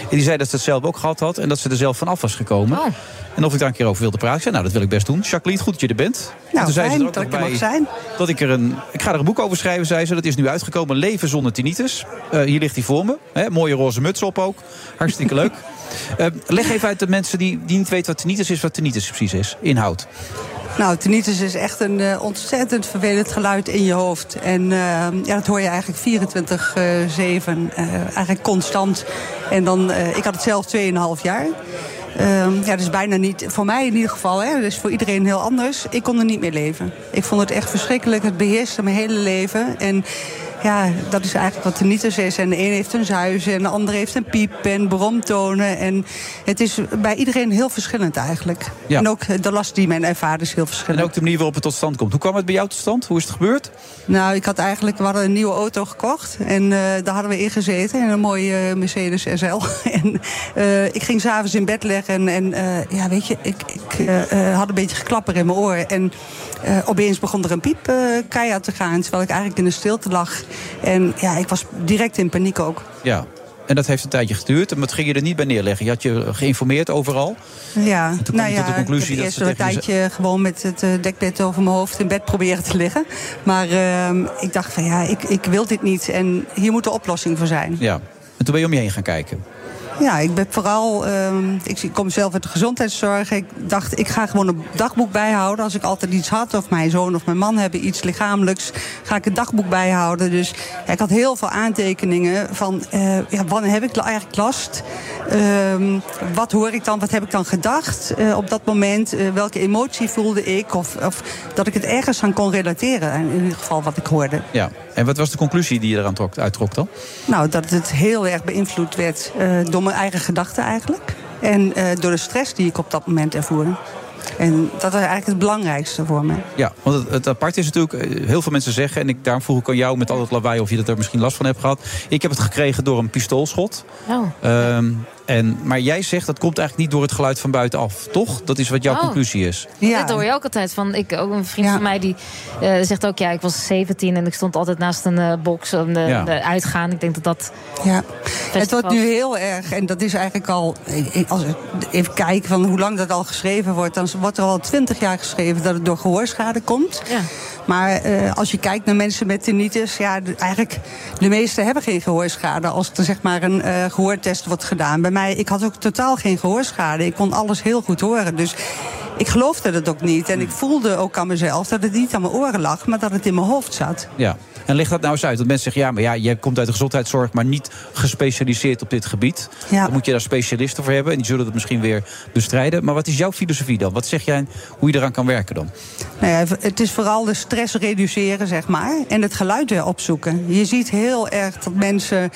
J: En die zei dat ze het zelf ook gehad had en dat ze er zelf van af was gekomen.
E: Oh.
J: En of ik daar een keer over wilde praten. Ik zei, nou, dat wil ik best doen. Jacqueline, goed dat je er bent. En
R: Nou,
J: zei
R: fijn
J: er ook
R: dat
J: nog
R: ik er
J: bij
R: mag zijn.
J: Dat ik, er een, ik ga er een boek over schrijven, zei ze. Dat is nu uitgekomen, Leven zonder tinnitus. Eh, hier ligt hij voor me. Hè, mooie roze muts op ook. Hartstikke leuk. Eh, leg even uit de mensen die, die niet weten wat tinnitus is, wat tinnitus precies is. Inhoud.
R: Nou, tinnitus is echt een eh, ontzettend vervelend geluid in je hoofd. En eh, ja, dat hoor je eigenlijk 24-7, eh, eigenlijk constant. En dan, eh, ik had het zelf 2,5 jaar. Ehm, ja, dat is bijna niet, voor mij in ieder geval, hè, dat is voor iedereen heel anders. Ik kon er niet meer leven. Ik vond het echt verschrikkelijk. Het beheerste mijn hele leven. En ja, dat is eigenlijk wat tinnitus is. En de een heeft een zuis en de ander heeft een piep en bromtonen. En het is bij iedereen heel verschillend eigenlijk.
J: Ja.
R: En ook de last die men ervaart is heel verschillend.
J: En ook de manier waarop het tot stand komt. Hoe kwam het bij jou tot stand? Hoe is het gebeurd?
R: Nou, ik had eigenlijk, we hadden een nieuwe auto gekocht. En eh, daar hadden we in gezeten. En een mooie eh, Mercedes SL. en eh, ik ging s'avonds in bed leggen. En, en eh, ja, weet je, ik, ik eh, eh, had een beetje geklapper in mijn oren. En eh, opeens begon er een piep eh keihard te gaan. Terwijl ik eigenlijk in de stilte lag. En ja, ik was direct in paniek ook.
J: Ja. En dat heeft een tijdje geduurd. Maar dat ging je er niet bij neerleggen. Je had je geïnformeerd overal.
R: Ja,
J: toen kwam
R: nou
J: je tot de
R: ja,
J: conclusie
R: ik heb
J: dat
R: eerst
J: ze
R: een
J: tegen je
R: tijdje gewoon met het eh, dekbed over mijn hoofd in bed proberen te liggen. Maar ehm, ik dacht van ja, ik, ik wil dit niet en hier moet een oplossing voor zijn.
J: Ja. En toen ben je om je heen gaan kijken.
R: Ja, ik ben vooral. ehm, ik kom zelf uit de gezondheidszorg. Ik dacht, ik ga gewoon een dagboek bijhouden. Als ik altijd iets had, of mijn zoon of mijn man hebben iets lichamelijks, ga ik een dagboek bijhouden. Dus ja, ik had heel veel aantekeningen van eh, ja, wanneer heb ik eigenlijk last? Ehm, wat hoor ik dan? Wat heb ik dan gedacht eh, op dat moment? Eh, welke emotie voelde ik? Of, of dat ik het ergens aan kon relateren, in ieder geval wat ik hoorde.
J: Ja. En wat was de conclusie die je eraan trok, uittrok dan?
R: Nou, dat het heel erg beïnvloed werd eh, door mijn eigen gedachten eigenlijk. En eh, door de stress die ik op dat moment ervoerde. En dat was eigenlijk het belangrijkste voor me.
J: Ja, want het, het aparte is natuurlijk, eh, heel veel mensen zeggen... en ik, daarom vroeg ik aan jou met al dat lawaai of je dat er misschien last van hebt gehad. Ik heb het gekregen door een pistoolschot.
E: Oh.
J: Ehm, en, maar jij zegt dat komt eigenlijk niet door het geluid van buitenaf, toch? Dat is wat jouw
E: Oh.
J: conclusie is.
E: Ja. Dat hoor je ook altijd. Van, ik, ook een vriend van mij die eh, zegt ook... ja, ik was 17 en ik stond altijd naast een eh, box om de,
R: Ja.
E: de uitgaan. Ik denk dat dat...
R: Ja. Het wordt
E: was.
R: nu heel erg, en dat is eigenlijk al. eh, Als ik even kijk van hoe lang dat al geschreven wordt, dan wordt er al twintig jaar geschreven dat het door gehoorschade komt. Maar eh, als je kijkt naar mensen met tinnitus, ja, de- eigenlijk de meesten hebben geen gehoorschade. Als er zeg maar een eh, gehoortest wordt gedaan. Bij mij, ik had ook totaal geen gehoorschade. Ik kon alles heel goed horen. Dus ik geloofde dat ook niet. En ik voelde ook aan mezelf dat het niet aan mijn oren lag, maar dat het in mijn hoofd zat.
J: Ja. En leg dat nou eens uit. Want mensen zeggen, ja, maar ja, jij komt uit de gezondheidszorg... maar niet gespecialiseerd op dit gebied.
R: Ja.
J: Dan moet je daar specialisten voor hebben. En die zullen dat misschien weer bestrijden. Maar wat is jouw filosofie dan? Wat zeg jij hoe je eraan kan werken dan?
R: Nou ja, het is vooral de stress reduceren, zeg maar. En het geluid weer opzoeken. Je ziet heel erg dat mensen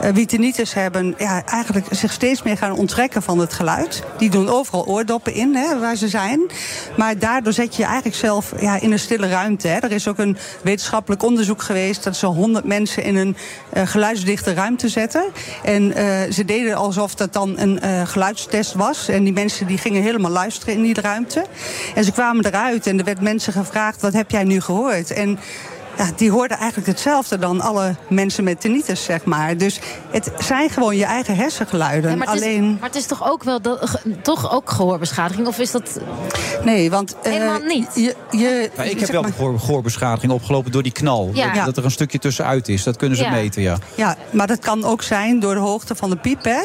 R: eh, wie tinnitus hebben... Ja, eigenlijk zich steeds meer gaan onttrekken van het geluid. Die doen overal oordoppen in, hè, waar ze zijn. Maar daardoor zet je je eigenlijk zelf ja, in een stille ruimte. Hè. Er is ook een wetenschappelijk onderzoek geweest... dat ze 100 mensen in een eh, geluidsdichte ruimte zetten. En eh, ze deden alsof dat dan een eh, geluidstest was. En die mensen die gingen helemaal luisteren in die ruimte. En ze kwamen eruit en er werd mensen gevraagd... wat heb jij nu gehoord? En ja, die hoorden eigenlijk hetzelfde dan alle mensen met tinnitus, zeg maar. Dus het zijn gewoon je eigen hersengeluiden.
E: Ja, maar, het
R: Alleen...
E: is, maar het is toch ook wel dat, ge- toch ook gehoorbeschadiging? Of is dat...
R: Nee, want... eh,
E: Helemaal niet.
R: Je, je,
J: Nou, ik heb wel gehoor, gehoorbeschadiging opgelopen door die knal.
R: Ja.
J: Dat, dat er een stukje tussenuit is. Dat kunnen ze
R: Ja.
J: meten, ja.
R: Ja, maar dat kan ook zijn door de hoogte van de piep. Hè?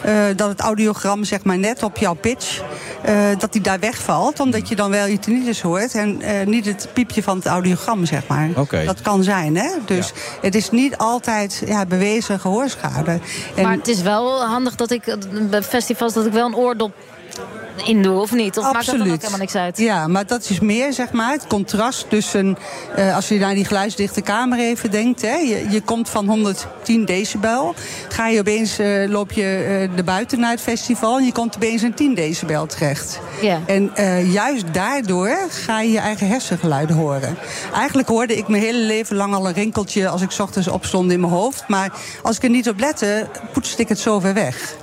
R: Eh, dat het audiogram zeg maar, net op jouw pitch, eh, dat die daar wegvalt. Omdat je dan wel je tinnitus hoort en eh, niet het piepje van het audiogram, zeg maar.
J: Oké.
R: Dat kan zijn, hè? Dus
E: Ja.
R: het is niet altijd ja, bewezen gehoorschade. En
E: Maar het is wel handig dat ik eh, bij festivals... dat ik wel een oordop indoe of niet? Of maakt dat dan ook
R: Absoluut.
E: helemaal niks uit?
R: Ja, maar dat is meer zeg maar het contrast tussen. eh, als je naar die geluidsdichte kamer even denkt. Hè, je, je komt van 110 decibel. Ga je opeens. eh, loop je eh de buiten naar het festival. En je komt opeens in 10 decibel terecht.
E: Ja.
R: En eh, juist daardoor ga je je eigen hersengeluiden horen. Eigenlijk hoorde ik mijn hele leven lang al een rinkeltje. als ik 's ochtends opstond in mijn hoofd. Maar als ik er niet op lette, poetste ik het zo ver weg.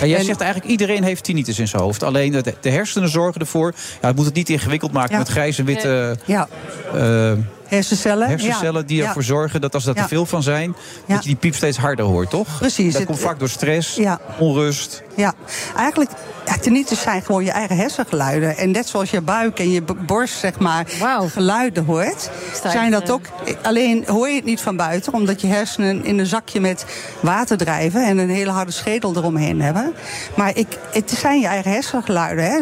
J: En jij
R: En-
J: zegt eigenlijk iedereen heeft tinnitus in zijn hoofd. Alleen de, de hersenen zorgen ervoor. Ja, het moet het niet ingewikkeld maken
R: Ja.
J: met grijze en witte
R: Ja.
J: eh,
R: Hersencellen.
J: hersencellen
R: ja.
J: die
R: Ja.
J: ervoor zorgen dat als daar
R: Ja.
J: te veel van zijn, dat je die piep steeds harder hoort, toch?
R: Precies.
J: Dat
R: Het-
J: komt vaak door stress,
R: Ja.
J: onrust.
R: Ja, eigenlijk, ja, tinnitus zijn gewoon je eigen hersengeluiden. En net zoals je buik en je b- borst, zeg maar, geluiden hoort...
E: Stijf,
R: zijn dat
E: eh.
R: ook... Alleen hoor je het niet van buiten, omdat je hersenen in een zakje met water drijven... en een hele harde schedel eromheen hebben. Maar ik, het zijn je eigen hersengeluiden, hè.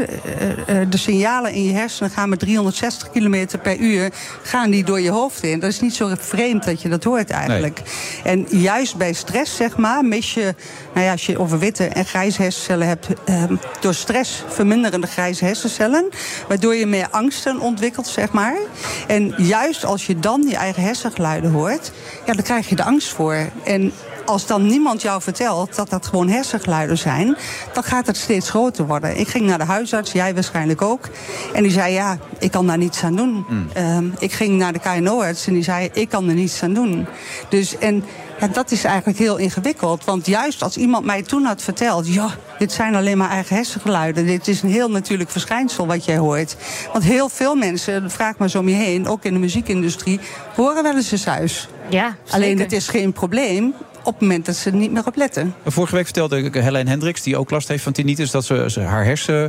R: Eh, eh, De signalen in je hersenen gaan met 360 kilometer per uur... gaan die door je hoofd in. Dat is niet zo vreemd dat je dat hoort eigenlijk. En juist bij stress, zeg maar, mis je, nou ja, als je over witte en grijze hersencellen hebt, ehm, door stress verminderen de grijze hersencellen, waardoor je meer angsten ontwikkelt, zeg maar. En juist als je dan je eigen hersengeluiden hoort, ja, dan krijg je de angst voor. En als dan niemand jou vertelt dat dat gewoon hersengeluiden zijn, dan gaat het steeds groter worden. Ik ging naar de huisarts, jij waarschijnlijk ook. En die zei: Ja, ik kan daar niets aan doen. Ehm, ik ging naar de KNO-arts en die zei: Ik kan er niets aan doen. Dus en ja, dat is eigenlijk heel ingewikkeld. Want juist als iemand mij toen had verteld: Ja, dit zijn alleen maar eigen hersengeluiden. Dit is een heel natuurlijk verschijnsel wat jij hoort. Want heel veel mensen, vraag maar zo om je heen, ook in de muziekindustrie, horen wel eens een suis.
E: Ja,
R: Alleen het is geen probleem op het moment dat ze er niet meer op letten.
J: En Vorige week vertelde ik Helene Hendricks, die ook last heeft van tinnitus, dat ze, ze haar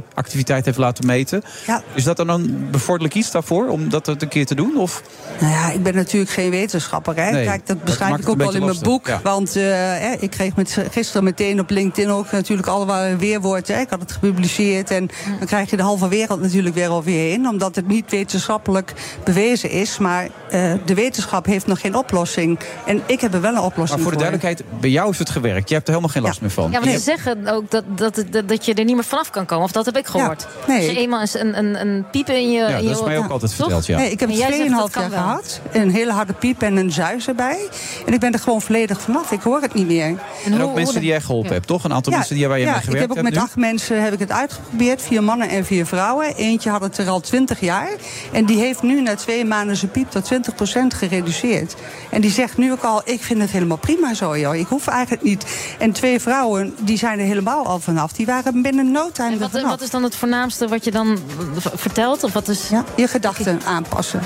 J: hersenactiviteit heeft laten meten.
R: Ja.
J: Is dat dan een bevorderlijk iets daarvoor om dat een keer te doen? Of
R: Nou ja, ik ben natuurlijk geen wetenschapper. Hè?
J: Nee,
R: Kijk, dat
J: dat
R: beschrijf
J: maakt
R: ik
J: het
R: ook
J: een
R: wel in
J: beetje
R: mijn boek.
J: lastig, ja.
R: Want eh, hè, ik kreeg met, gisteren meteen op LinkedIn ook natuurlijk allerlei weerwoorden. hè. Ik had het gepubliceerd en dan krijg je de halve wereld natuurlijk weer over je heen. Omdat het niet wetenschappelijk bewezen is. Maar eh, de wetenschap heeft nog geen oplossing. En ik heb er wel een oplossing
J: Maar voor de duidelijkheid, bij jou heeft het gewerkt. Jij hebt er helemaal geen last meer van.
E: Ja, want ze zeggen ook dat, dat, dat, dat je er niet meer vanaf kan komen. Of dat heb ik gehoord.
R: nee.
E: Als je eenmaal eens een, een, een piepen in je...
J: Ja,
E: in je
J: dat is mij
E: oor-
J: ook altijd
E: Toch?
J: verteld, ja.
R: Nee, ik heb
E: En
R: het
E: jij zegt,
R: 2,5
E: dat kan
R: jaar
E: wel.
R: gehad. Een hele harde piep en een zuis erbij. En ik ben er gewoon volledig vanaf. Ik hoor het niet meer.
J: En, ook mensen die jij geholpen hebt, toch? Een aantal mensen die, waar je
R: ja,
J: mee
R: ik
J: gewerkt
R: heb ook
J: hebt
R: met
J: nu?
R: acht mensen heb ik het uitgeprobeerd. Vier mannen en vier vrouwen. Eentje had het er al twintig jaar. En die heeft nu na twee maanden zijn piep tot 20% gereduceerd. En die zegt nu ook al, ik vind het helemaal prima zo, joh. Ik hoef eigenlijk niet. En twee vrouwen, die zijn er helemaal al vanaf. Die waren binnen no time er
E: Wat,
R: vanaf.
E: wat is dan het voornaamste wat je dan v- vertelt? Of wat is...
R: Ja, je gedachten aanpassen.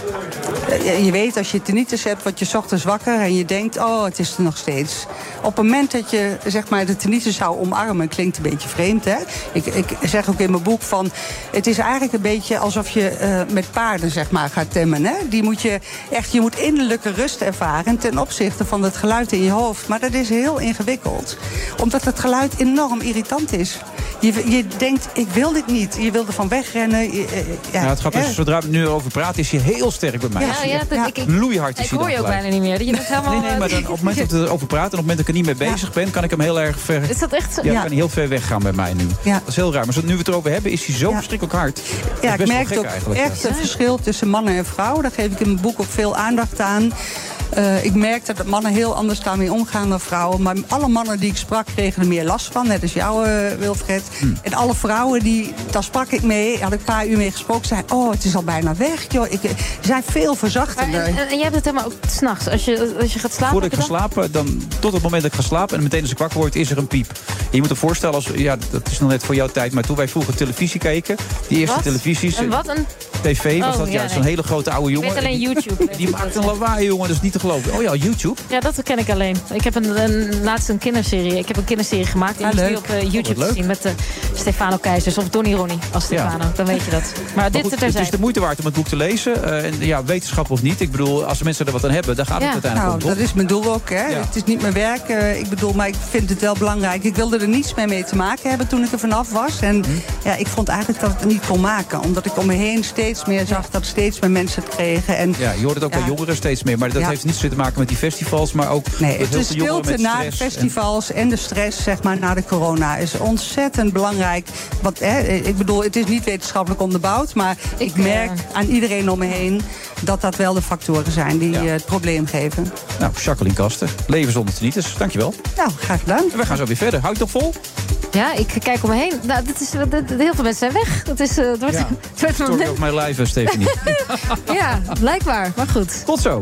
R: Eh, Je, je weet als je tinnitus hebt, word je 's ochtends wakker en je denkt, oh, het is er nog steeds. Op het moment dat je zeg maar, de tinnitus zou omarmen, klinkt een beetje vreemd, hè? Ik, ik zeg ook in mijn boek van, het is eigenlijk een beetje alsof je eh, met paarden zeg maar, gaat temmen. Hè? Die moet je echt, je moet innerlijke rust ervaren ten opzichte van het geluid in je hoofd. Maar dat is heel ingewikkeld, omdat het geluid enorm irritant is. Je, je denkt, ik wil dit niet. Je wil er van wegrennen. Je, eh, ja,
J: Nou, het grappige
R: hè?
J: is, zodra we het nu over praten, is je heel sterk bij mij.
E: Ja, ja, dat- ik- ik-
J: Loeihard is
E: Ik
J: hij
E: hoor
J: dan
E: je ook
J: gelijk.
E: bijna niet meer. Je bent helemaal... eh,
J: Nee, nee, maar dan, op het moment dat we erover praten... en op het moment dat ik er niet mee bezig ben... kan ik hem heel erg ver...
E: Is dat echt zo?
J: Ja,
E: Ja.
J: dan kan hij heel ver weggaan bij mij nu.
R: Ja.
J: Dat is heel raar. Maar zo- nu we het erover hebben, is hij zo verschrikkelijk hard. Dat is
R: Ja, ik
J: best wel
R: merk
J: gek
R: ook
J: eigenlijk. ja.
R: echt het verschil tussen mannen en vrouwen. Daar geef ik in mijn boek ook veel aandacht aan. Eh, ik merk dat mannen heel anders daarmee omgaan dan vrouwen. Maar alle mannen die ik sprak kregen er meer last van. Net als jou, eh, Wilfred.
J: Hm.
R: En alle vrouwen, die, daar sprak ik mee. Had ik een paar uur mee gesproken. Zei, oh, het is al bijna weg. Joh. Ik, eh, ze zijn veel verzachtender.
E: En, en jij hebt het helemaal ook s'nachts. Als je, als je gaat slapen...
J: Voordat ik
E: heb
J: ga slapen,
E: je dan-
J: dan, tot het moment dat ik ga slapen... en meteen als ik wakker word, is er een piep. En je moet je voorstellen, als, ja, dat is nog net voor jouw tijd... maar toen wij vroeger televisie keken, die eerste
E: Wat?
J: televisies... eh,
E: Een wat? Een...
J: TV was
E: Oh,
J: dat, ja,
E: ja,
J: zo'n
E: nee.
J: hele grote oude
E: Ik
J: jongen.
E: weet alleen
J: Die-
E: YouTube.
J: Die maakt een lawaai, jongen, dat is niet te geloven. Oh ja, YouTube.
E: Ja, dat ken ik alleen. Ik heb een, een, laatst een kinderserie. Ik heb een kinderserie gemaakt. Die
J: Ah,
E: is nu
J: leuk.
E: op eh,
J: Oh, wat
E: YouTube
J: leuk.
E: te zien. Met eh, Stefano Keizers of Donny Ronnie als Stefano. Dan weet je dat. Maar,
J: goed,
E: dit dit
J: het
E: terzijde.
J: is de moeite waard om het boek te lezen. Eh, en ja, wetenschap of niet. Ik bedoel, als de mensen er wat aan hebben, dan gaat het uiteindelijk
R: nou,
J: om, toch?
R: dat is mijn doel ook. Hè.
J: Ja.
R: Het is niet mijn werk. eh, ik bedoel, maar ik vind het wel belangrijk. Ik wilde er niets meer
J: Hm.
R: mee te maken hebben toen ik er vanaf was. En ja, ik vond eigenlijk dat ik het niet kon maken. Omdat ik om me heen steeds steeds meer zag dat steeds meer mensen het kregen. En
J: Ja, je hoort het ook bij jongeren steeds meer. Maar dat
R: Ja.
J: heeft niets te maken met die festivals, maar ook
R: Nee,
J: dat
R: het
J: heel
R: is
J: veel jongeren
R: stilte
J: met
R: na de
J: stress en-
R: festivals en de stress zeg maar, na de corona is ontzettend belangrijk. Want hè, ik bedoel, het is niet wetenschappelijk onderbouwd, maar ik, merk aan iedereen om me heen dat dat wel de factoren zijn die eh, het probleem geven.
J: Nou, Jacqueline Kasten, leven zonder tinnitus. Dankjewel.
R: Nou, graag gedaan.
J: En we gaan zo weer verder. Houd je toch vol?
E: Ja, ik kijk om me heen. Nou, dit is, dit- dit- heel veel mensen zijn weg. Dat is, eh, het wordt, het wordt
J: Story of my life, eh, Stephanie.
E: ja, blijkbaar. Maar goed.
J: Tot zo.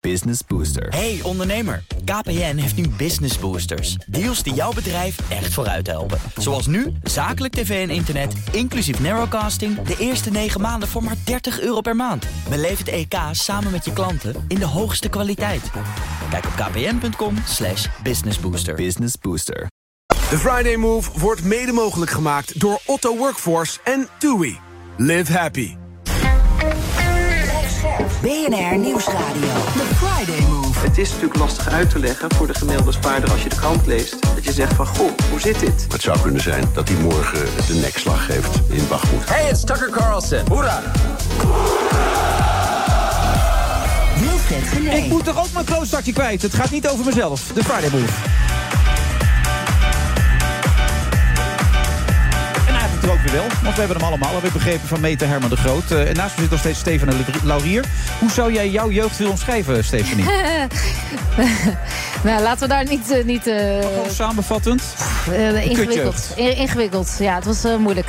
T: Business Booster. Hey ondernemer, KPN heeft nu Business Boosters. Deals die jouw bedrijf echt vooruit helpen. Zoals nu, zakelijk tv en internet, inclusief narrowcasting... de eerste 9 maanden voor maar 30 euro per maand. Beleef het EK samen met je klanten in de hoogste kwaliteit. Kijk op kpn.com slash businessbooster. Business Booster.
B: De Friday Move wordt mede mogelijk gemaakt door Otto Workforce en TUI. Live happy.
C: BNR Nieuwsradio.
N: The Friday Move. Het is natuurlijk lastig uit te leggen voor de gemiddelde spaarder als je de krant leest. Dat je zegt van, goh, hoe zit dit?
O: Het zou kunnen zijn dat hij morgen de nekslag geeft in Bagmoed.
P: Hey, it's Tucker Carlson. Hoera!
J: Ik moet toch ook mijn kloostakje kwijt. Het gaat niet over mezelf. De Friday Move. En hij heeft het er ook weer wel, want we hebben hem allemaal alweer begrepen van Meta Herman de Groot. Eh, en naast me zit nog steeds Stefan en Laurie- Laurier. Hoe zou jij jouw jeugd willen omschrijven, Stephanie?
E: nou, laten we daar niet... eh, niet eh,
J: Samenvattend?
E: eh,
J: Een
E: ingewikkeld.
J: kutjeugd.
E: In- ingewikkeld. Ja, het was eh, moeilijk.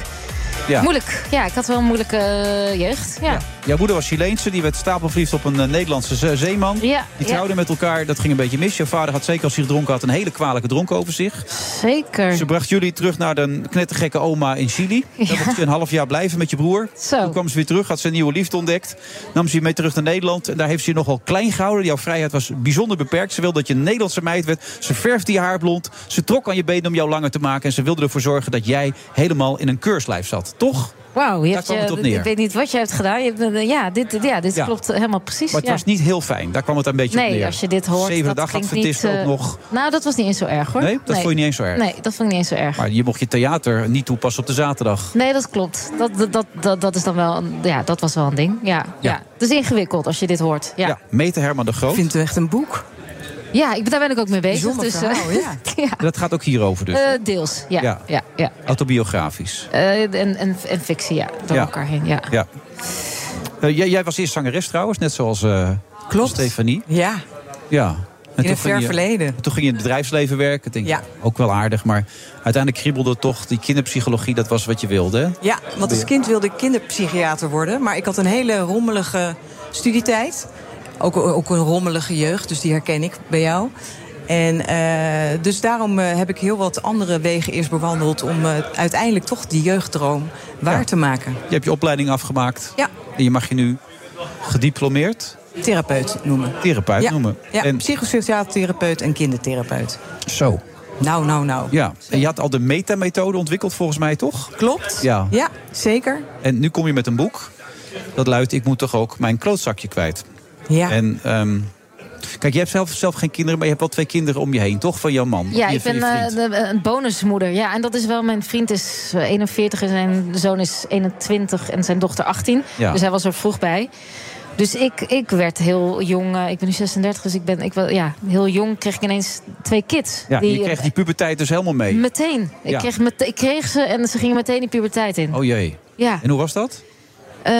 J: Ja.
E: Moeilijk. Ja, ik had wel een moeilijke eh, jeugd. Ja.
J: Jouw moeder was Chileense, die werd stapelverliefd op een eh, Nederlandse ze- zeeman.
E: Ja,
J: Die
E: ja.
J: trouwden met elkaar, dat ging een beetje mis. Jouw vader had zeker als hij gedronken had een hele kwalijke dronk over zich.
E: Zeker.
J: Ze bracht jullie terug naar de knettergekke oma in Chili. Daar mocht je een half jaar blijven met je broer. Toen kwam ze weer terug, had ze een nieuwe liefde ontdekt. Nam ze je mee terug naar Nederland. En daar heeft ze je nogal klein gehouden. Jouw vrijheid was bijzonder beperkt. Ze wilde dat je een Nederlandse meid werd. Ze verfde je haar blond. Ze trok aan je benen om jou langer te maken. En ze wilde ervoor zorgen dat jij helemaal in een keurslijf zat. Toch?
E: Wauw, je hebt
J: kwam
E: je-
J: het op
E: d-
J: neer.
E: ik weet niet wat je hebt gedaan. Je hebt, eh, ja, dit, ja, dit
J: Ja.
E: klopt helemaal precies.
J: Maar het
E: ja.
J: was niet heel fijn. Daar kwam het een beetje op
E: Nee,
J: neer.
E: als je dit hoort,
J: Zevende
E: dat
J: dag
E: klinkt
J: Adventisten
E: niet, eh,
J: ook nog.
E: Nou, dat was niet eens zo erg hoor.
J: Nee? Dat vond je niet eens zo erg?
E: Nee, dat vond ik niet eens zo erg.
J: Maar je mocht je theater niet toepassen op de zaterdag.
E: Nee, dat klopt. Dat, dat- dat, dat, dat is dan wel een, ja, dat was wel een ding. Ja, ja. Het is ingewikkeld als je dit hoort. Ja, ja.
J: Meta Herman de Groot. Vindt
U: u echt een boek?
E: ik, daar ben ik ook mee bezig.
U: Bijzonder
E: Dus, eh,
U: verhaal, ja.
J: Dat gaat ook hierover dus.
E: eh, deels, ja.
J: Ja.
E: ja. ja,
J: Autobiografisch.
E: Eh, en, en, en fictie, ja. Door
J: Ja.
E: elkaar heen, ja.
J: Ja. Eh, jij, jij was eerst zangeres trouwens, net zoals eh, Stefanie.
U: Ja.
J: Ja.
U: In
J: toen
U: een ver
J: ging je-
U: verleden.
J: Toen ging je in het bedrijfsleven werken. Denk,
U: Ja.
J: ja. Ook wel aardig, maar uiteindelijk kriebelde toch die kinderpsychologie. Dat was wat je wilde. hè?
U: Ja, want als kind wilde ik kinderpsychiater worden. Maar ik had een hele rommelige studietijd. Ook, ook een rommelige jeugd, dus die herken ik bij jou. En eh, dus daarom eh, heb ik heel wat andere wegen eerst bewandeld... om eh, uiteindelijk toch die jeugddroom waar te maken.
J: Je hebt je opleiding afgemaakt.
U: Ja.
J: En je mag je nu gediplomeerd...
U: Therapeut noemen.
J: Therapeut
U: ja,
J: noemen.
U: Ja, psychosociaal therapeut en kindertherapeut.
J: Zo.
U: Nou, nou, nou.
J: Ja. En je had al de metamethode ontwikkeld volgens mij, toch?
U: Klopt.
J: Ja.
U: Ja, zeker.
J: En nu kom je met een boek. Dat luidt, ik moet toch ook mijn klootzakje kwijt.
U: Ja.
J: En, ehm, kijk, je hebt zelf, zelf geen kinderen, maar je hebt wel twee kinderen om je heen, toch? Van jouw man.
E: Ja,
J: je,
E: ik ben
J: je vriend.
E: eh, de- een bonusmoeder. Ja, en dat is wel, mijn vriend is eh, 41 en zijn zoon is 21 en zijn dochter 18.
V: Ja.
E: Dus hij was er vroeg bij. Dus ik, ik werd heel jong, eh, ik ben nu 36, dus ik ben ik, wel- ja, heel jong kreeg ik ineens twee kids.
J: ja, je kreeg die puberteit dus helemaal mee.
E: Meteen. Ik,
J: Ja.
E: kreeg met, ik kreeg ze en ze gingen meteen die puberteit in.
J: Oh jee.
E: Ja.
J: En hoe was dat?
E: Eh,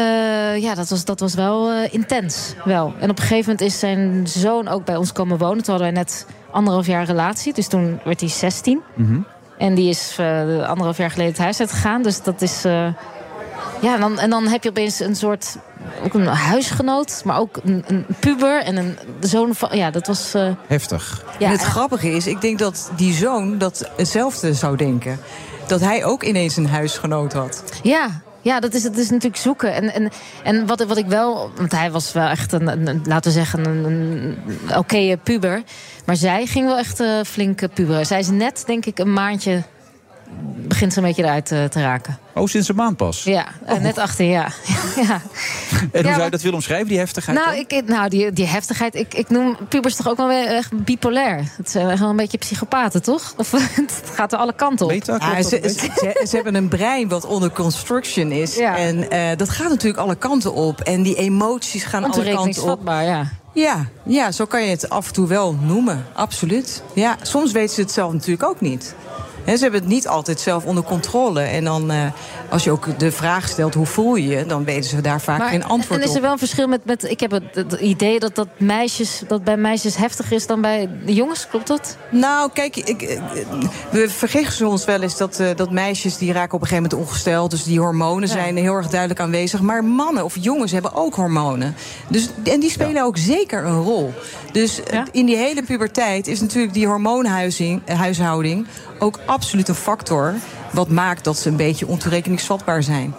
E: ja, dat was, dat was wel eh, intens. Wel. En op een gegeven moment is zijn zoon ook bij ons komen wonen. Toen hadden wij net anderhalf jaar relatie. Dus toen werd hij 16. En die is eh, anderhalf jaar geleden het huis uitgegaan. Dus dat is. eh, ja, en dan, en dan heb je opeens een soort. Ook een huisgenoot, maar ook een, een puber en een zoon van. Ja, dat was. eh,
J: Heftig.
E: Ja,
U: en het
E: en-
U: grappige is, ik denk dat die zoon dat hetzelfde zou denken. Dat hij ook ineens een huisgenoot had.
E: Ja, ja dat, is, dat is natuurlijk zoeken. En, en, en wat, wat ik wel. Want hij was wel echt een, een- een- laten we zeggen, een, een oké puber. Maar zij ging wel echt eh flink eh, puberen. Zij is net, denk ik, een maandje begint ze een beetje eruit eh, te raken.
J: Oh, sinds een maand pas. Oh.
E: Ja, eh, net 18, ja.
J: En
E: ja.
J: hoe zou je
E: maar-
J: dat willen omschrijven, die heftigheid?
E: Nou, ik, nou die, die heftigheid. Ik, ik noem pubers toch ook wel weer echt bipolair. Het zijn echt wel een beetje psychopaten, toch? Of het gaat er alle kanten op.
U: Ja, ze, ze- ze hebben een brein wat onder construction is. En eh, dat gaat natuurlijk alle kanten op. En die emoties gaan alle kanten op.
E: Ontoerekeningsvatbaar, ja.
U: Ja, ja, zo kan je het af en toe wel noemen. Absoluut. Ja, soms weten ze het zelf natuurlijk ook niet. Hè, ze hebben het niet altijd zelf onder controle. En dan, eh, als je ook de vraag stelt hoe voel je je, dan weten ze daar vaak geen antwoord
E: en is er
U: op.
E: wel een verschil met, met ik heb het, het idee dat dat, meisjes, dat bij meisjes heftiger is dan bij jongens, klopt dat?
U: Nou, kijk, ik, ik- we vergissen ons wel eens dat, eh, dat meisjes die raken op een gegeven moment ongesteld. Dus die hormonen zijn heel erg duidelijk aanwezig. Maar mannen of jongens hebben ook hormonen. Dus, en die spelen ook zeker een rol. Dus eh, in die hele puberteit is natuurlijk die hormoonhuishouding ook absoluut een factor. Wat maakt dat ze een beetje ontoerekeningsvatbaar zijn.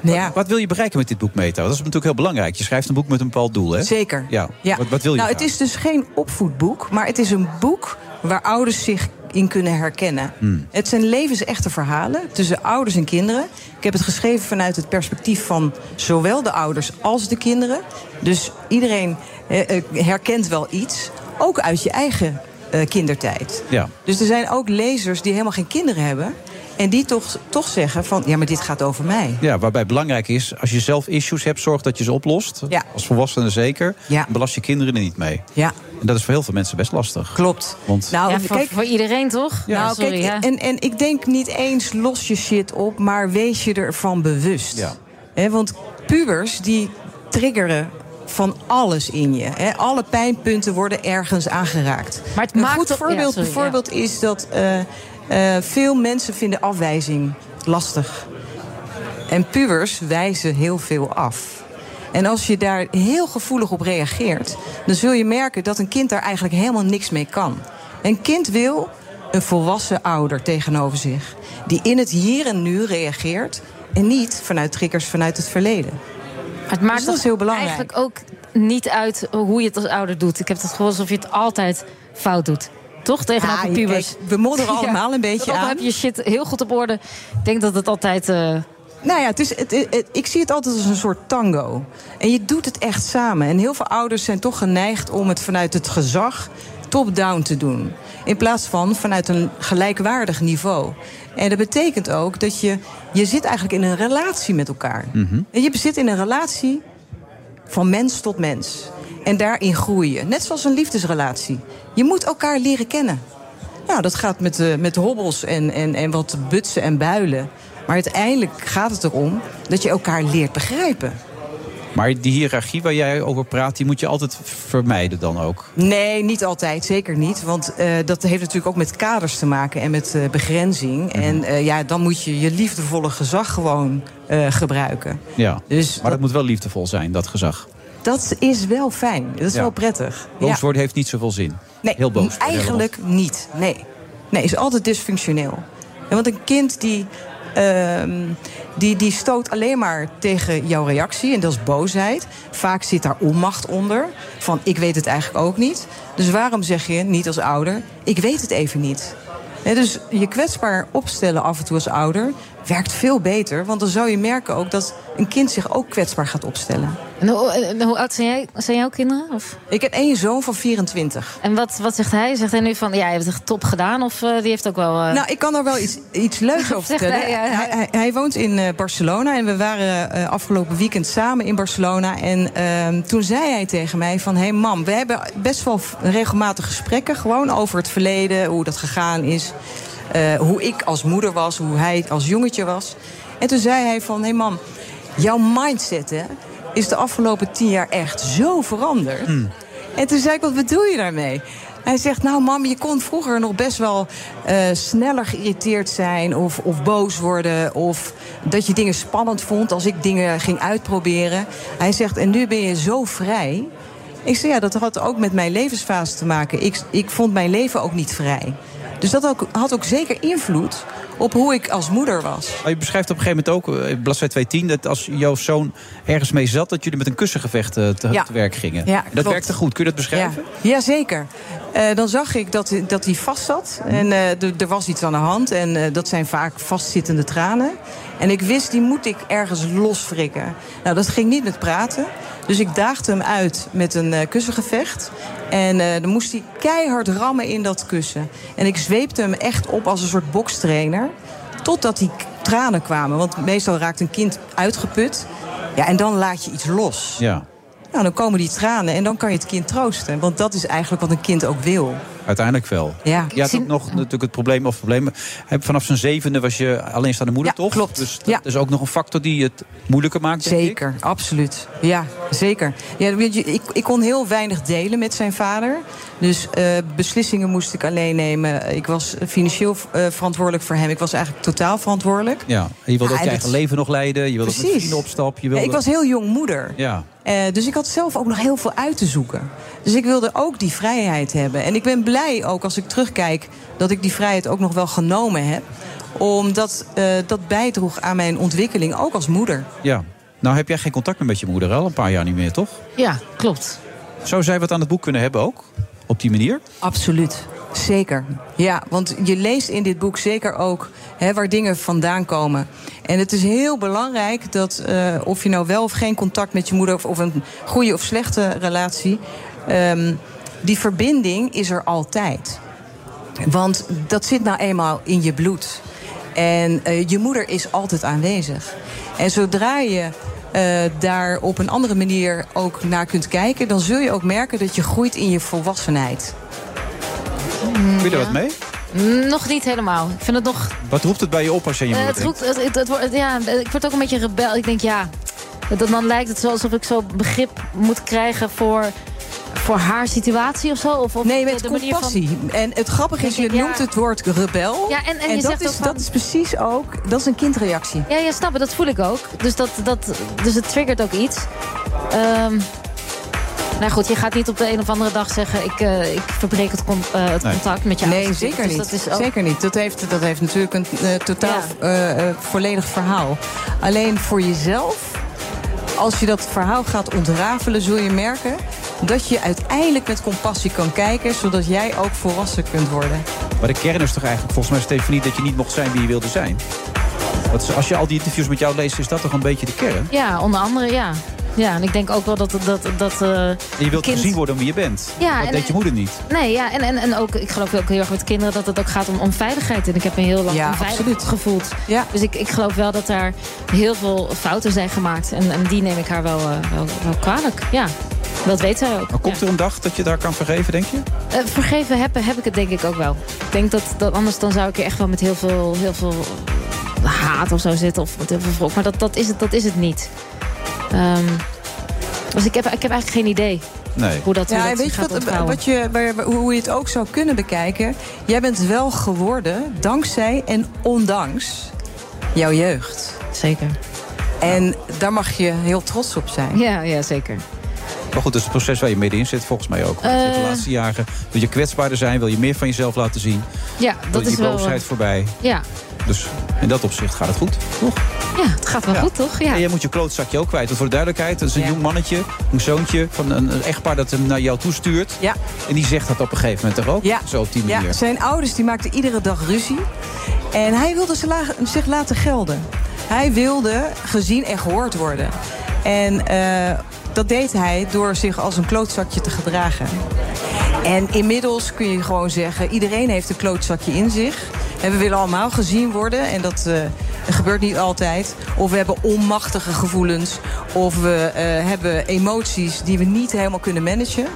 U: Nou ja.
J: Wat wil je bereiken met dit boek, Meta? Dat is natuurlijk heel belangrijk. Je schrijft een boek met een bepaald doel, hè?
U: Zeker.
J: Ja. Wat, wat wil je
U: nou,
J: graag?
U: het is dus geen opvoedboek, maar het is een boek waar ouders zich in kunnen herkennen.
J: Hmm.
U: Het zijn levensechte verhalen tussen ouders en kinderen. Ik heb het geschreven vanuit het perspectief van zowel de ouders als de kinderen. Dus iedereen eh, eh, herkent wel iets, ook uit je eigen eh, kindertijd.
J: Ja.
U: Dus er zijn ook lezers die helemaal geen kinderen hebben. En die toch, toch zeggen van, ja, maar dit gaat over mij.
J: Ja, waarbij belangrijk is, als je zelf issues hebt, zorg dat je ze oplost.
U: Ja.
J: Als volwassene zeker.
U: Ja.
J: En belast je kinderen er niet mee.
U: Ja.
J: En dat is voor heel veel mensen best lastig.
U: Klopt.
J: Want
U: Nou,
E: Ja, voor- voor iedereen toch?
U: nou,
E: Sorry,
U: kijk,
E: ja.
U: en, en ik denk niet eens los je shit op, maar wees je ervan bewust.
J: Ja.
U: Hè, want pubers die triggeren van alles in je. Hè. Alle pijnpunten worden ergens aangeraakt.
E: Maar het
U: een
E: maakt
U: goed
E: ook- ja,
U: voorbeeld
E: sorry, ja.
U: bijvoorbeeld is dat eh, eh, veel mensen vinden afwijzing lastig. En pubers wijzen heel veel af. En als je daar heel gevoelig op reageert, dan zul je merken dat een kind daar eigenlijk helemaal niks mee kan. Een kind wil een volwassen ouder tegenover zich, die in het hier en nu reageert en niet vanuit triggers vanuit het verleden.
E: Het maakt
U: Dus dat is heel belangrijk.
E: eigenlijk ook niet uit hoe je het als ouder doet. Ik heb het gevoel alsof je het altijd fout doet. Toch tegenover
U: Ah,
E: pubers?
U: kijk, we modderen
E: Ja.
U: allemaal een beetje
E: Ook al
U: aan.
E: heb je shit heel goed op orde. Ik denk dat het altijd... eh,
U: Nou ja, het is, het, het- ik zie het altijd als een soort tango. En je doet het echt samen. En heel veel ouders zijn toch geneigd om het vanuit het gezag top-down te doen. In plaats van vanuit een gelijkwaardig niveau. En dat betekent ook dat je... Je zit eigenlijk in een relatie met elkaar.
J: Mhm.
U: En je zit in een relatie van mens tot mens. En daarin groei je. Net zoals een liefdesrelatie. Je moet elkaar leren kennen. Nou, dat gaat met, eh, met hobbels en, en, en wat butsen en builen. Maar uiteindelijk gaat het erom dat je elkaar leert begrijpen.
J: Maar die hiërarchie waar jij over praat, die moet je altijd vermijden dan ook.
U: Nee, niet altijd. Zeker niet. Want eh, dat heeft natuurlijk ook met kaders te maken en met eh, begrenzing.
J: Mhm.
U: En eh, ja, dan moet je je liefdevolle gezag gewoon eh, gebruiken.
J: Ja.
U: Dus
J: maar dat moet wel liefdevol zijn, dat gezag.
U: Dat is wel fijn. Dat is
J: Ja.
U: wel prettig.
J: Boos
U: Ja.
J: worden heeft niet zoveel zin.
U: Nee,
J: Heel boos worden.
U: Eigenlijk niet. Nee. Nee, is altijd dysfunctioneel. Ja, Want een kind die, ehm, die, die stoot alleen maar tegen jouw reactie. En dat is boosheid. Vaak zit daar onmacht onder. Van ik weet het eigenlijk ook niet. Dus waarom zeg je niet als ouder: ik weet het even niet? Hè, dus je kwetsbaar opstellen af en toe als ouder werkt veel beter. Want dan zou je merken ook dat een kind zich ook kwetsbaar gaat opstellen.
E: en hoe, en hoe oud zijn, jij, zijn jouw kinderen? Of?
U: Ik heb één zoon van 24.
E: En wat, wat zegt hij? Zegt hij nu van, ja, je hebt het echt top gedaan? Of eh, die heeft ook wel... eh,
U: Nou, ik kan er wel iets, iets leuks over
E: Zegt
U: vertellen.
E: hij,
U: Hij,
E: ja, ja.
U: hij- hij woont in eh, Barcelona en we waren eh, afgelopen weekend samen in Barcelona. En ehm, toen zei hij tegen mij van... hé hey mam, we hebben best wel v- regelmatig gesprekken... gewoon over het verleden, hoe dat gegaan is. eh, hoe ik als moeder was, hoe hij als jongetje was. En toen zei hij van, hé hey mam, jouw mindset hè, is de afgelopen tien jaar echt zo veranderd. En toen zei ik, wat bedoel je daarmee? Hij zegt, nou mam, je kon vroeger nog best wel eh, sneller geïrriteerd zijn... Of, of boos worden, of dat je dingen spannend vond... als ik dingen ging uitproberen. Hij zegt, en nu ben je zo vrij. Ik zei, ja, dat had ook met mijn levensfase te maken. Ik, ik vond mijn leven ook niet vrij. Dus dat ook, had ook zeker invloed op hoe ik als moeder was.
J: Maar je beschrijft op een gegeven moment ook, eh, bladzij 210... dat als jouw zoon ergens mee zat... dat jullie met een kussengevecht eh, te,
U: Ja.
J: te werk gingen.
U: Ja,
J: dat
U: klopt.
J: werkte goed. Kun je dat beschrijven?
U: Jazeker. Eh, eh, dan zag ik dat, dat hij vast zat. En eh, d- er was iets aan de hand. En eh, dat zijn vaak vastzittende tranen. En ik wist, die moet ik ergens losfrikken. Nou, dat ging niet met praten. Dus ik daagde hem uit met een eh, kussengevecht. En eh, dan moest hij keihard rammen in dat kussen. En ik zweepte hem echt op als een soort bokstrainer. Totdat die k- tranen kwamen. Want meestal raakt een kind uitgeput. Ja, en dan laat je iets los.
J: Ja.
U: Nou, dan komen die tranen en dan kan je het kind troosten. Want dat is eigenlijk wat een kind ook wil.
J: Uiteindelijk wel.
U: Ja.
J: Je had ook nog natuurlijk het probleem of problemen. Heb- Vanaf zijn zevende was je alleenstaande moeder, toch? Klopt. Dus dat is ook nog een factor die het moeilijker maakt. denk ik.
U: Zeker, absoluut. Ja, zeker. Ja, weet je, ik, ik kon heel weinig delen met zijn vader. Dus eh, beslissingen moest ik alleen nemen. Ik was financieel eh, verantwoordelijk voor hem. Ik was eigenlijk totaal verantwoordelijk.
J: Ja. En je wilde
U: Ja,
J: ook je
U: en
J: eigen
U: dat-
J: leven nog leiden. Je wilde ook met
U: Precies.
J: vrienden op stap. Je
U: Ja,
J: wilde...
U: ik was heel jong moeder.
J: Ja.
U: Eh, dus ik had zelf ook nog heel veel uit te zoeken. Dus ik wilde ook die vrijheid hebben. En ik ben blij ook als ik terugkijk dat ik die vrijheid ook nog wel genomen heb. Omdat eh, dat bijdroeg aan mijn ontwikkeling, ook als moeder.
J: ja. Nou heb jij geen contact meer met je moeder al een paar jaar niet meer, toch?
U: Ja, klopt.
J: Zou zij wat aan het boek kunnen hebben ook? Op die manier?
U: Absoluut. Zeker. Ja, want je leest in dit boek zeker ook hè, waar dingen vandaan komen. En het is heel belangrijk dat eh, of je nou wel of geen contact met je moeder of, of een goede of slechte relatie, ehm, die verbinding is er altijd. Want dat zit nou eenmaal in je bloed. En eh, je moeder is altijd aanwezig. En zodra je eh, daar op een andere manier ook naar kunt kijken, dan zul je ook merken dat je groeit in je volwassenheid.
J: Kun je er wat mee?
E: Nog niet helemaal. Ik vind het nog
J: Wat roept het bij je op als je aan je
E: Eh,
J: moeder
E: het
J: denkt?
E: roept, het, het, het wordt- ja, ik word ook een beetje rebel. Ik denk, ja, dat, dan lijkt het zo alsof ik zo begrip moet krijgen voor, voor haar situatie of zo. Of, of nee, met
U: compassie. En het grappige is, je noemt het woord rebel.
E: Ja, en, en, je
U: dat,
E: zegt
U: is,
E: ook van-
U: dat is precies ook, dat is een kindreactie.
E: Ja, ja, snap het. Dat voel ik ook. Dus, dat, dat, dus het triggert ook iets. Ehm nou goed, je gaat niet op de een of andere dag zeggen... ik, eh, ik verbreek het, con- eh, het contact met je
U: Nee,
E: ouders.
U: zeker
E: Dus
U: niet.
E: dat is ook-
U: Zeker niet. Dat heeft, dat heeft natuurlijk een eh, totaal eh, eh, volledig verhaal. Alleen voor jezelf, als je dat verhaal gaat ontrafelen, zul je merken dat je uiteindelijk met compassie kan kijken, zodat jij ook volwassen kunt worden.
J: Maar de kern is toch eigenlijk volgens mij, Stefanie, dat je niet mocht zijn wie je wilde zijn? Dat is- als je al die interviews met jou leest, is dat toch een beetje de kern?
E: Ja, onder andere, ja. Ja, en ik denk ook wel dat... dat, dat eh,
J: En je wilt
E: kind-
J: gezien worden om wie je bent.
E: Ja,
J: dat
E: en-
J: deed je moeder niet.
E: Nee, ja, en, en, en ook, ik geloof ook heel erg met kinderen dat het ook gaat om onveiligheid. En ik heb me heel lang onveilig gevoeld. Dus ik, ik geloof wel dat daar heel veel fouten zijn gemaakt. En, en die neem ik haar wel, eh, wel, wel kwalijk. Ja, dat weet zij ook.
J: Maar komt er een dag dat je daar kan vergeven, denk je?
E: Eh, vergeven heb, heb ik het denk ik ook wel. Ik denk dat, dat anders dan zou ik er echt wel met heel veel, heel veel haat of zo zitten. Of met heel veel wrok. Maar dat, dat, is, het, dat is het niet. Ehm, dus ik heb, ik heb eigenlijk geen idee
J: Nee.
E: hoe dat, hoe
U: ja,
E: dat
U: en weet
E: zich
U: je
E: gaat
U: wat,
E: ontvouwen.
U: wat je, waar- waar- hoe je het ook zou kunnen bekijken? Jij bent wel geworden dankzij en ondanks jouw jeugd.
E: Zeker.
U: En daar mag je heel trots op zijn.
E: Ja, ja zeker.
J: Maar goed, dat is het proces waar je middenin zit, volgens mij ook.
E: Eh.
J: De laatste jaren wil je kwetsbaarder zijn, wil je meer van jezelf laten zien.
E: Ja,
J: wil
E: dat
J: je
E: is
J: die
E: wel... eh,
J: boosheid voorbij.
E: Ja,
J: Dus in dat opzicht gaat het goed, toch?
E: ja het gaat wel
J: Ja.
E: goed, toch? Ja.
J: En jij moet je klootzakje ook kwijt. Want voor de duidelijkheid, dat is een jong mannetje, een zoontje van een een echtpaar dat hem naar jou toestuurt.
U: Ja.
J: En die zegt dat op een gegeven moment toch ook?
U: Ja.
J: Zo op die manier.
U: Ja, zijn ouders die maakten iedere dag ruzie. En hij wilde ze la- zich laten gelden. Hij wilde gezien en gehoord worden. En eh, dat deed hij door zich als een klootzakje te gedragen. En inmiddels kun je gewoon zeggen... iedereen heeft een klootzakje in zich. En we willen allemaal gezien worden. En dat eh, gebeurt niet altijd. Of we hebben onmachtige gevoelens. Of we eh, hebben emoties die we niet helemaal kunnen managen.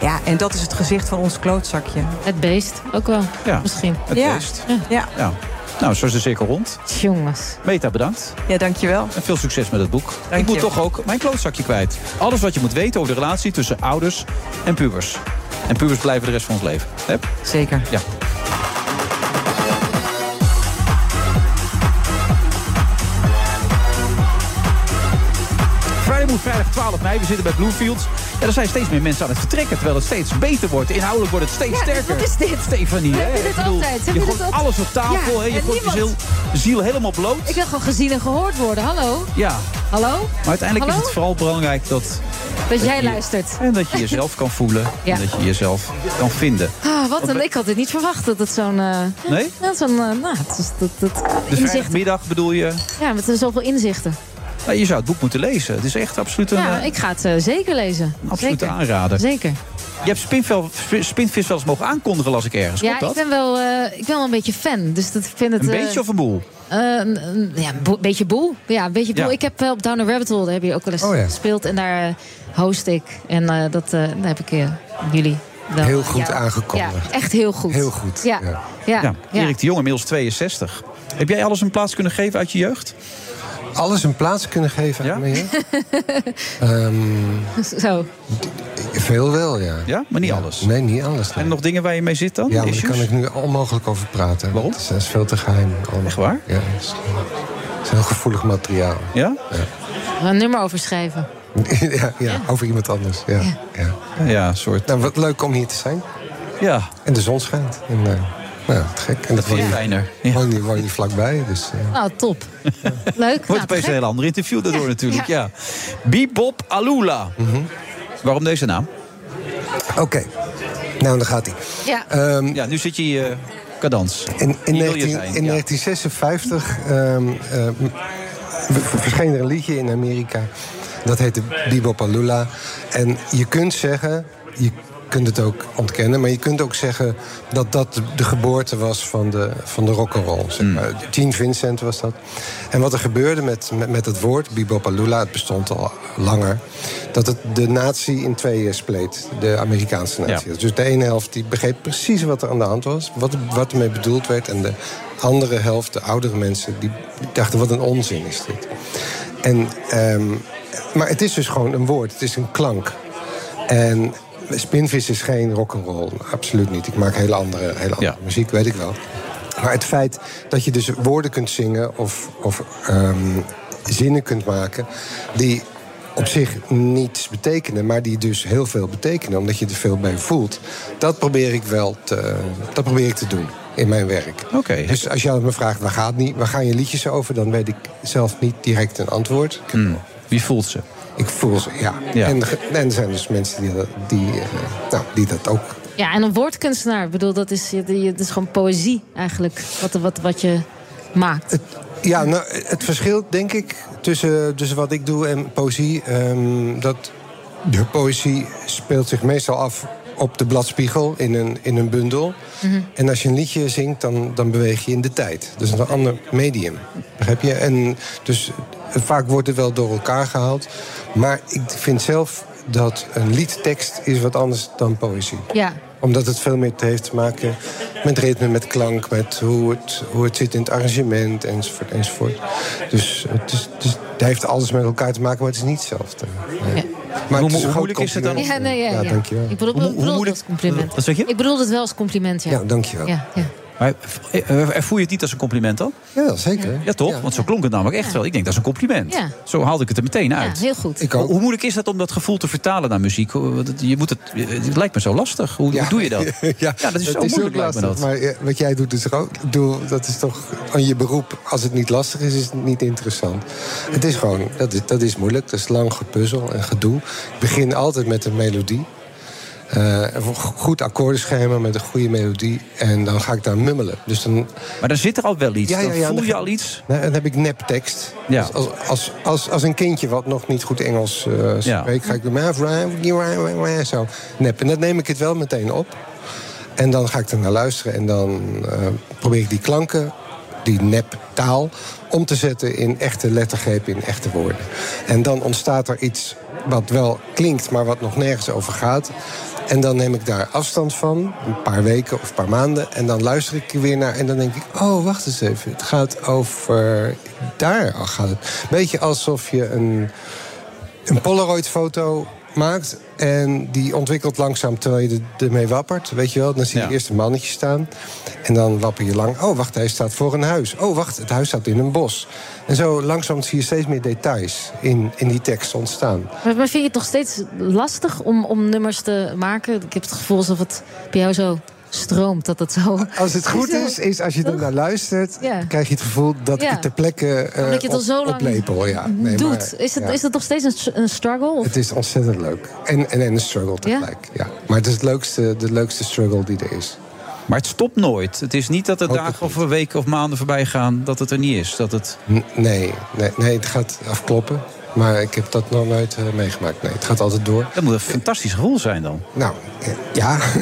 U: Ja, en dat is het gezicht van ons klootzakje.
E: Het beest ook wel,
J: Ja.
E: misschien.
J: Het
U: ja.
J: beest.
U: Ja. Ja.
J: Ja. Nou, zo is de cirkel rond.
E: Jongens.
J: Meta, bedankt.
U: ja, dankjewel.
J: En veel succes met het boek. ik moet
U: je.
J: toch ook mijn klootzakje kwijt. Alles wat je moet weten over de relatie tussen ouders en pubers. En pubers blijven de rest van ons leven. Hè?
U: Zeker.
J: Ja. Friday Moe, vrijdag 12 mei. We zitten bij Bluefields. Ja, er zijn steeds meer mensen aan het vertrekken, terwijl het steeds beter wordt. Inhoudelijk wordt het steeds
E: Ja, dus
J: sterker.
E: wat is dit?
J: Stefanie,
E: We
J: hè?
E: hebben dit
J: Ik bedoel,
E: altijd. We
J: Je
E: hebben
J: gooit
E: dit altijd.
J: alles op tafel,
E: Ja,
J: hè? Je
E: en
J: gooit je ziel,
E: niemand-
J: ziel helemaal bloot.
E: Ik wil gewoon gezien en gehoord worden. Hallo?
J: Ja,
E: Hallo?
J: maar uiteindelijk
E: Hallo?
J: is het vooral belangrijk dat...
E: Dat jij
J: je-
E: luistert.
J: En dat je jezelf kan voelen.
E: Ja.
J: En dat je jezelf kan vinden.
E: Ah, wat
J: Want
E: een,
J: we-
E: ik had dit niet verwacht dat het zo'n... eh,
J: Nee?
E: ja, zo'n, eh, nou, het is dat, dat
J: Dus
E: inzicht.
J: vrijdagmiddag bedoel je...
E: Ja, met eh, zoveel inzichten.
J: Nou, je zou het boek moeten lezen. Het is echt absoluut een...
E: Ja,
J: eh,
E: ik ga het eh, zeker lezen.
J: Absoluut
E: zeker.
J: aanraden.
E: Zeker.
J: Je hebt Spinvel, Sp- Spinvis wel eens mogen aankondigen, las ik ergens.
E: Ja,
J: Klopt dat?
E: ik ben, wel, eh, ik ben wel een beetje fan. Dus dat, ik vind het,
J: Een
E: eh,
J: beetje of een boel?
E: Eh, een- een- ja, een bo- beetje boel. Ja, een beetje boel.
J: Ja.
E: Ik heb eh, op Down the Rabbit Hole, daar heb je ook wel eens
J: Oh ja.
E: gespeeld. En daar eh, host ik. En eh, dat eh, daar heb ik eh, jullie wel.
H: Heel goed
E: ja.
H: aangekondigd.
E: Ja, echt heel goed.
H: Heel goed,
E: Ja,
H: ja.
E: ja. ja.
J: Erik de Jong, inmiddels 62. Heb jij alles een plaats kunnen geven uit je jeugd?
H: Alles een plaats kunnen geven aan mijn jeugd? Ehm,
E: Zo.
H: veel wel, ja.
J: Ja, maar niet alles?
H: Nee, niet alles.
J: En nog dingen waar je mee zit dan?
H: Ja, maar daar
J: Issues?
H: kan ik nu onmogelijk over praten. Waarom? Dat is veel te geheim. allemaal.
J: Echt waar?
H: Ja, het is, het is heel gevoelig materiaal.
J: Ja?
E: Een nummer overschrijven.
H: Ja, ja, over iemand anders. Ja, ja.
J: ja soort.
H: Nou, wat leuk om hier te zijn.
J: Ja.
H: En de zon schijnt. En, eh, nou, te gek. En dat
J: vind
H: woon
J: je
H: je-
J: fijner.
H: Woon je, woon je vlakbij, dus... eh,
E: Nou, top. Leuk.
J: Wordt
E: Nou,
J: opeens een
E: gek.
J: heel ander interview daardoor natuurlijk, ja. Bebop Alula. Waarom deze naam?
H: Mhm. Oké. Nou, dan gaat hij. Ehm,
E: Ja.
J: ja, nu zit je in je cadans.
H: In, in,
J: Hier wil je
H: 19
J: zijn,
H: in
J: ja.
H: 1956 ehm, eh, v- verscheen er een liedje in Amerika. Dat heette Bebop Alula. En je kunt zeggen, je kunt het ook ontkennen, maar je kunt ook zeggen dat dat de geboorte was van de, van de rock'n'roll. Zeg maar. Gene Vincent was dat. En wat er gebeurde met, met, met het woord Bebop Alula, het bestond al langer, dat het de natie in tweeën spleet, de Amerikaanse natie. Dus de ene helft die begreep precies wat er aan de hand was, wat, wat ermee bedoeld werd, en de andere helft, de oudere mensen, die dachten: wat een onzin is dit. En, ehm, maar het is dus gewoon een woord, het is een klank. En Spinvis is geen rock'n'roll, absoluut niet. Ik maak hele andere, hele andere muziek, weet ik wel. Maar het feit dat je dus woorden kunt zingen of, of ehm, zinnen kunt maken die op zich niets betekenen, maar die dus heel veel betekenen, omdat je er veel bij voelt, dat probeer ik wel te, dat probeer ik te doen in mijn werk.
J: Oké.
H: Dus als je aan me vraagt waar, gaat niet, waar gaan je liedjes over, dan weet ik zelf niet direct een antwoord.
J: Hmm. Wie voelt ze?
H: Ik voel ze, ja.
J: Ja.
H: En, ge- en er zijn dus mensen die, dat- die, eh, nou, die dat ook.
E: Ja, en een woordkunstenaar. Ik bedoel, dat is, je- je- dat is gewoon poëzie eigenlijk. Wat, wat, wat je maakt.
H: Ja, nou, het verschil denk ik tussen, tussen wat ik doe en poëzie, ehm, dat de poëzie speelt zich meestal af op de bladspiegel in een, in een bundel. En als je een liedje zingt, dan, dan beweeg je in de tijd. Dus een ander medium. Begrijp je? En dus eh, vaak wordt het wel door elkaar gehaald. Maar ik vind zelf dat een liedtekst is wat anders dan poëzie.
E: Ja.
H: Omdat het veel meer heeft te maken met ritme, met klank, met hoe het, hoe het zit in het arrangement enzovoort. enzovoort. Dus het, is, dus het heeft alles met elkaar te maken, maar het is niet hetzelfde. Nee. Maar
J: Hoe-
H: het
J: hoe
H: een groot
J: moeilijk is het dan?
H: compliment.
E: Ja, nee, ja, ja.
H: dankjewel.
E: Ik bedoel, ik bedoel het als compliment.
J: Wat zeg je?
E: Ik bedoel het wel als compliment, ja.
J: Ja,
H: dankjewel.
E: Ja, ja.
J: Maar eh, eh, voel je het niet als een compliment dan?
H: Ja, zeker.
J: Ja, toch? Want zo klonk het namelijk echt wel. Ik denk, dat is een compliment.
E: Ja.
J: Zo haalde ik het er meteen
E: ja,
J: uit.
E: heel goed.
J: Hoe- Hoe moeilijk is dat om dat gevoel te vertalen naar muziek? Hoe- want het- Je moet het, het lijkt me zo lastig. Hoe hoe doe je dat?
H: ja,
J: dat is zo moeilijk, lijkt
H: ook
J: me
H: lastig.
J: dat.
H: Maar eh, wat jij doet is er ook. ik bedoel, dat is toch aan je beroep. Als het niet lastig is, is het niet interessant. Het is gewoon, dat is, dat is moeilijk. Dat is lang gepuzzel en gedoe. Ik begin altijd met een melodie. Eh, een go- goed akkoordenschema met een goede melodie. En dan ga ik daar mummelen. Dus dan,
J: maar dan zit er al wel iets. Dan voel je al
H: iets? dan heb ik neptekst.
J: Ja.
H: Dus als, als, als, als een kindje wat nog niet goed Engels eh, spreekt, ga ik doen. maar vra- vra- vra- vra- Zo. Nep. En dan neem ik het wel meteen op. En dan ga ik er naar luisteren. En dan eh, probeer ik die klanken, die neptaal, om te zetten in echte lettergrepen, in echte woorden. En dan ontstaat er iets wat wel klinkt, maar wat nog nergens over gaat. En dan neem ik daar afstand van, een paar weken of een paar maanden. En dan luister ik er weer naar en dan denk ik... oh, wacht eens even, het gaat over... daar gaat het. Beetje alsof je een een Polaroid-foto maakt. En die ontwikkelt langzaam terwijl je er- ermee wappert. Weet je wel, dan zie je eerst een mannetje staan. En dan wapper je lang. Oh, wacht, hij staat voor een huis. Oh, wacht, het huis staat in een bos. En zo langzaam zie je steeds meer details in, in die tekst ontstaan.
E: Maar, maar vind je het nog steeds lastig om, om nummers te maken? Ik heb het gevoel alsof het bij jou zo stroomt. Dat het zo...
H: Als het goed is, is als je er naar luistert,
E: Ja.
H: krijg je het gevoel dat
E: Ja.
H: ik het ter plekke eh
E: Omdat je het al
H: op-
E: zo lang Mhm.
H: oplepel. Ja. Nee,
E: doet.
H: maar-
E: is, het,
H: ja.
E: is het nog steeds een, s- een struggle? Of-
H: Het is ontzettend leuk. En, en, en een struggle tegelijk. Ja? Maar het is het leukste, de leukste struggle die er is.
J: Maar het stopt nooit. Het is niet dat er dagen of weken of maanden voorbij gaan dat het er niet is. Dat het...
H: Nee, nee, nee, het gaat afkloppen. Maar ik heb dat nog nooit eh, meegemaakt. Nee, het gaat altijd door.
J: Dat moet een fantastisch gevoel zijn dan.
H: Nou, eh,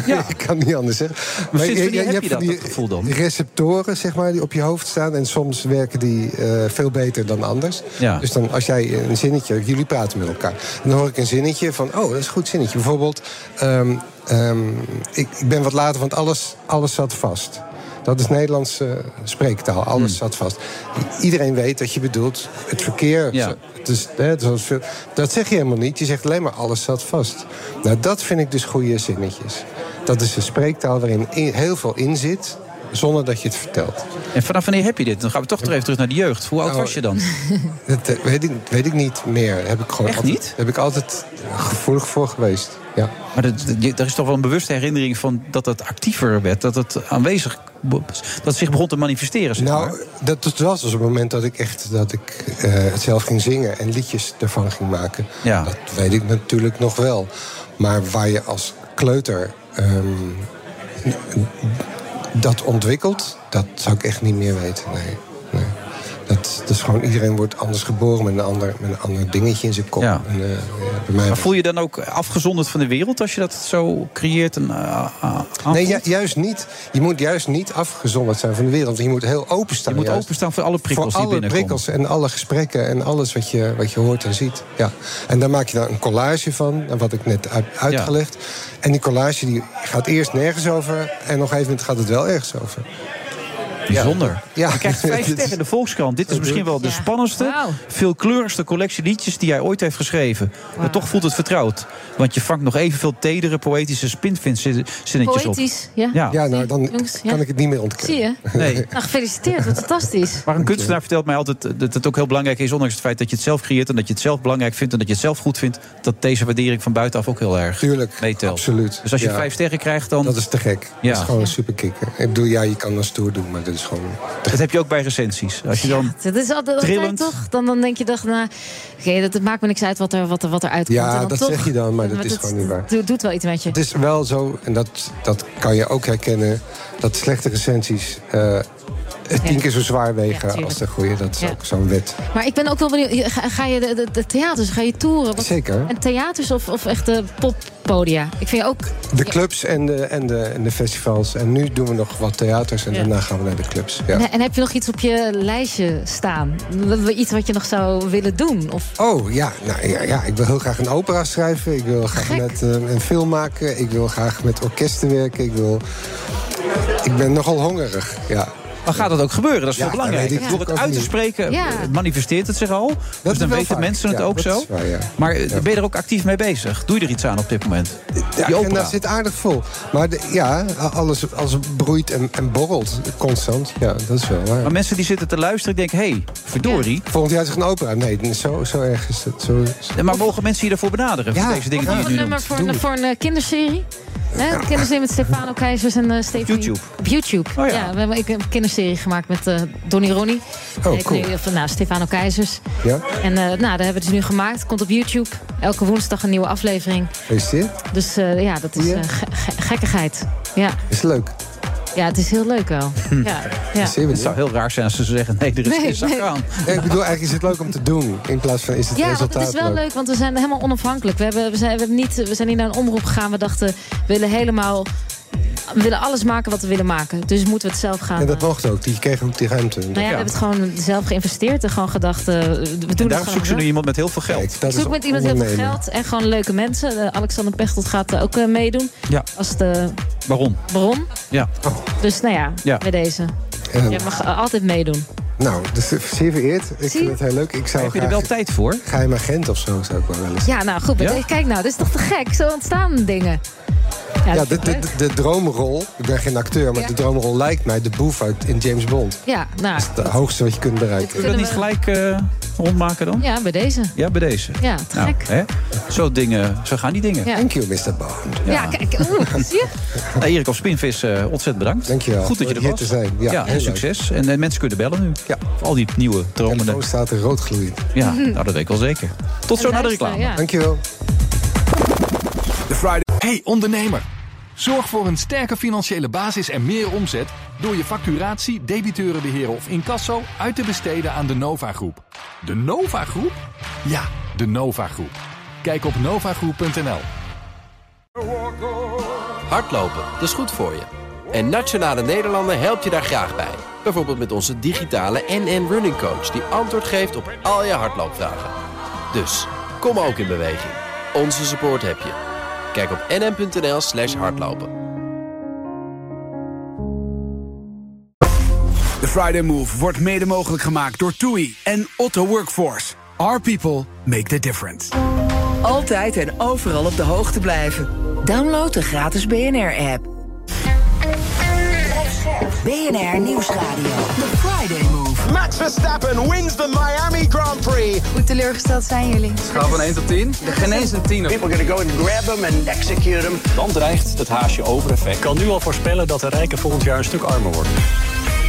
H: ja, ik kan niet anders zeggen.
J: Maar sinds wanneer heb je
H: van
J: dat, dat gevoel dan?
H: receptoren, zeg maar, die op je hoofd staan. En soms werken die eh, veel beter dan anders.
J: Ja.
H: Dus dan als jij een zinnetje, jullie praten met elkaar. Dan hoor ik een zinnetje van, oh, dat is een goed zinnetje. Bijvoorbeeld, ehm, ehm, ik, ik ben wat later, want alles, alles zat vast. Dat is Nederlandse eh, spreektaal. Alles zat vast. I- Iedereen weet dat je bedoelt het verkeer. Zo- Het is, hè, het is als veel- dat zeg je helemaal niet. Je zegt alleen maar alles zat vast. Nou, dat vind ik dus goede zinnetjes. Dat is een spreektaal waarin in- heel veel in zit, zonder dat je het vertelt.
J: En vanaf wanneer heb je dit? Dan gaan we toch weer even terug naar de jeugd. Hoe oud
H: Oh.
J: was je dan?
H: Dat eh, weet ik, weet ik niet meer. Heb ik gewoon
J: Echt
H: altijd,
J: niet?
H: Heb ik altijd gevoelig voor geweest. Ja.
J: Maar dat, dat- je- er is toch wel een bewuste herinnering van dat het actiever werd. Dat het aanwezig be- dat het zich begon te manifesteren. Zeg maar.
H: Nou, Dat dat was dus het moment dat ik echt dat ik, eh, het zelf ging zingen en liedjes ervan ging maken.
J: Ja.
H: Dat weet ik natuurlijk nog wel. Maar waar je als kleuter ehm, dat ontwikkelt, dat zou ik echt niet meer weten. Nee. nee. Dat, dat is gewoon, iedereen wordt anders geboren met een ander, met een ander dingetje in zijn kop. En, eh, ja, bij mij
J: Maar voel je dan ook afgezonderd van de wereld als je dat zo creëert? En, eh, eh,
H: Nee, ju- juist niet. Je moet juist niet afgezonderd zijn van de wereld. Je moet heel openstaan.
J: Je moet
H: juist.
J: openstaan voor alle prikkels
H: Voor
J: die
H: alle
J: binnenkomen.
H: prikkels en alle gesprekken en alles wat je, wat je hoort en ziet. Ja. En daar maak je dan een collage van, wat ik net uit- uitgelegd. En die collage die gaat eerst nergens over en op een gegeven moment gaat het wel ergens over.
J: Bijzonder.
H: Ja.
J: Je krijgt vijf sterren in de Volkskrant. Dit is misschien wel de spannendste, veelkleurigste collectie liedjes die hij ooit heeft geschreven. Maar toch voelt het vertrouwd. Want je vangt nog evenveel tedere poëtische spinvinzinnetjes op.
E: Poëtisch, ja.
J: Ja. Ja, nou,
H: dan
E: Jongens, ja.
H: kan ik het niet meer ontkennen.
E: Zie je?
J: Nee.
E: Nou, gefeliciteerd, wat fantastisch.
J: Maar een kunstenaar vertelt mij altijd dat het ook heel belangrijk is, ondanks het feit dat je het zelf creëert en dat je het zelf belangrijk vindt en dat je het zelf goed vindt, dat deze waardering van buitenaf ook heel erg meetelt.
H: Absoluut.
J: Dus als je
H: Ja.
J: vijf sterren krijgt, dan.
H: Dat is te gek.
J: Ja.
H: Dat is gewoon een superkikker. Ik bedoel, ja, je kan dat stoer doen, maar dat is gewoon...
J: Dat heb je ook bij recensies. Als je dan.
E: Dat is altijd, altijd
J: Trillend.
E: toch? Dan, dan denk je toch, nou, oké, dat, het maakt me niks uit wat er, wat er, wat er uitkomt. En
H: Ja,
E: dan
H: dat
E: toch-
H: zeg je dan, maar dat
E: maar
H: is
E: dat-
H: gewoon niet waar.
E: doet, doet wel iets met je.
H: Het is wel zo, en dat, dat kan je ook herkennen, dat slechte recensies eh, tien keer zo zwaar wegen als de goede. Dat is
E: Ja.
H: ook zo'n wet.
E: Maar ik ben ook wel benieuwd, je- ga, ga je de, de, de theaters, ga je toeren? Wat-
H: Zeker.
E: En theaters of, of echt de poppodia? Ik vind je ook...
H: De clubs en de, en, de, en de festivals. En nu doen we nog wat theaters en
E: Ja.
H: daarna gaan we naar de clubs. Ja.
E: En, en heb je nog iets op je lijstje staan? W- w- Iets wat je nog zou willen doen? Of...
H: Oh ja, nou, ja, ja, ik wil heel graag een opera schrijven. Ik wil graag met, eh, een film maken. Ik wil graag met orkesten werken. Ik, wil... ik ben nogal hongerig. Ja.
J: Maar gaat dat ook gebeuren? Dat is
H: Ja,
J: veel belangrijker.
H: dat weet ik
J: Door het
H: natuurlijk
J: uit te
H: ook
J: spreken
H: niet.
J: eh, manifesteert het zich al. dus dan
H: wel
J: weten
H: vaak.
J: mensen het
H: Ja,
J: ook
H: dat
J: zo.
H: is waar, ja.
J: Maar eh, ben je er ook actief mee bezig? Doe je er iets aan op dit moment?
H: Ja,
J: Die
H: en
J: opera.
H: dat zit aardig vol. Maar de- ja, alles, alles broeit en, en borrelt constant. Ja, dat is wel waar.
J: Maar mensen die zitten te luisteren, die denken: hey, verdorie.
H: Volgend jaar is er een opera. Nee, zo, zo erg is het. Zo is
J: Maar mogen mensen je daarvoor benaderen?
H: Ja.
J: Voor deze dingen die je
E: Een
J: nu
E: nummer
J: noemt?
E: voor,
J: Doe
E: een,
J: het.
E: voor een eh, kinderserie? Hè? Een kinderserie met Stefano Keizers en eh Stefanie.
J: YouTube. Oh
E: Op YouTube. ja. we hebben ik heb een kinderserie gemaakt met eh Donnie Ronnie.
H: Oh,
E: Heet
H: cool.
E: nu, of, nou, Stefano Keizers.
H: Ja?
E: En eh, nou, daar hebben we het nu gemaakt. Komt op YouTube. Elke woensdag een nieuwe aflevering.
H: Gefeliciteerd.
E: Dus eh, ja, dat is eh, ge- ge- gekkigheid. Ja.
H: Is leuk.
E: ja, het is heel leuk wel.
J: Hm.
E: Ja, ja.
J: Het zou heel raar zijn als ze zeggen: nee, er is
E: Nee,
J: geen zak
E: nee.
J: aan.
H: Nee, ik bedoel, eigenlijk is het leuk om te doen. In plaats van is het
E: Ja, want
H: resultaat
E: het is wel leuk. want we zijn helemaal onafhankelijk. We, hebben, we, zijn, we, hebben niet, we zijn niet naar een omroep gegaan. We dachten, we willen helemaal... We willen alles maken wat we willen maken. Dus moeten we het zelf gaan...
H: En dat
E: eh,
H: mocht ook. Die kregen ook die ruimte.
E: nou ja, we hebben het gewoon zelf geïnvesteerd. En gewoon gedacht, eh, we doen
J: En
E: het
J: daarom
E: gewoon
J: zoeken ze nu
E: zelf.
J: iemand met heel veel geld.
E: Ik zoek met iemand heel veel geld en gewoon leuke mensen. Eh, Alexander Pechtold gaat eh, ook eh, meedoen.
J: Ja.
E: Als de
J: Waarom?
E: bron.
J: Ja.
H: Oh,
E: Dus nou ja,
J: Ja.
E: bij deze.
H: Ja.
E: Je mag eh, altijd meedoen.
H: Nou, dus zeer vereerd. Ik vind het heel leuk. Ik zou
J: Heb je er wel tijd voor?
H: Geheim agent of zo zou ik wel willen
E: Ja, nou goed. maar
H: Ja?
E: Kijk nou, dit is toch te gek? Zo ontstaan dingen.
H: Ja,
E: dat
H: de,
E: vind ik
H: de,
E: leuk.
H: de, de droomrol, ik ben geen acteur, maar
E: Ja.
H: de droomrol lijkt mij de boef uit in James Bond.
E: Ja, nou.
H: Het hoogste wat je kunt bereiken.
J: Kun je dat niet gelijk eh, rondmaken dan?
E: Ja, bij deze.
J: Ja, bij deze.
E: Ja, te
J: Nou,
E: gek.
J: hè? Zo, dingen, zo gaan die dingen.
E: Ja. Thank
H: you, Mr. Bond.
E: Ja, kijk. Oeh, zie je?
J: Nou, Erik op Spinvis, eh, ontzettend bedankt.
H: Dankjewel.
J: Goed dat je er
H: Hier
J: was.
H: te zijn. Ja, heel
J: en
H: leuk.
J: succes. En eh, mensen kunnen bellen nu. Ja. Al die nieuwe dromende. De
H: staat er rood gloeiend.
J: Ja,
H: Mhm.
J: nou, dat weet ik wel zeker. Tot
A: En
J: zo naar de
A: luisteren,
J: reclame.
A: ja.
H: Dankjewel.
A: De Friday. Hey ondernemer, zorg voor een sterke financiële basis en meer omzet door je facturatie, debiteurenbeheer of incasso uit te besteden aan de Nova Groep. De Nova Groep? Ja, de Nova Groep. Kijk op novagroep.nl.
Q: Hardlopen, dat is goed voor je. En Nationale Nederlanden helpt je daar graag bij. Bijvoorbeeld met onze digitale NN Running Coach... die antwoord geeft op al je hardloopvragen. Dus, kom ook in beweging. Onze support heb je. Kijk op nn.nl slash hardlopen.
B: De Friday Move wordt mede mogelijk gemaakt door TUI en Otto Workforce. Our people make the difference.
C: Altijd en overal op de hoogte blijven. Download de gratis BNR-app. BNR Nieuwsradio.
D: The Friday Move. Max Verstappen wins the Miami Grand Prix.
G: Hoe teleurgesteld zijn jullie?
F: Schaal van 1 tot 10. Er geen eens een tiener.
G: People gonna go and grab him and execute him.
I: Dan dreigt het haasje over effect. Kan nu al voorspellen dat de rijken volgend jaar een stuk armer worden.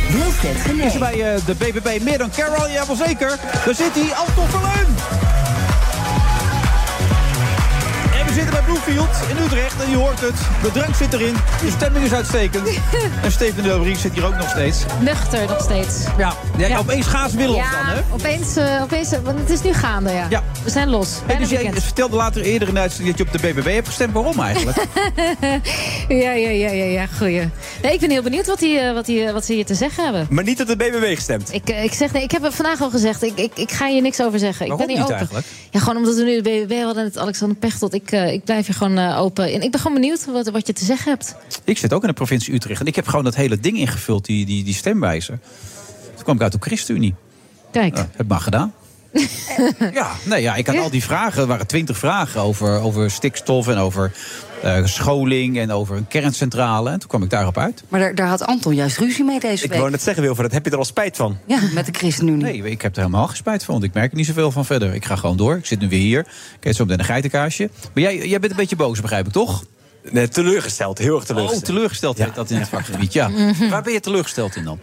C: Wilfred
J: Is er bij eh, de BBB meer dan Carol? Ja, wel zeker. Daar zit hij, Anton Verleun. En we zitten bij Bloomfield in Utrecht en je hoort het. De drank zit erin, de stemming is uitstekend. en Steven de Rubrik zit hier ook nog steeds.
E: Nuchter nog steeds.
J: Ja, ja, opeens gaan ze weer los
E: ja,
J: dan, hè?
E: Opeens, eh, opeens, eh, want het is nu gaande, ja.
J: Ja.
E: We zijn los.
J: Hey,
E: Bijna
J: dus jij
E: weekend.
J: vertelde later eerder in de uitzending dat je op de BBB hebt gestemd. Waarom eigenlijk?
E: ja, ja, ja, ja, ja, goeie. Nee, ik ben heel benieuwd wat, die, eh, wat, die, eh, wat ze hier te zeggen hebben.
K: Maar niet op de BBB gestemd.
E: Ik, eh, ik, zeg, nee, ik heb het vandaag al gezegd, ik, ik, ik ga hier niks over zeggen.
K: Waarom
E: ik ben hier
K: niet
E: open.
K: eigenlijk?
E: Ja, gewoon omdat we nu de BBB hadden, het Alexander Pechtold. Ik, eh, ik blijf hier gewoon eh, open. En ik ben gewoon benieuwd wat, wat je te zeggen hebt.
J: Ik zit ook in de provincie Utrecht en ik heb gewoon dat hele ding ingevuld, die, die, die stemwijzer. Toen kwam ik uit de ChristenUnie.
E: Kijk.
J: Nou, heb maar gedaan. ja, nee, ja, ik had al die vragen. Er waren twintig vragen over, over stikstof en over eh, scholing en over een kerncentrale. En toen kwam ik daarop uit.
V: Maar daar, daar had Anton juist ruzie mee deze
J: Ik
V: week.
J: wou
K: net zeggen, Wilfred, heb je er al spijt van?
V: Ja, met de ChristenUnie.
J: Nee, ik heb er helemaal geen spijt van. Want ik merk er niet zoveel van verder. Ik ga gewoon door. Ik zit nu weer hier. Ik eet zo meteen een geitenkaasje. Maar jij, jij bent een beetje boos, begrijp ik, toch?
K: Nee, teleurgesteld. Heel erg
J: teleurgesteld. Oh, teleurgesteld heet dat in het vakgebied, ja. Waar ben je teleurgesteld in dan?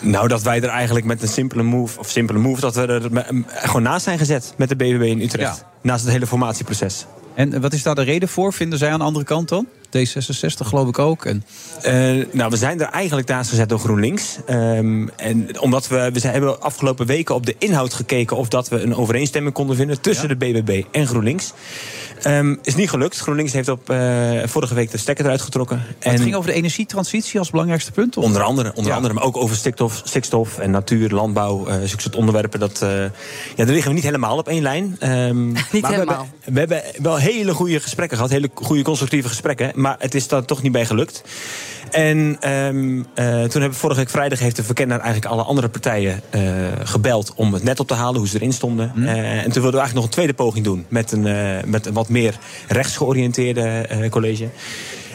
K: Nou, dat wij er eigenlijk met een simpele move, of simpele move, dat we er me- m- gewoon naast zijn gezet met de BBB in Utrecht.
J: Ja.
K: Naast het hele formatieproces.
J: En eh, wat is daar de reden voor, vinden zij aan de andere kant dan? D66 geloof ik ook. En...
K: Eh, nou, we zijn er eigenlijk naast gezet door GroenLinks. Ehm, en omdat we, we zijn, hebben afgelopen weken op de inhoud gekeken of dat we een overeenstemming konden vinden tussen de BBB en GroenLinks. Ehm, is niet gelukt. GroenLinks heeft op, eh, vorige week de stekker eruit getrokken.
J: Maar het ging over de energietransitie als belangrijkste punt? of?
K: Onder andere, onder andere maar ook over stikstof, stikstof en natuur, landbouw, eh zulke soort onderwerpen. Dat, eh, ja, daar liggen we niet helemaal op één lijn. Ehm, maar
V: helemaal.
K: We hebben, we hebben wel hele goede gesprekken gehad, hele goede constructieve gesprekken. Maar het is daar toch niet bij gelukt. En ehm, eh, toen hebben we vorige week vrijdag heeft de verkenner eigenlijk alle andere partijen eh, gebeld om het net op te halen, hoe ze erin stonden.
V: Hm.
K: Eh, en toen wilden we eigenlijk nog een tweede poging doen met een, eh, met een wat meer rechtsgeoriënteerde eh, college.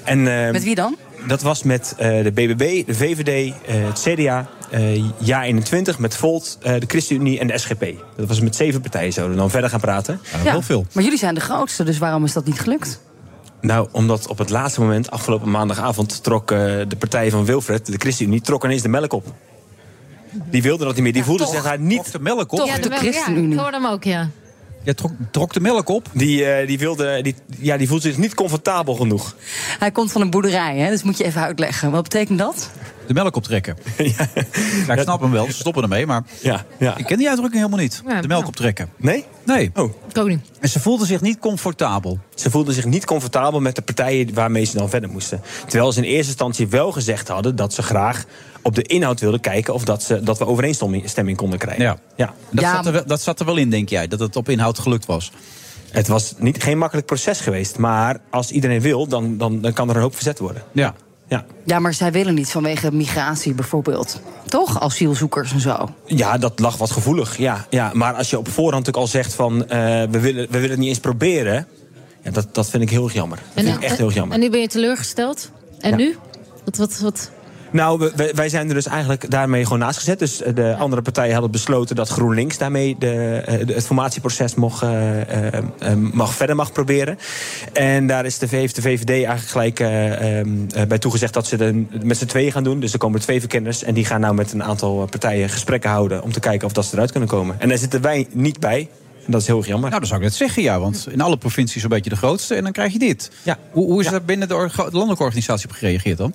K: En, ehm,
V: Met wie dan?
K: dat was met eh, de BBB, de VVD, eh, het CDA, eh Ja21, met Volt, eh, de ChristenUnie en de SGP. Dat was met zeven partijen zouden we dan verder gaan praten.
V: Ja, Maar jullie zijn de grootste, dus waarom is dat niet gelukt?
K: Nou, omdat op het laatste moment, afgelopen maandagavond, trok eh, de partij van Wilfred, de ChristenUnie, trok ineens de melk op. Die wilde dat niet meer. Die voelde zich daar niet... de melk
E: ja, de Ja, ik hoor hem ook, ja.
K: Ja, trok, de melk op? Die, eh, die, wilde, die, ja, die voelde zich niet comfortabel genoeg.
V: Hij komt van een boerderij, hè, dus moet je even uitleggen. Wat betekent dat?
J: De melk optrekken. ja. ik snap hem wel, ze stoppen ermee, maar
K: ja,
J: ik ken die uitdrukking helemaal niet.
E: Ja,
J: de melk
E: nou.
J: optrekken.
K: Nee?
J: Nee.
K: Oh.
J: En ze voelden zich niet comfortabel.
K: Ze voelden zich niet comfortabel met de partijen waarmee ze dan verder moesten. Terwijl ze in eerste instantie wel gezegd hadden dat ze graag op de inhoud wilden kijken of dat, ze, dat we overeenstemming konden krijgen.
J: Ja.
K: ja.
J: Dat, zat er wel, dat zat er wel in, denk jij, dat het op inhoud gelukt was.
K: Het was niet, geen makkelijk proces geweest, maar als iedereen wil, dan, dan, dan kan er een hoop verzet worden.
J: Ja.
V: Ja, maar zij willen niet vanwege migratie bijvoorbeeld. Toch? Asielzoekers en zo.
K: Ja, dat lag wat gevoelig. Ja, ja. Maar als je op voorhand natuurlijk al zegt van eh, we, willen, we willen het niet eens proberen. Ja, dat, dat vind ik heel erg jammer. Dat vind ik echt heel erg jammer.
E: En nu ben je teleurgesteld. En
K: Ja.
E: nu? Wat, wat, wat?
K: Nou, we- we- wij zijn er dus eigenlijk daarmee gewoon naast gezet. Dus eh, de andere partijen hadden besloten dat GroenLinks daarmee de, eh, de- het formatieproces mocht, eh, eh, eh, mag verder mag proberen. En daar is de, V- heeft de VVD eigenlijk gelijk eh, eh, bij toegezegd dat ze het met z'n tweeën gaan doen. Dus er komen twee verkenners en die gaan nou met een aantal eh, partijen gesprekken houden om te kijken of dat ze eruit kunnen komen. En daar zitten wij niet bij. En dat is heel erg jammer.
J: Nou, dat zou ik net zeggen, ja. Want in alle provincies zo'n beetje de grootste. En dan krijg je dit. Hoe, hoe is daar binnen de, orga- de landelijke organisatie op gereageerd dan?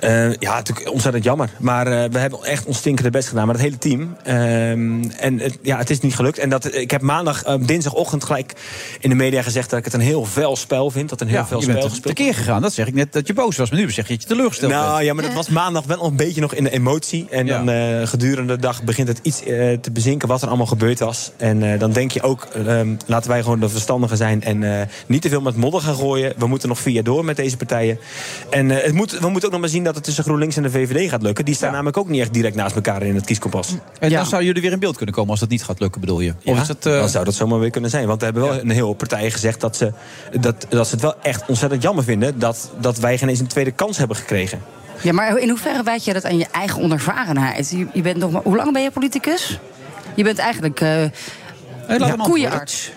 K: Eh, ja, natuurlijk ontzettend jammer. Maar eh, we hebben echt ons stinkende best gedaan. Maar het hele team. Ehm, en het, ja, het is niet gelukt. En dat, ik heb maandag, eh, dinsdagochtend gelijk in de media gezegd... dat ik het een heel fel spel vind. Dat een heel
J: Ja,
K: fel
J: je bent
K: spel
J: te-
K: gespeeld
J: tekeer gegaan. Dat zeg ik net, dat je boos was. Maar nu zeg je dat je teleurgesteld
K: nou,
J: bent.
K: ja, maar dat was maandag wel een beetje nog in de emotie. En dan eh, gedurende de dag begint het iets eh, te bezinken wat er allemaal gebeurd was. En eh, dan denk je ook, ehm, laten wij gewoon de verstandigen zijn... en eh, niet te veel met modder gaan gooien. We moeten nog via door met deze partijen. En eh, het moet, we moeten ook nog maar zien dat het tussen GroenLinks en de VVD gaat lukken. Die staan namelijk ook niet echt direct naast elkaar in het kieskompas.
J: En dan zouden jullie weer in beeld kunnen komen als dat niet gaat lukken, bedoel je?
K: Ja, dan zou dat zomaar weer kunnen zijn. Want er hebben wel een heel hoop partijen gezegd dat ze, dat, dat ze het wel echt ontzettend jammer vinden... dat, dat wij geen eens een tweede kans hebben gekregen.
V: Ja, maar in hoeverre wijd je dat aan je eigen onervarenheid? Je, je bent nog maar, hoe lang ben je politicus? Je bent eigenlijk eh
K: hem
V: ja,
K: antwoorden.
V: koeienarts.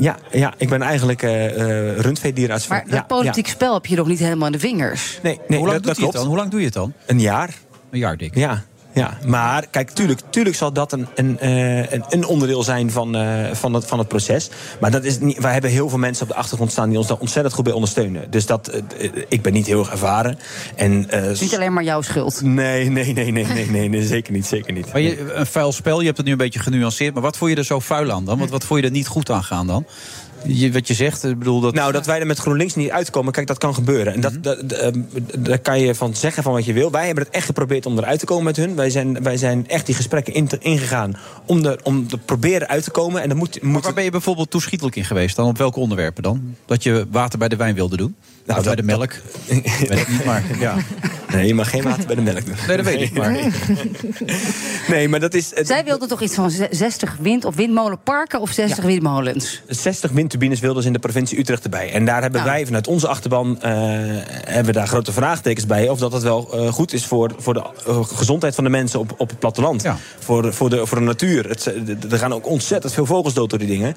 K: Ja, ja, ik ben eigenlijk eh eh, rundveedierenarts.
V: Maar
K: van-
V: dat
K: ja,
V: politiek
K: ja.
V: spel heb je nog niet helemaal in de vingers.
K: Nee, nee,
J: Hoe lang
K: dat, dat
J: doet hij het
K: klopt.
J: dan? Hoe lang doe je het dan?
K: Een jaar.
J: Een jaar dik.
K: Ja, ja. maar kijk, tuurlijk, tuurlijk zal dat een, een, eh, een, een onderdeel zijn van, eh, van, het, van het proces. Maar dat is niet, wij hebben heel veel mensen op de achtergrond staan die ons daar ontzettend goed bij ondersteunen. Dus dat, eh, eh, ik ben niet heel erg ervaren. En, eh,
V: Het is niet alleen maar jouw schuld.
K: Nee, nee, nee, nee, nee, nee, nee, zeker niet, zeker niet.
J: Maar je, een vuil spel, je hebt het nu een beetje genuanceerd. Maar wat vond je er zo vuil aan dan? Want wat vond je er niet goed aan gaan dan? Je, wat je zegt, ik bedoel dat...
K: Nou, dat wij er met GroenLinks niet uitkomen, kijk, dat kan gebeuren. En dat, dat, dat, ehm, daar kan je van zeggen van wat je wil. Wij hebben het echt geprobeerd om eruit te komen met hun. Wij zijn, wij zijn echt die gesprekken in te- ingegaan om er om te proberen uit te komen. En dan moet, moet
J: Waar ben je bijvoorbeeld toeschietelijk in geweest dan? Op welke onderwerpen dan? Dat je water bij de wijn wilde doen? Nou, bij de melk? Weet ik niet, maar ja.
K: Nee, je mag geen water bij de melk doen.
J: Nee, dat weet ik, maar...
K: Nee, maar dat is... het-
V: Zij wilden toch iets van ze- 60 wind- of windmolenparken of 60 windmolens?
K: 60 windturbines wilden ze in de provincie Utrecht erbij. En daar hebben wij vanuit onze achterban eh, hebben we daar grote vraagtekens bij. Of dat het wel eh, goed is voor, voor de eh, gezondheid van de mensen op, op het platteland. Voor, voor, de, voor de natuur. Het, eh, er gaan ook ontzettend veel vogels dood door die dingen.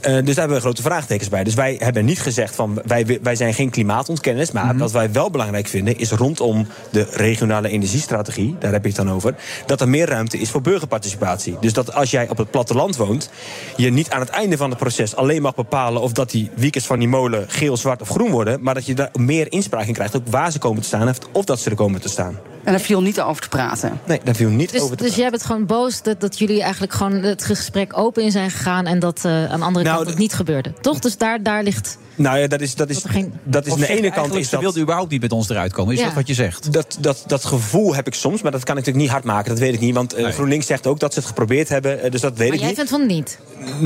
K: Eh, dus daar hebben we grote vraagtekens bij. Dus wij hebben niet gezegd van wij, wij zijn geen klimaatontkenners. Maar
J: Mhm.
K: wat wij wel belangrijk vinden is rondom de regionale energiestrategie. Daar heb je het dan over. Dat er meer ruimte is voor burgerparticipatie. Dus dat als jij op het platteland woont. je niet aan het einde van het proces alleen mag bepalen. of dat die wiekers van die molen geel, zwart of groen worden. maar dat je daar meer inspraak in krijgt. ook waar ze komen te staan. of dat ze er komen te staan.
V: En daar viel niet over te praten.
K: Nee, daar viel niet
E: Dus,
K: over te
E: dus jij bent gewoon boos dat, dat jullie eigenlijk gewoon het gesprek open in zijn gegaan en dat eh, aan de andere kant het niet gebeurde. Toch? Dus daar, daar ligt.
K: Nou ja, dat is, dat is, dat is
J: Of
K: aan de ene
J: zeg je
K: kant.
J: eigenlijk,
K: Is
J: ze
K: dat,
J: wilden überhaupt niet met ons eruit komen. Is
K: Ja.
J: dat wat je zegt?
K: Dat, dat, dat gevoel heb ik soms, maar dat kan ik natuurlijk niet hard maken. Dat weet ik niet, want eh, GroenLinks zegt ook dat ze het geprobeerd hebben. eh, dus dat weet
E: Maar
K: ik
E: jij
K: niet.
E: vindt van niet.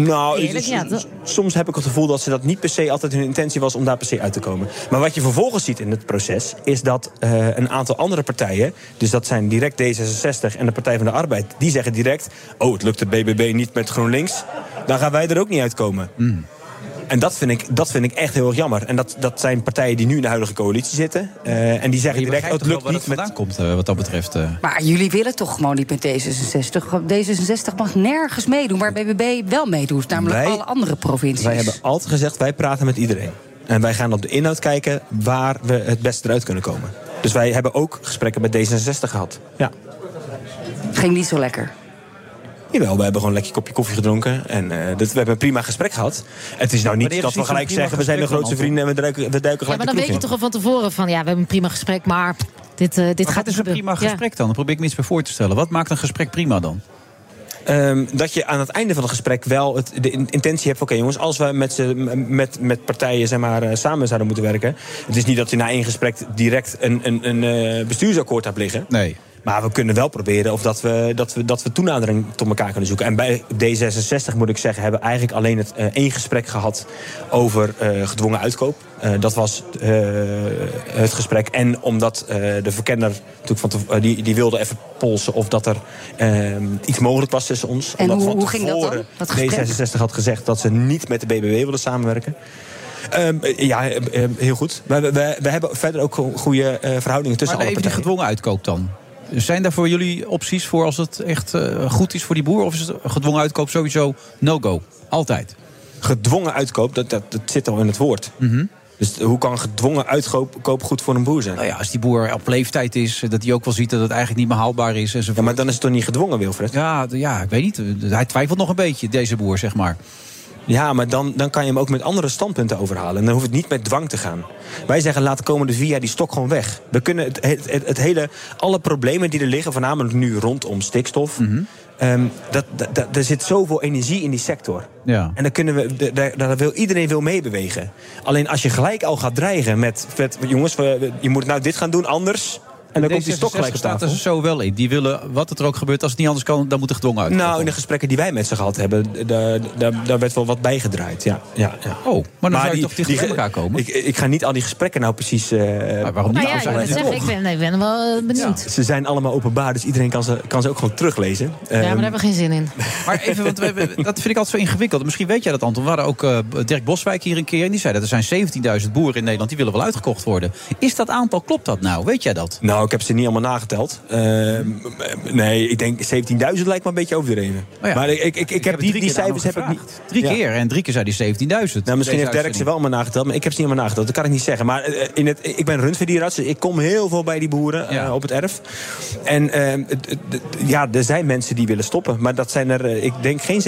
K: Nou,
E: Eerlijk,
K: s-
E: ja, dat-
K: soms heb ik het gevoel dat ze dat niet per se altijd hun intentie was om daar per se uit te komen. Maar wat je vervolgens ziet in het proces is dat eh, een aantal andere partijen, dus dat zijn direct D66 en de Partij van de Arbeid, die zeggen direct: Oh, het lukt de BBB niet met GroenLinks, dan gaan wij er ook niet uitkomen.
J: Mm.
K: En dat vind, ik, dat vind ik echt heel erg jammer. En dat, dat zijn partijen die nu in de huidige coalitie zitten. eh, en die zeggen direct, oh, het lukt niet met...
J: komt, eh, wat dat betreft. eh.
V: Maar jullie willen toch gewoon niet met D66? D66 mag nergens meedoen, waar BBB wel meedoet. Namelijk
K: Wij-
V: alle andere provincies.
K: Wij hebben altijd gezegd, wij praten met iedereen. En wij gaan op de inhoud kijken waar we het beste eruit kunnen komen. Dus wij hebben ook gesprekken met D66 gehad. Ja.
V: Ging niet zo lekker.
K: Jawel, we hebben gewoon een lekker kopje koffie gedronken. En eh, dat, we hebben een prima gesprek gehad. Het is nou
J: Maar
K: niet
J: die hebben
K: dat we
J: zo'n
K: gelijk
J: prima
K: zeggen... we zijn de
J: gesprek
K: grootste
J: dan,
K: vrienden en we duiken, we duiken
E: Ja,
K: gelijk
E: maar dan
K: de
E: weet je
K: kroeg
E: toch
K: in.
E: al van tevoren van ja, we hebben een prima gesprek, maar dit, eh, dit gaat
J: Het is een prima gesprek dan. Dan probeer ik me iets bij voor te stellen. Wat maakt een gesprek prima dan?
K: Ehm, dat je aan het einde van het gesprek wel het, de in- intentie hebt van... oké jongens, als we met, z'n- m- met, met partijen zeg maar, eh, samen zouden moeten werken... het is niet dat je na één gesprek direct een, een, een eh, bestuursakkoord hebt liggen.
J: Nee.
K: Maar we kunnen wel proberen of dat we, dat we, dat we toenadering tot elkaar kunnen zoeken. En bij D66 moet ik zeggen, hebben we eigenlijk alleen het, eh, één gesprek gehad over eh, gedwongen uitkoop. Eh, dat was eh, het gesprek. En omdat eh, de verkenner natuurlijk van te- eh, die, die wilde even polsen of dat er eh, iets mogelijk was tussen ons.
V: En
K: Omdat
V: hoe-
K: van
V: hoe ging dat dan,
K: tevoren
V: dat gesprek?
K: D66 had gezegd dat ze niet met de BBW wilden samenwerken. Ehm, eh, ja, eh, eh, heel goed. We, we- we, we hebben verder ook go- goede eh, verhoudingen tussen
J: maar
K: alle
J: even die
K: partijen.
J: gedwongen uitkoop dan. Zijn daar voor jullie opties voor als het echt eh, goed is voor die boer? Of is het gedwongen uitkoop sowieso no-go? Altijd.
K: Gedwongen uitkoop, dat, dat, dat zit al in het woord.
J: Mhm.
K: Dus hoe kan gedwongen uitkoop koop goed voor een boer zijn?
J: Nou ja, als die boer op leeftijd is, eh, dat hij ook wel ziet dat het eigenlijk niet meer haalbaar is. Enzovoort. Ja, maar
K: dan is het toch niet gedwongen, Wilfred?
J: Ja, d- ja, ik weet niet. Hij twijfelt nog een beetje, deze boer, zeg maar.
K: Ja, maar dan, dan kan je hem ook met andere standpunten overhalen. En dan hoeft het niet met dwang te gaan. Wij zeggen, laat de komende vier jaar die stok gewoon weg. We kunnen het, het, het- het hele, alle problemen die er liggen, voornamelijk nu rondom stikstof...
J: Mhm.
K: ehm, dat, dat, dat- er zit zoveel energie in die sector.
J: Ja.
K: En dan kunnen we, d- daar, daar wil, iedereen wil meebewegen. Alleen als je gelijk al gaat dreigen met... met jongens, we- we- je moet nou dit gaan doen, anders... En dan komt die stok gelijk op
J: staat
K: tafel.
J: er zo wel in. Die willen, wat er ook gebeurt, als het niet anders kan, dan moet er gedwongen uitkoop.
K: Nou, in de gesprekken die wij met ze gehad hebben, d- daar, daar, daar werd wel wat bijgedraaid. Ja, ja, ja.
J: Oh, maar dan zou je
K: die-
J: toch dichter
K: die-
J: bij elkaar komen?
K: Ik, ik ga niet al die gesprekken nou precies. eh waarom
E: Nou ja, ik wil het zeggen, ik ben, nee, ik ben wel eh, benieuwd.
K: Ze zijn allemaal openbaar, dus iedereen kan ze, kan ze ook gewoon teruglezen. Ehm,
E: Ja, maar daar hebben we geen zin in.
J: Maar even, want we hebben- dat vind ik altijd zo ingewikkeld. Misschien weet jij dat, Anton. We hadden ook eh, Dirk Boswijk hier een keer. En die zei dat er zijn 17.000 boeren in Nederland. Die willen wel uitgekocht worden. Is dat aantal, klopt dat nou? Weet jij dat?
K: Nou, ik heb ze niet allemaal nageteld. Ehm, eh, nee, ik denk 17.000 lijkt me een beetje overdreven.
J: Oh ja.
K: Maar ik, ik, ik, ik heb die, die cijfers heb ik niet.
J: Drie
K: Ja.
J: keer. En drie keer zei hij 17.000.
K: Nou, misschien heeft Dirk ze
J: uitzending.
K: wel maar nageteld, maar ik heb ze niet helemaal nageteld. Dat kan ik niet zeggen. Maar eh, in het, ik ben rundverdierarts, dus ik kom heel veel bij die boeren eh, op het erf. En eh, het- het- het- ja, er zijn mensen die willen stoppen. Maar dat zijn er, eh, ik denk, geen 17.000.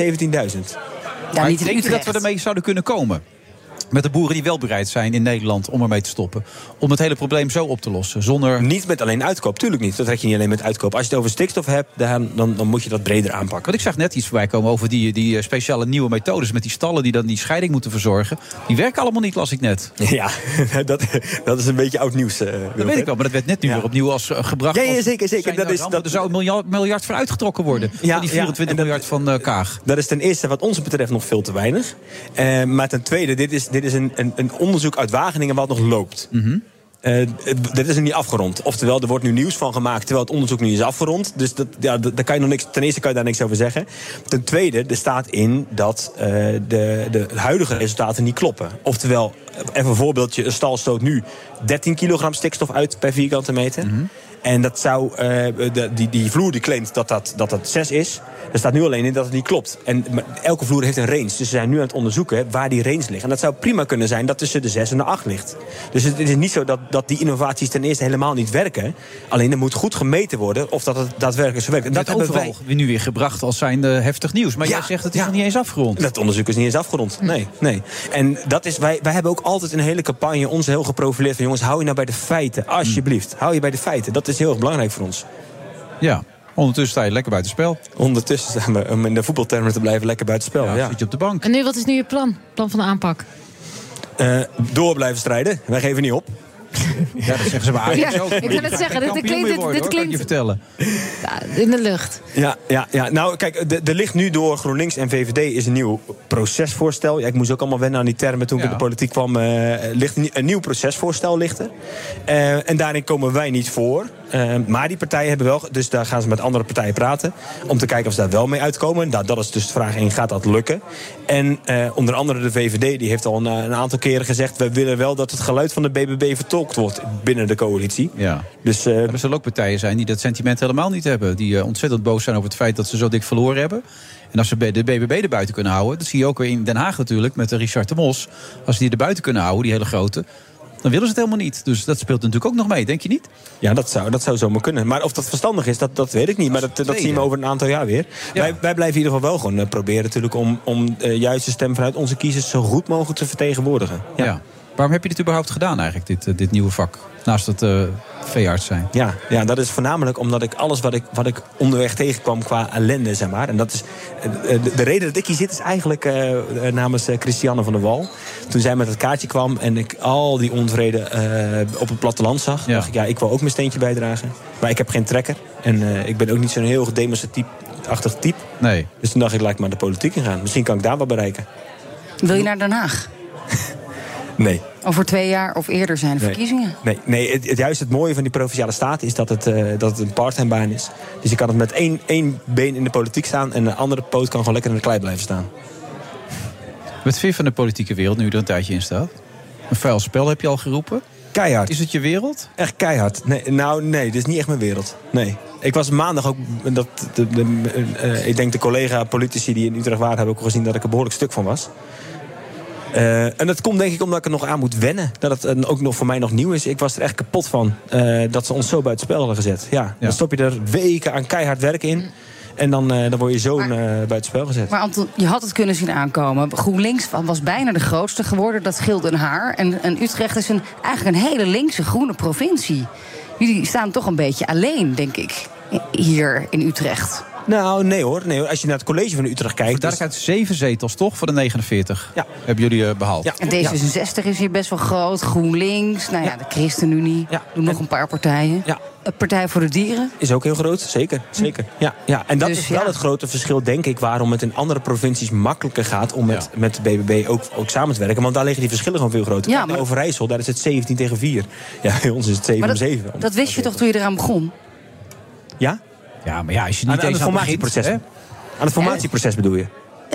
J: Maar denk je dat we ermee zouden kunnen komen? Met de boeren die wel bereid zijn in Nederland om ermee te stoppen. Om het hele probleem zo op te lossen. Zonder...
K: Niet met alleen uitkoop, tuurlijk niet. Dat red je niet alleen met uitkoop. Als je het over stikstof hebt, dan, dan, dan moet je dat breder aanpakken.
J: Want ik zag net iets voorbij komen over die, die eh, speciale nieuwe methodes. Met die stallen die dan die scheiding moeten verzorgen. Die werken allemaal niet, las ik net.
K: Ja, dat, dat is een beetje oud nieuws. eh,
J: Dat weet ik wel, maar dat werd net nu weer opnieuw als eh, gebracht.
K: Ja, ja,
J: als-
K: zeker, zeker.
J: zijn
K: Dat
J: nou
K: is-
J: rampen. Er zou een miljard, miljard voor uitgetrokken worden.
K: Ja,
J: van die
K: ja,
J: 24 miljard van eh, Kaag.
K: Dat is ten eerste wat ons betreft nog veel te weinig. Eh, maar ten tweede, dit is, dit is een, een, een onderzoek uit Wageningen wat nog loopt.
J: Mhm.
K: Eh, d- dit is er niet afgerond. Oftewel, er wordt nu nieuws van gemaakt terwijl het onderzoek nu is afgerond. Dus dat, ja, d- daar kan je nog niks, ten eerste kan je daar niks over zeggen. Ten tweede, er staat in dat eh, de, de huidige resultaten niet kloppen. Oftewel, even een voorbeeldje: een stal stoot nu 13 kilogram stikstof uit per vierkante meter.
J: Mhm.
K: En dat zou, eh, de, die, die vloer die claimt dat dat, dat dat 6 is. Er staat nu alleen in dat het niet klopt. En maar elke vloer heeft een range. Dus ze zijn nu aan het onderzoeken waar die range ligt. En dat zou prima kunnen zijn dat tussen de 6 en de 8 ligt. Dus het, het is niet zo dat, dat die innovaties ten eerste helemaal niet werken. Alleen er moet goed gemeten worden of dat het daadwerkelijk zo werkt. En
J: Dat
K: dat
J: wordt
K: hebben
J: overal
K: wij.
J: nu weer gebracht als zijnde heftig nieuws. Maar jij zegt het is nog niet eens afgerond.
K: Dat onderzoek is niet eens afgerond. Nee, nee. En dat is, wij, wij hebben ook altijd een hele campagne ons heel geprofileerd van jongens, hou je nou bij de feiten. Alsjeblieft, hou je bij de feiten. Dat is heel erg belangrijk voor ons.
J: Ja, ondertussen sta je lekker buiten spel.
K: Ondertussen zijn we, om in de voetbaltermen te blijven, lekker buiten spel. Ja,
J: zit je op de bank.
E: En nu, wat is nu je plan? Plan van de aanpak?
K: eh, door blijven strijden. Wij geven niet op.
J: Ja, dat zeggen ze bij
E: Ajax Ja, ook. ik wil net zeggen, dit
J: Kampioen
E: klinkt-
J: mee worden,
E: dit
J: hoor, kan ik
E: klinkt-
J: je vertellen.
E: Ja, in de lucht.
K: Ja, ja, ja, nou kijk, de- er ligt nu door GroenLinks en VVD is een nieuw procesvoorstel. Ja, ik moest ook allemaal wennen aan die termen toen ik in de politiek kwam. eh, ligt een, een nieuw procesvoorstel ligt er. Eh, en daarin komen wij niet voor. Eh, maar die partijen hebben wel, dus daar gaan ze met andere partijen praten. Om te kijken of ze daar wel mee uitkomen. Nou, dat is dus de vraag 1, gaat dat lukken? En eh, onder andere de VVD, die heeft al een, een aantal keren gezegd... we willen wel dat het geluid van de BBB vertolkt wordt binnen de coalitie.
J: Ja.
K: Dus,
J: er zullen ook partijen zijn die dat sentiment helemaal niet hebben. Die eh, ontzettend boos zijn over het feit dat ze zo dik verloren hebben. En als ze bij de BBB erbuiten kunnen houden. Dat zie je ook weer in Den Haag natuurlijk met eh, Richard de Mos. Als die erbuiten kunnen houden, die hele grote. Dan willen ze het helemaal niet. Dus dat speelt natuurlijk ook nog mee, denk je niet?
K: Ja, dat zou, dat zou zomaar kunnen. Maar of dat verstandig is, dat, dat weet ik niet. Maar dat, dat zien we over een aantal jaar weer. Wij, wij blijven in ieder geval wel gewoon eh, proberen natuurlijk om, om eh, juist de stem vanuit onze kiezers zo goed mogelijk te vertegenwoordigen.
J: Ja. Waarom heb je dit überhaupt gedaan eigenlijk, dit, eh, dit nieuwe vak? Naast het eh, veearts zijn.
K: Ja, ja, dat is voornamelijk omdat ik alles wat ik, wat ik onderweg tegenkwam qua ellende, zeg maar. En dat is, eh, eh, de, de reden dat ik hier zit is eigenlijk eh, eh, namens eh, Christiane van der Wal. Toen zij met het kaartje kwam en ik al die onvrede eh, op het platteland zag, dacht ik, ja, ik wil ook mijn steentje bijdragen. Maar ik heb geen trekker en eh, ik ben ook niet zo'n heel demonstratief-achtig type.
J: Nee.
K: Dus toen dacht ik, laat ik maar de politiek in gaan. Misschien kan ik daar wat bereiken.
V: Wil je naar Den Haag?
K: Nee.
V: Over twee jaar of eerder zijn de
K: Nee.
V: verkiezingen.
K: Nee, nee het, het- juist het mooie van die provinciale staat is dat het, eh, dat het een part-time baan is. Dus je kan het met één, één been in de politiek staan en de andere poot kan gewoon lekker in de klei blijven staan.
J: Wat vind je van de politieke wereld nu je er een tijdje in staat? Een vuil spel heb je al geroepen.
K: Keihard.
J: Is het je wereld?
K: Echt keihard. Nee, nou, nee, dit is niet echt mijn wereld. Nee. Ik was maandag ook. Dat, de, de- eh, ik denk de collega-politici die in Utrecht waren, hebben ook gezien dat ik er behoorlijk stuk van was. Eh, en dat komt denk ik omdat ik er nog aan moet wennen. Dat het eh, ook nog voor mij nog nieuw is. Ik was er echt kapot van eh, dat ze ons zo buiten spel hadden gezet. Ja, Dan stop je er weken aan keihard werk in. En dan, eh, dan word je zo eh buiten spel gezet.
V: Maar Anton, je had het kunnen zien aankomen. GroenLinks was bijna de grootste geworden. Dat scheelde een haar. En, en Utrecht is een, eigenlijk een hele linkse groene provincie. Jullie staan toch een beetje alleen, denk ik, hier in Utrecht.
K: Nou, nee hoor. Nee, hoor. Als je naar het college van Utrecht kijkt.
J: Daar uit zeven zetels toch voor de 49? Ja. Hebben jullie eh, behaald?
V: En D66 is hier best wel groot. GroenLinks, nou ja, de ChristenUnie. Doen nog een paar partijen. Eh, Partij voor de Dieren.
K: Is ook heel groot, zeker. zeker. Ja, ja. En dat
V: Dus
K: is wel het grote verschil, denk ik, waarom het in andere provincies makkelijker gaat om met, met de BBB ook, ook samen te werken. Want daar liggen die verschillen gewoon veel groter.
V: Ja,
K: Kijk naar
V: maar-
K: Overijssel, daar is het 17 tegen 4. Ja, bij ons is het 7
V: Maar
K: om
V: dat,
K: 7.
V: dat wist je toch toen je eraan begon?
K: Ja?
J: Ja, maar ja, als je
K: aan,
J: niet
K: aan
J: eens
K: het
J: aan
K: formatieproces.
J: begint,
K: aan het formatieproces bedoel je?
V: Eh,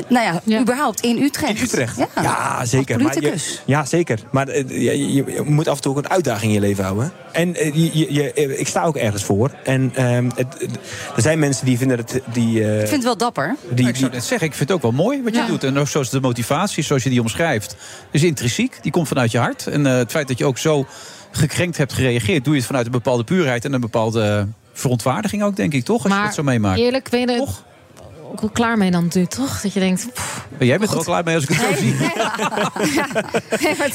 V: Nou ja, überhaupt in Utrecht. In
K: Utrecht?
V: Ja,
K: Ja, zeker.
V: Als
K: Maar je-
V: politicus.
K: ja, zeker. Maar eh, je, je- je moet af en toe ook een uitdaging in je leven houden. En eh, je, je, je- eh, ik sta ook ergens voor. En ehm, het, het- er zijn mensen die vinden het... Die, eh,
V: Ik vind het wel dapper.
J: Die, ik zou net zeggen, ik vind het ook wel mooi wat je doet. En ook zoals de motivatie, zoals je die omschrijft, is intrinsiek. Die komt vanuit je hart. En eh, het feit dat je ook zo gekrenkt hebt gereageerd, doe je het vanuit een bepaalde puurheid en een bepaalde eh, verontwaardiging ook, denk ik, toch? Als je dat zo meemaakt.
E: Eerlijk, ben je er ook wel klaar mee dan nu, toch? Dat je denkt, pff,
J: Maar jij bent er ook klaar mee als ik het zo zie.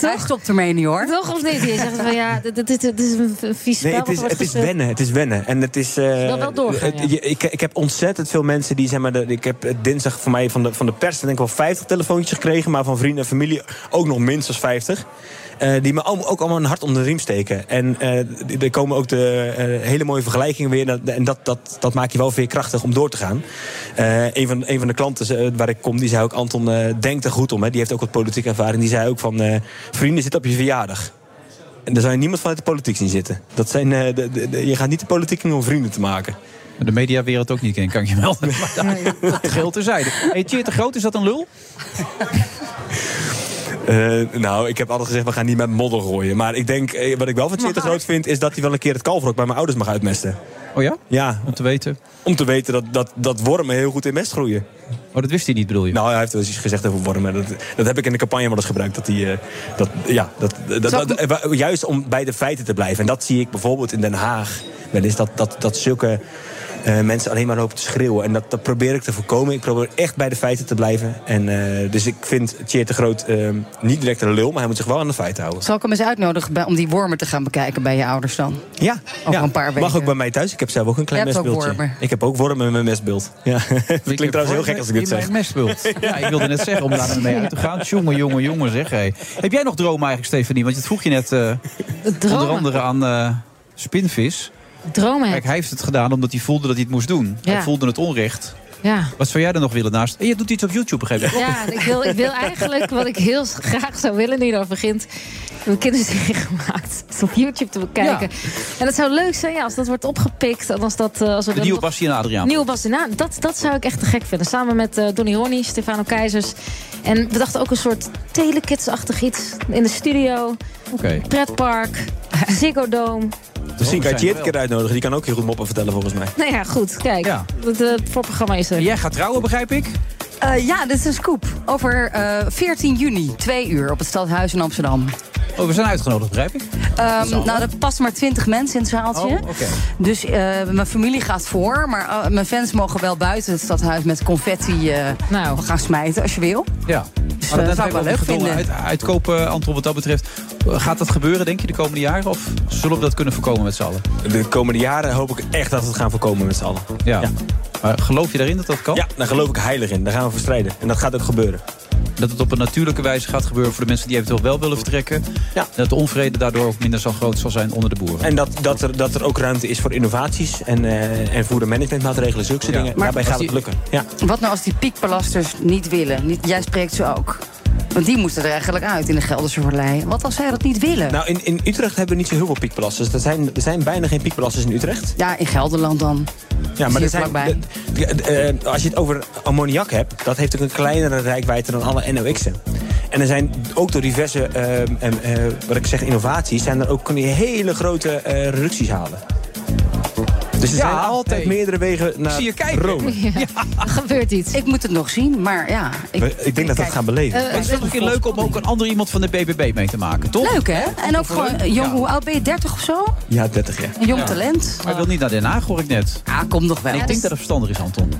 V: Hij stopt ermee niet hoor.
E: toch of niet? Je zegt van ja, dit, dit, dit is een vies spel.
K: Nee, het
E: wat
K: is,
E: wordt
K: het is
E: gespeeld.
K: wennen. Het is wennen. En het is. eh,
E: wil wel doorgaan,
K: het- je- ik, ik heb ontzettend veel mensen die zeg maar. de- ik heb eh, dinsdag voor mij van de, van de pers denk ik wel 50 telefoontjes gekregen, maar van vrienden en familie ook nog minstens 50. eh, die me al- ook allemaal een hart onder de riem steken. En eh, d- er komen ook de eh, hele mooie vergelijkingen weer. dat- En dat, dat, dat maakt je wel veerkrachtig om door te gaan. Eh, een, van, een van de klanten eh, waar ik kom, die zei ook... Anton, eh denk er goed om. Hè. Die heeft ook wat politieke ervaring. Die zei ook van... eh, vrienden, zit op je verjaardag. En daar zou je niemand vanuit de politiek zien zitten. Dat zijn, eh, de, de- de- je gaat niet de politiek in om vrienden te maken.
J: De mediawereld ook niet in, kan ik je melden. Dat geldt terzijde. Hey, Tjeerd de Groot, is dat een lul?
K: Eh, nou, ik heb altijd gezegd, we gaan niet met modder gooien. Maar ik denk, eh, wat ik wel van Tjeerd de Groot vind... is dat hij wel een keer het kalverok bij mijn ouders mag uitmesten.
J: Oh ja?
K: Ja.
J: Om te weten?
K: Om te weten dat, dat, dat wormen heel goed in mest groeien.
J: Oh, dat wist hij niet, bedoel je?
K: Nou, hij heeft wel eens iets gezegd over wormen. Dat, dat heb ik in de campagne wel eens gebruikt. Dat hij, eh, dat, ja, dat, dat,
J: Zal ik-
K: dat- eh, wa- juist om bij de feiten te blijven. En dat zie ik bijvoorbeeld in Den Haag. Wel eens dat, dat, dat zulke eh, mensen alleen maar lopen te schreeuwen. En dat, dat probeer ik te voorkomen. Ik probeer echt bij de feiten te blijven. En, eh, dus ik vind Tjeerd de Groot eh, niet direct een lul... maar hij moet zich wel aan de feiten houden.
V: Zal ik hem eens uitnodigen bij- om die wormen te gaan bekijken bij je ouders dan?
K: Ja,
V: Over een paar weken.
K: Mag ook bij mij thuis. Ik heb zelf ook een klein
V: Je hebt ook
K: mestbeeldje.
V: wormen.
K: Ik heb ook wormen in mijn mestbeeld. Ja. Het
J: Ik
K: klinkt trouwens heel gek als ik dit zeg.
J: In mijn mestbult. Ja, ik wilde net zeggen om daar mee uit te gaan. Jongen, jongen, jongen, zeg. Hey. Heb jij nog dromen eigenlijk, Stefanie? Want je vroeg je net eh, onder andere aan eh, Spinvis.
E: Dromen
J: Kijk, hij heeft het gedaan omdat hij voelde dat hij het moest doen. Hij
E: Ja.
J: voelde het onrecht.
E: Ja.
J: Wat zou jij dan nog willen naast? En je doet iets op YouTube, begrijp ik.
E: Ja, ik wil, ik wil eigenlijk wat ik heel graag zou willen nu dat begint. Mijn kinderserie gemaakt. Het is op YouTube te bekijken. En dat zou leuk zijn ja, als dat wordt opgepikt. En als dat, eh, als we
J: De
E: dat
J: nieuwe
E: nog-
J: Bassie en Adriaan.
E: Nieuwe Bas daarna, dat, dat zou ik echt te gek vinden. Samen met eh Donny Ronnie, Stefano Keizers. En we dachten ook een soort telekids-achtig iets. In de studio,
J: Oké.
E: pretpark, Ziggo Dome.
K: Misschien kan Dus je
J: zijn
K: Tjeerd een keer uitnodigen. Die kan ook heel goed moppen vertellen volgens mij.
E: Nou ja, goed, kijk.
K: Ja.
E: Het, eh, het voorprogramma is er.
J: Jij gaat trouwen, begrijp ik?
V: Eh, ja, dit is een scoop. Over eh 14 juni, twee uur, op het Stadhuis in Amsterdam.
J: Oh, we zijn uitgenodigd, begrijp ik.
V: Ehm, nou, er past maar 20 mensen in het zaaltje.
J: Oh, oké.
V: Dus eh, mijn familie gaat voor. Maar eh, mijn fans mogen wel buiten het Stadhuis met confetti eh,
E: Nou.
V: gaan smijten, als je wil.
J: Ja.
V: eh, zou ik wel
J: hebben we
V: leuk
J: gedwongen
V: vinden.
J: Uit, uitkopen, Anton, wat dat betreft. Gaat dat gebeuren, denk je, de komende jaren? Of zullen we dat kunnen voorkomen met z'n allen?
K: De komende jaren hoop ik echt dat we het gaan voorkomen met z'n allen.
J: Ja. Maar geloof je daarin dat dat kan?
K: Ja, daar geloof ik heilig in. Daar gaan we voor strijden. En dat gaat ook gebeuren.
J: Dat het op een natuurlijke wijze gaat gebeuren voor de mensen die eventueel wel willen vertrekken. Dat de onvrede daardoor ook minder zo groot zal zijn onder de boeren.
K: En dat, dat, er, dat er ook ruimte is voor innovaties en, eh, en voor de managementmaatregelen, zulke
J: Ja.
K: dingen.
J: Maar
K: Daarbij
J: als
K: gaat het
J: die-
K: lukken. Ja.
V: Wat nou als die piekpalasters niet willen? Niet, jij spreekt ze ook. Want die moesten er eigenlijk uit in de Gelderse Verlei. Wat als zij dat niet willen?
K: Nou, in, in Utrecht hebben we niet zo heel veel piekpelasters. Er zijn, er zijn bijna geen piekpelasters in Utrecht.
V: Ja, in Gelderland dan.
K: Ja, maar
V: Hier
K: er zijn,
V: vlakbij.
K: de- de- de- eh, als je het over ammoniak hebt, dat heeft ook een kleinere rijkwijde dan alle NOx'en. En er zijn ook door diverse, eh, em, eh, wat ik zeg, innovaties, zijn er ook, kun je hele grote eh, reducties halen. Dus er
V: Ja,
K: zijn altijd
V: hey.
K: meerdere wegen naar Rome.
V: Ja.
E: Er gebeurt iets.
V: Ik moet het nog zien, maar ja.
K: We- Ik, denk dat we dat gaan beleven.
V: eh,
J: Maar het is wel een keer leuk om ook een ander iemand van de BBB mee te maken, toch?
V: Leuk, hè? En ook gewoon, eh, jong, hoe oud ben je? 30 of zo?
K: Ja, 30 jaar.
V: Een jong talent.
J: Maar hij wil niet naar Den Haag, hoor ik net.
V: Ah, kom nog wel.
J: ik denk dat het verstandig is, Anton.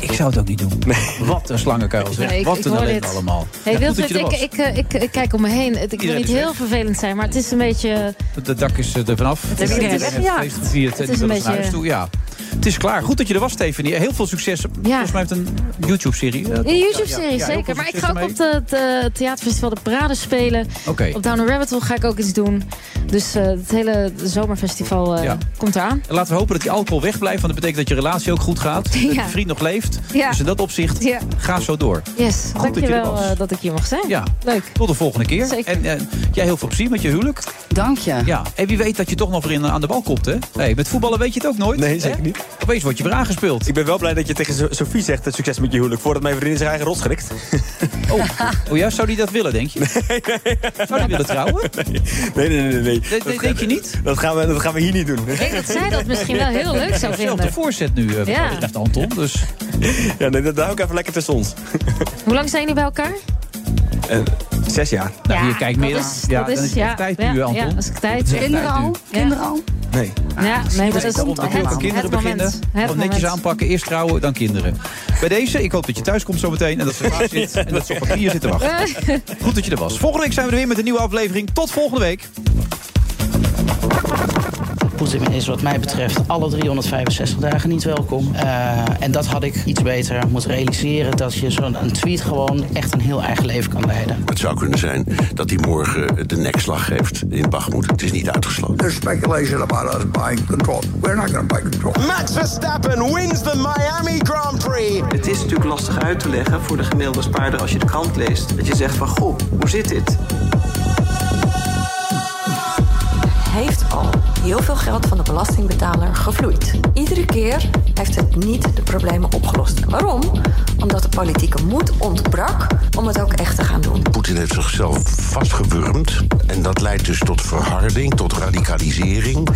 J: Ik zou het ook niet doen. Wat een slangenkuil, zeg.
E: Nee, ik-
J: Wat
E: ik
J: een
E: hoor
J: ellende
E: dit.
J: allemaal.
E: Hey
J: Ja, goed
E: Wilfred,
J: dat je er
E: ik,
J: was.
E: ik, eh, ik, ik kijk om me heen. Het- Ik wil
J: Iedereen
E: niet
J: is
E: heel
J: weg.
E: vervelend zijn, maar het is een beetje...
J: De dak is eh, er vanaf.
E: Het hebben iedereen weggejaagd.
J: Het, het is een beetje... Naar huis toe. Ja. Het is klaar. Goed dat je er was, Stephanie. Heel veel succes. eh, Volgens mij heeft een YouTube-serie. eh,
E: In een YouTube-serie,
J: Ja, ja, heel veel
E: zeker. Maar ik
J: succes
E: ga ook
J: ermee.
E: op het theaterfestival De Parade spelen.
J: Oké.
E: Op Down the Rabbit Hole ga ik ook iets doen. Dus eh, het hele zomerfestival eh,
J: Ja.
E: komt eraan.
J: En Laten we hopen dat die alcohol wegblijft, want dat betekent dat je relatie ook goed gaat. Dat je
E: Ja.
J: vriend nog leeft.
E: Ja.
J: Dus in dat opzicht,
E: Ja.
J: ga zo door.
E: Yes,
J: dat je er
E: dankjewel
J: was.
E: eh, dat ik hier mag zijn.
J: Ja.
E: Leuk.
J: Tot de volgende keer.
E: Zeker.
J: En eh, jij heel veel plezier met je huwelijk.
V: Dank je.
J: Ja. En wie weet dat je toch nog weer in, eh, aan de bal komt, hè? Hey, met voetballen weet je het ook nooit.
K: Nee,
J: hè?
K: zeker niet.
J: Opeens word je weer aangespeeld.
K: Ik ben wel blij dat je tegen So- Sophie zegt dat succes met je huwelijk, voordat mijn vriendin zijn eigen rot schrikt.
J: Oh ja, zou die dat willen, denk je? Zou die willen trouwen?
K: Nee, nee, nee. nee. nee.
J: Dat denk je niet?
K: Dat gaan we, dat gaan we hier niet doen.
E: Ik denk dat zij dat misschien wel heel leuk zou
J: Zelf de
E: vinden.
J: voorzet nu, eh, wat
E: Ja.
J: dat betreft, Anton. Dus
K: Ja, nee, dat hou ik even lekker tussen ons.
E: Hoe lang zijn jullie bij elkaar?
K: Eh, zes jaar.
J: Nou, je kijkt meer
E: dat
J: dan-
E: is,
J: ja,
E: dat
J: dan
E: is,
J: is het echt
E: ja,
J: tijd
E: ja,
J: nu, Anton.
E: Ja, dat is tijd.
J: Het is echt Kinderen tijd nu. al?
V: Kinderen al?
K: Nee.
E: Ja, nee, dat is
J: Om
E: het,
J: de kinderen
E: het
J: beginnen.
E: moment. Het
J: Gewoon netjes
E: moment.
J: aanpakken. Eerst trouwen, dan kinderen. Bij deze, ik hoop dat je thuis komt zometeen. En dat ze klaar zit. En dat ze op papier zit te wachten.
E: Eh.
J: Goed dat je er was. Volgende week zijn we er weer met een nieuwe aflevering. Tot volgende week.
O: Poetin is wat mij betreft alle 365 dagen niet welkom. Eh, en dat had ik iets beter moeten realiseren. Dat je zo'n een tweet gewoon echt een heel eigen leven kan leiden.
S: Het zou kunnen zijn dat hij morgen de nekslag geeft in Bachmoed. Het is niet uitgesloten.
W: There's speculation about us buying control. We're not going to buy control.
D: Max Verstappen wins the Miami Grand Prix.
X: Het is natuurlijk lastig uit te leggen voor de gemiddelde spaarder als je de krant leest. Dat je zegt van goh, hoe zit dit?
U: heeft
J: Oh.
U: al heel veel geld van de belastingbetaler gevloeid. Iedere keer heeft het niet de problemen opgelost. Waarom? Omdat de politieke moed ontbrak om het ook echt te gaan doen.
S: Poetin heeft zichzelf vastgewurmd. En dat leidt dus tot verharding, tot radicalisering.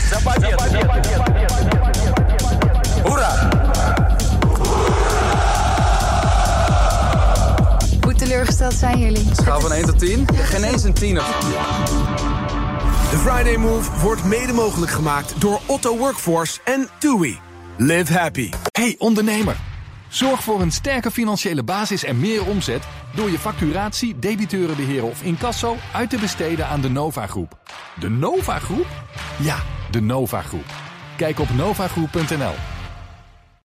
I: Hoe teleurgesteld zijn jullie?
Y: Schaal van 1 tot 10. Geen eens een 10
B: De Friday Move wordt mede mogelijk gemaakt door Otto Workforce en TUI. Live happy.
A: Hey ondernemer, zorg voor een sterke financiële basis en meer omzet door je facturatie, debiteurenbeheer of incasso uit te besteden aan de Nova Groep. De Nova Groep? Ja, de Nova Groep. Kijk op novagroep.nl.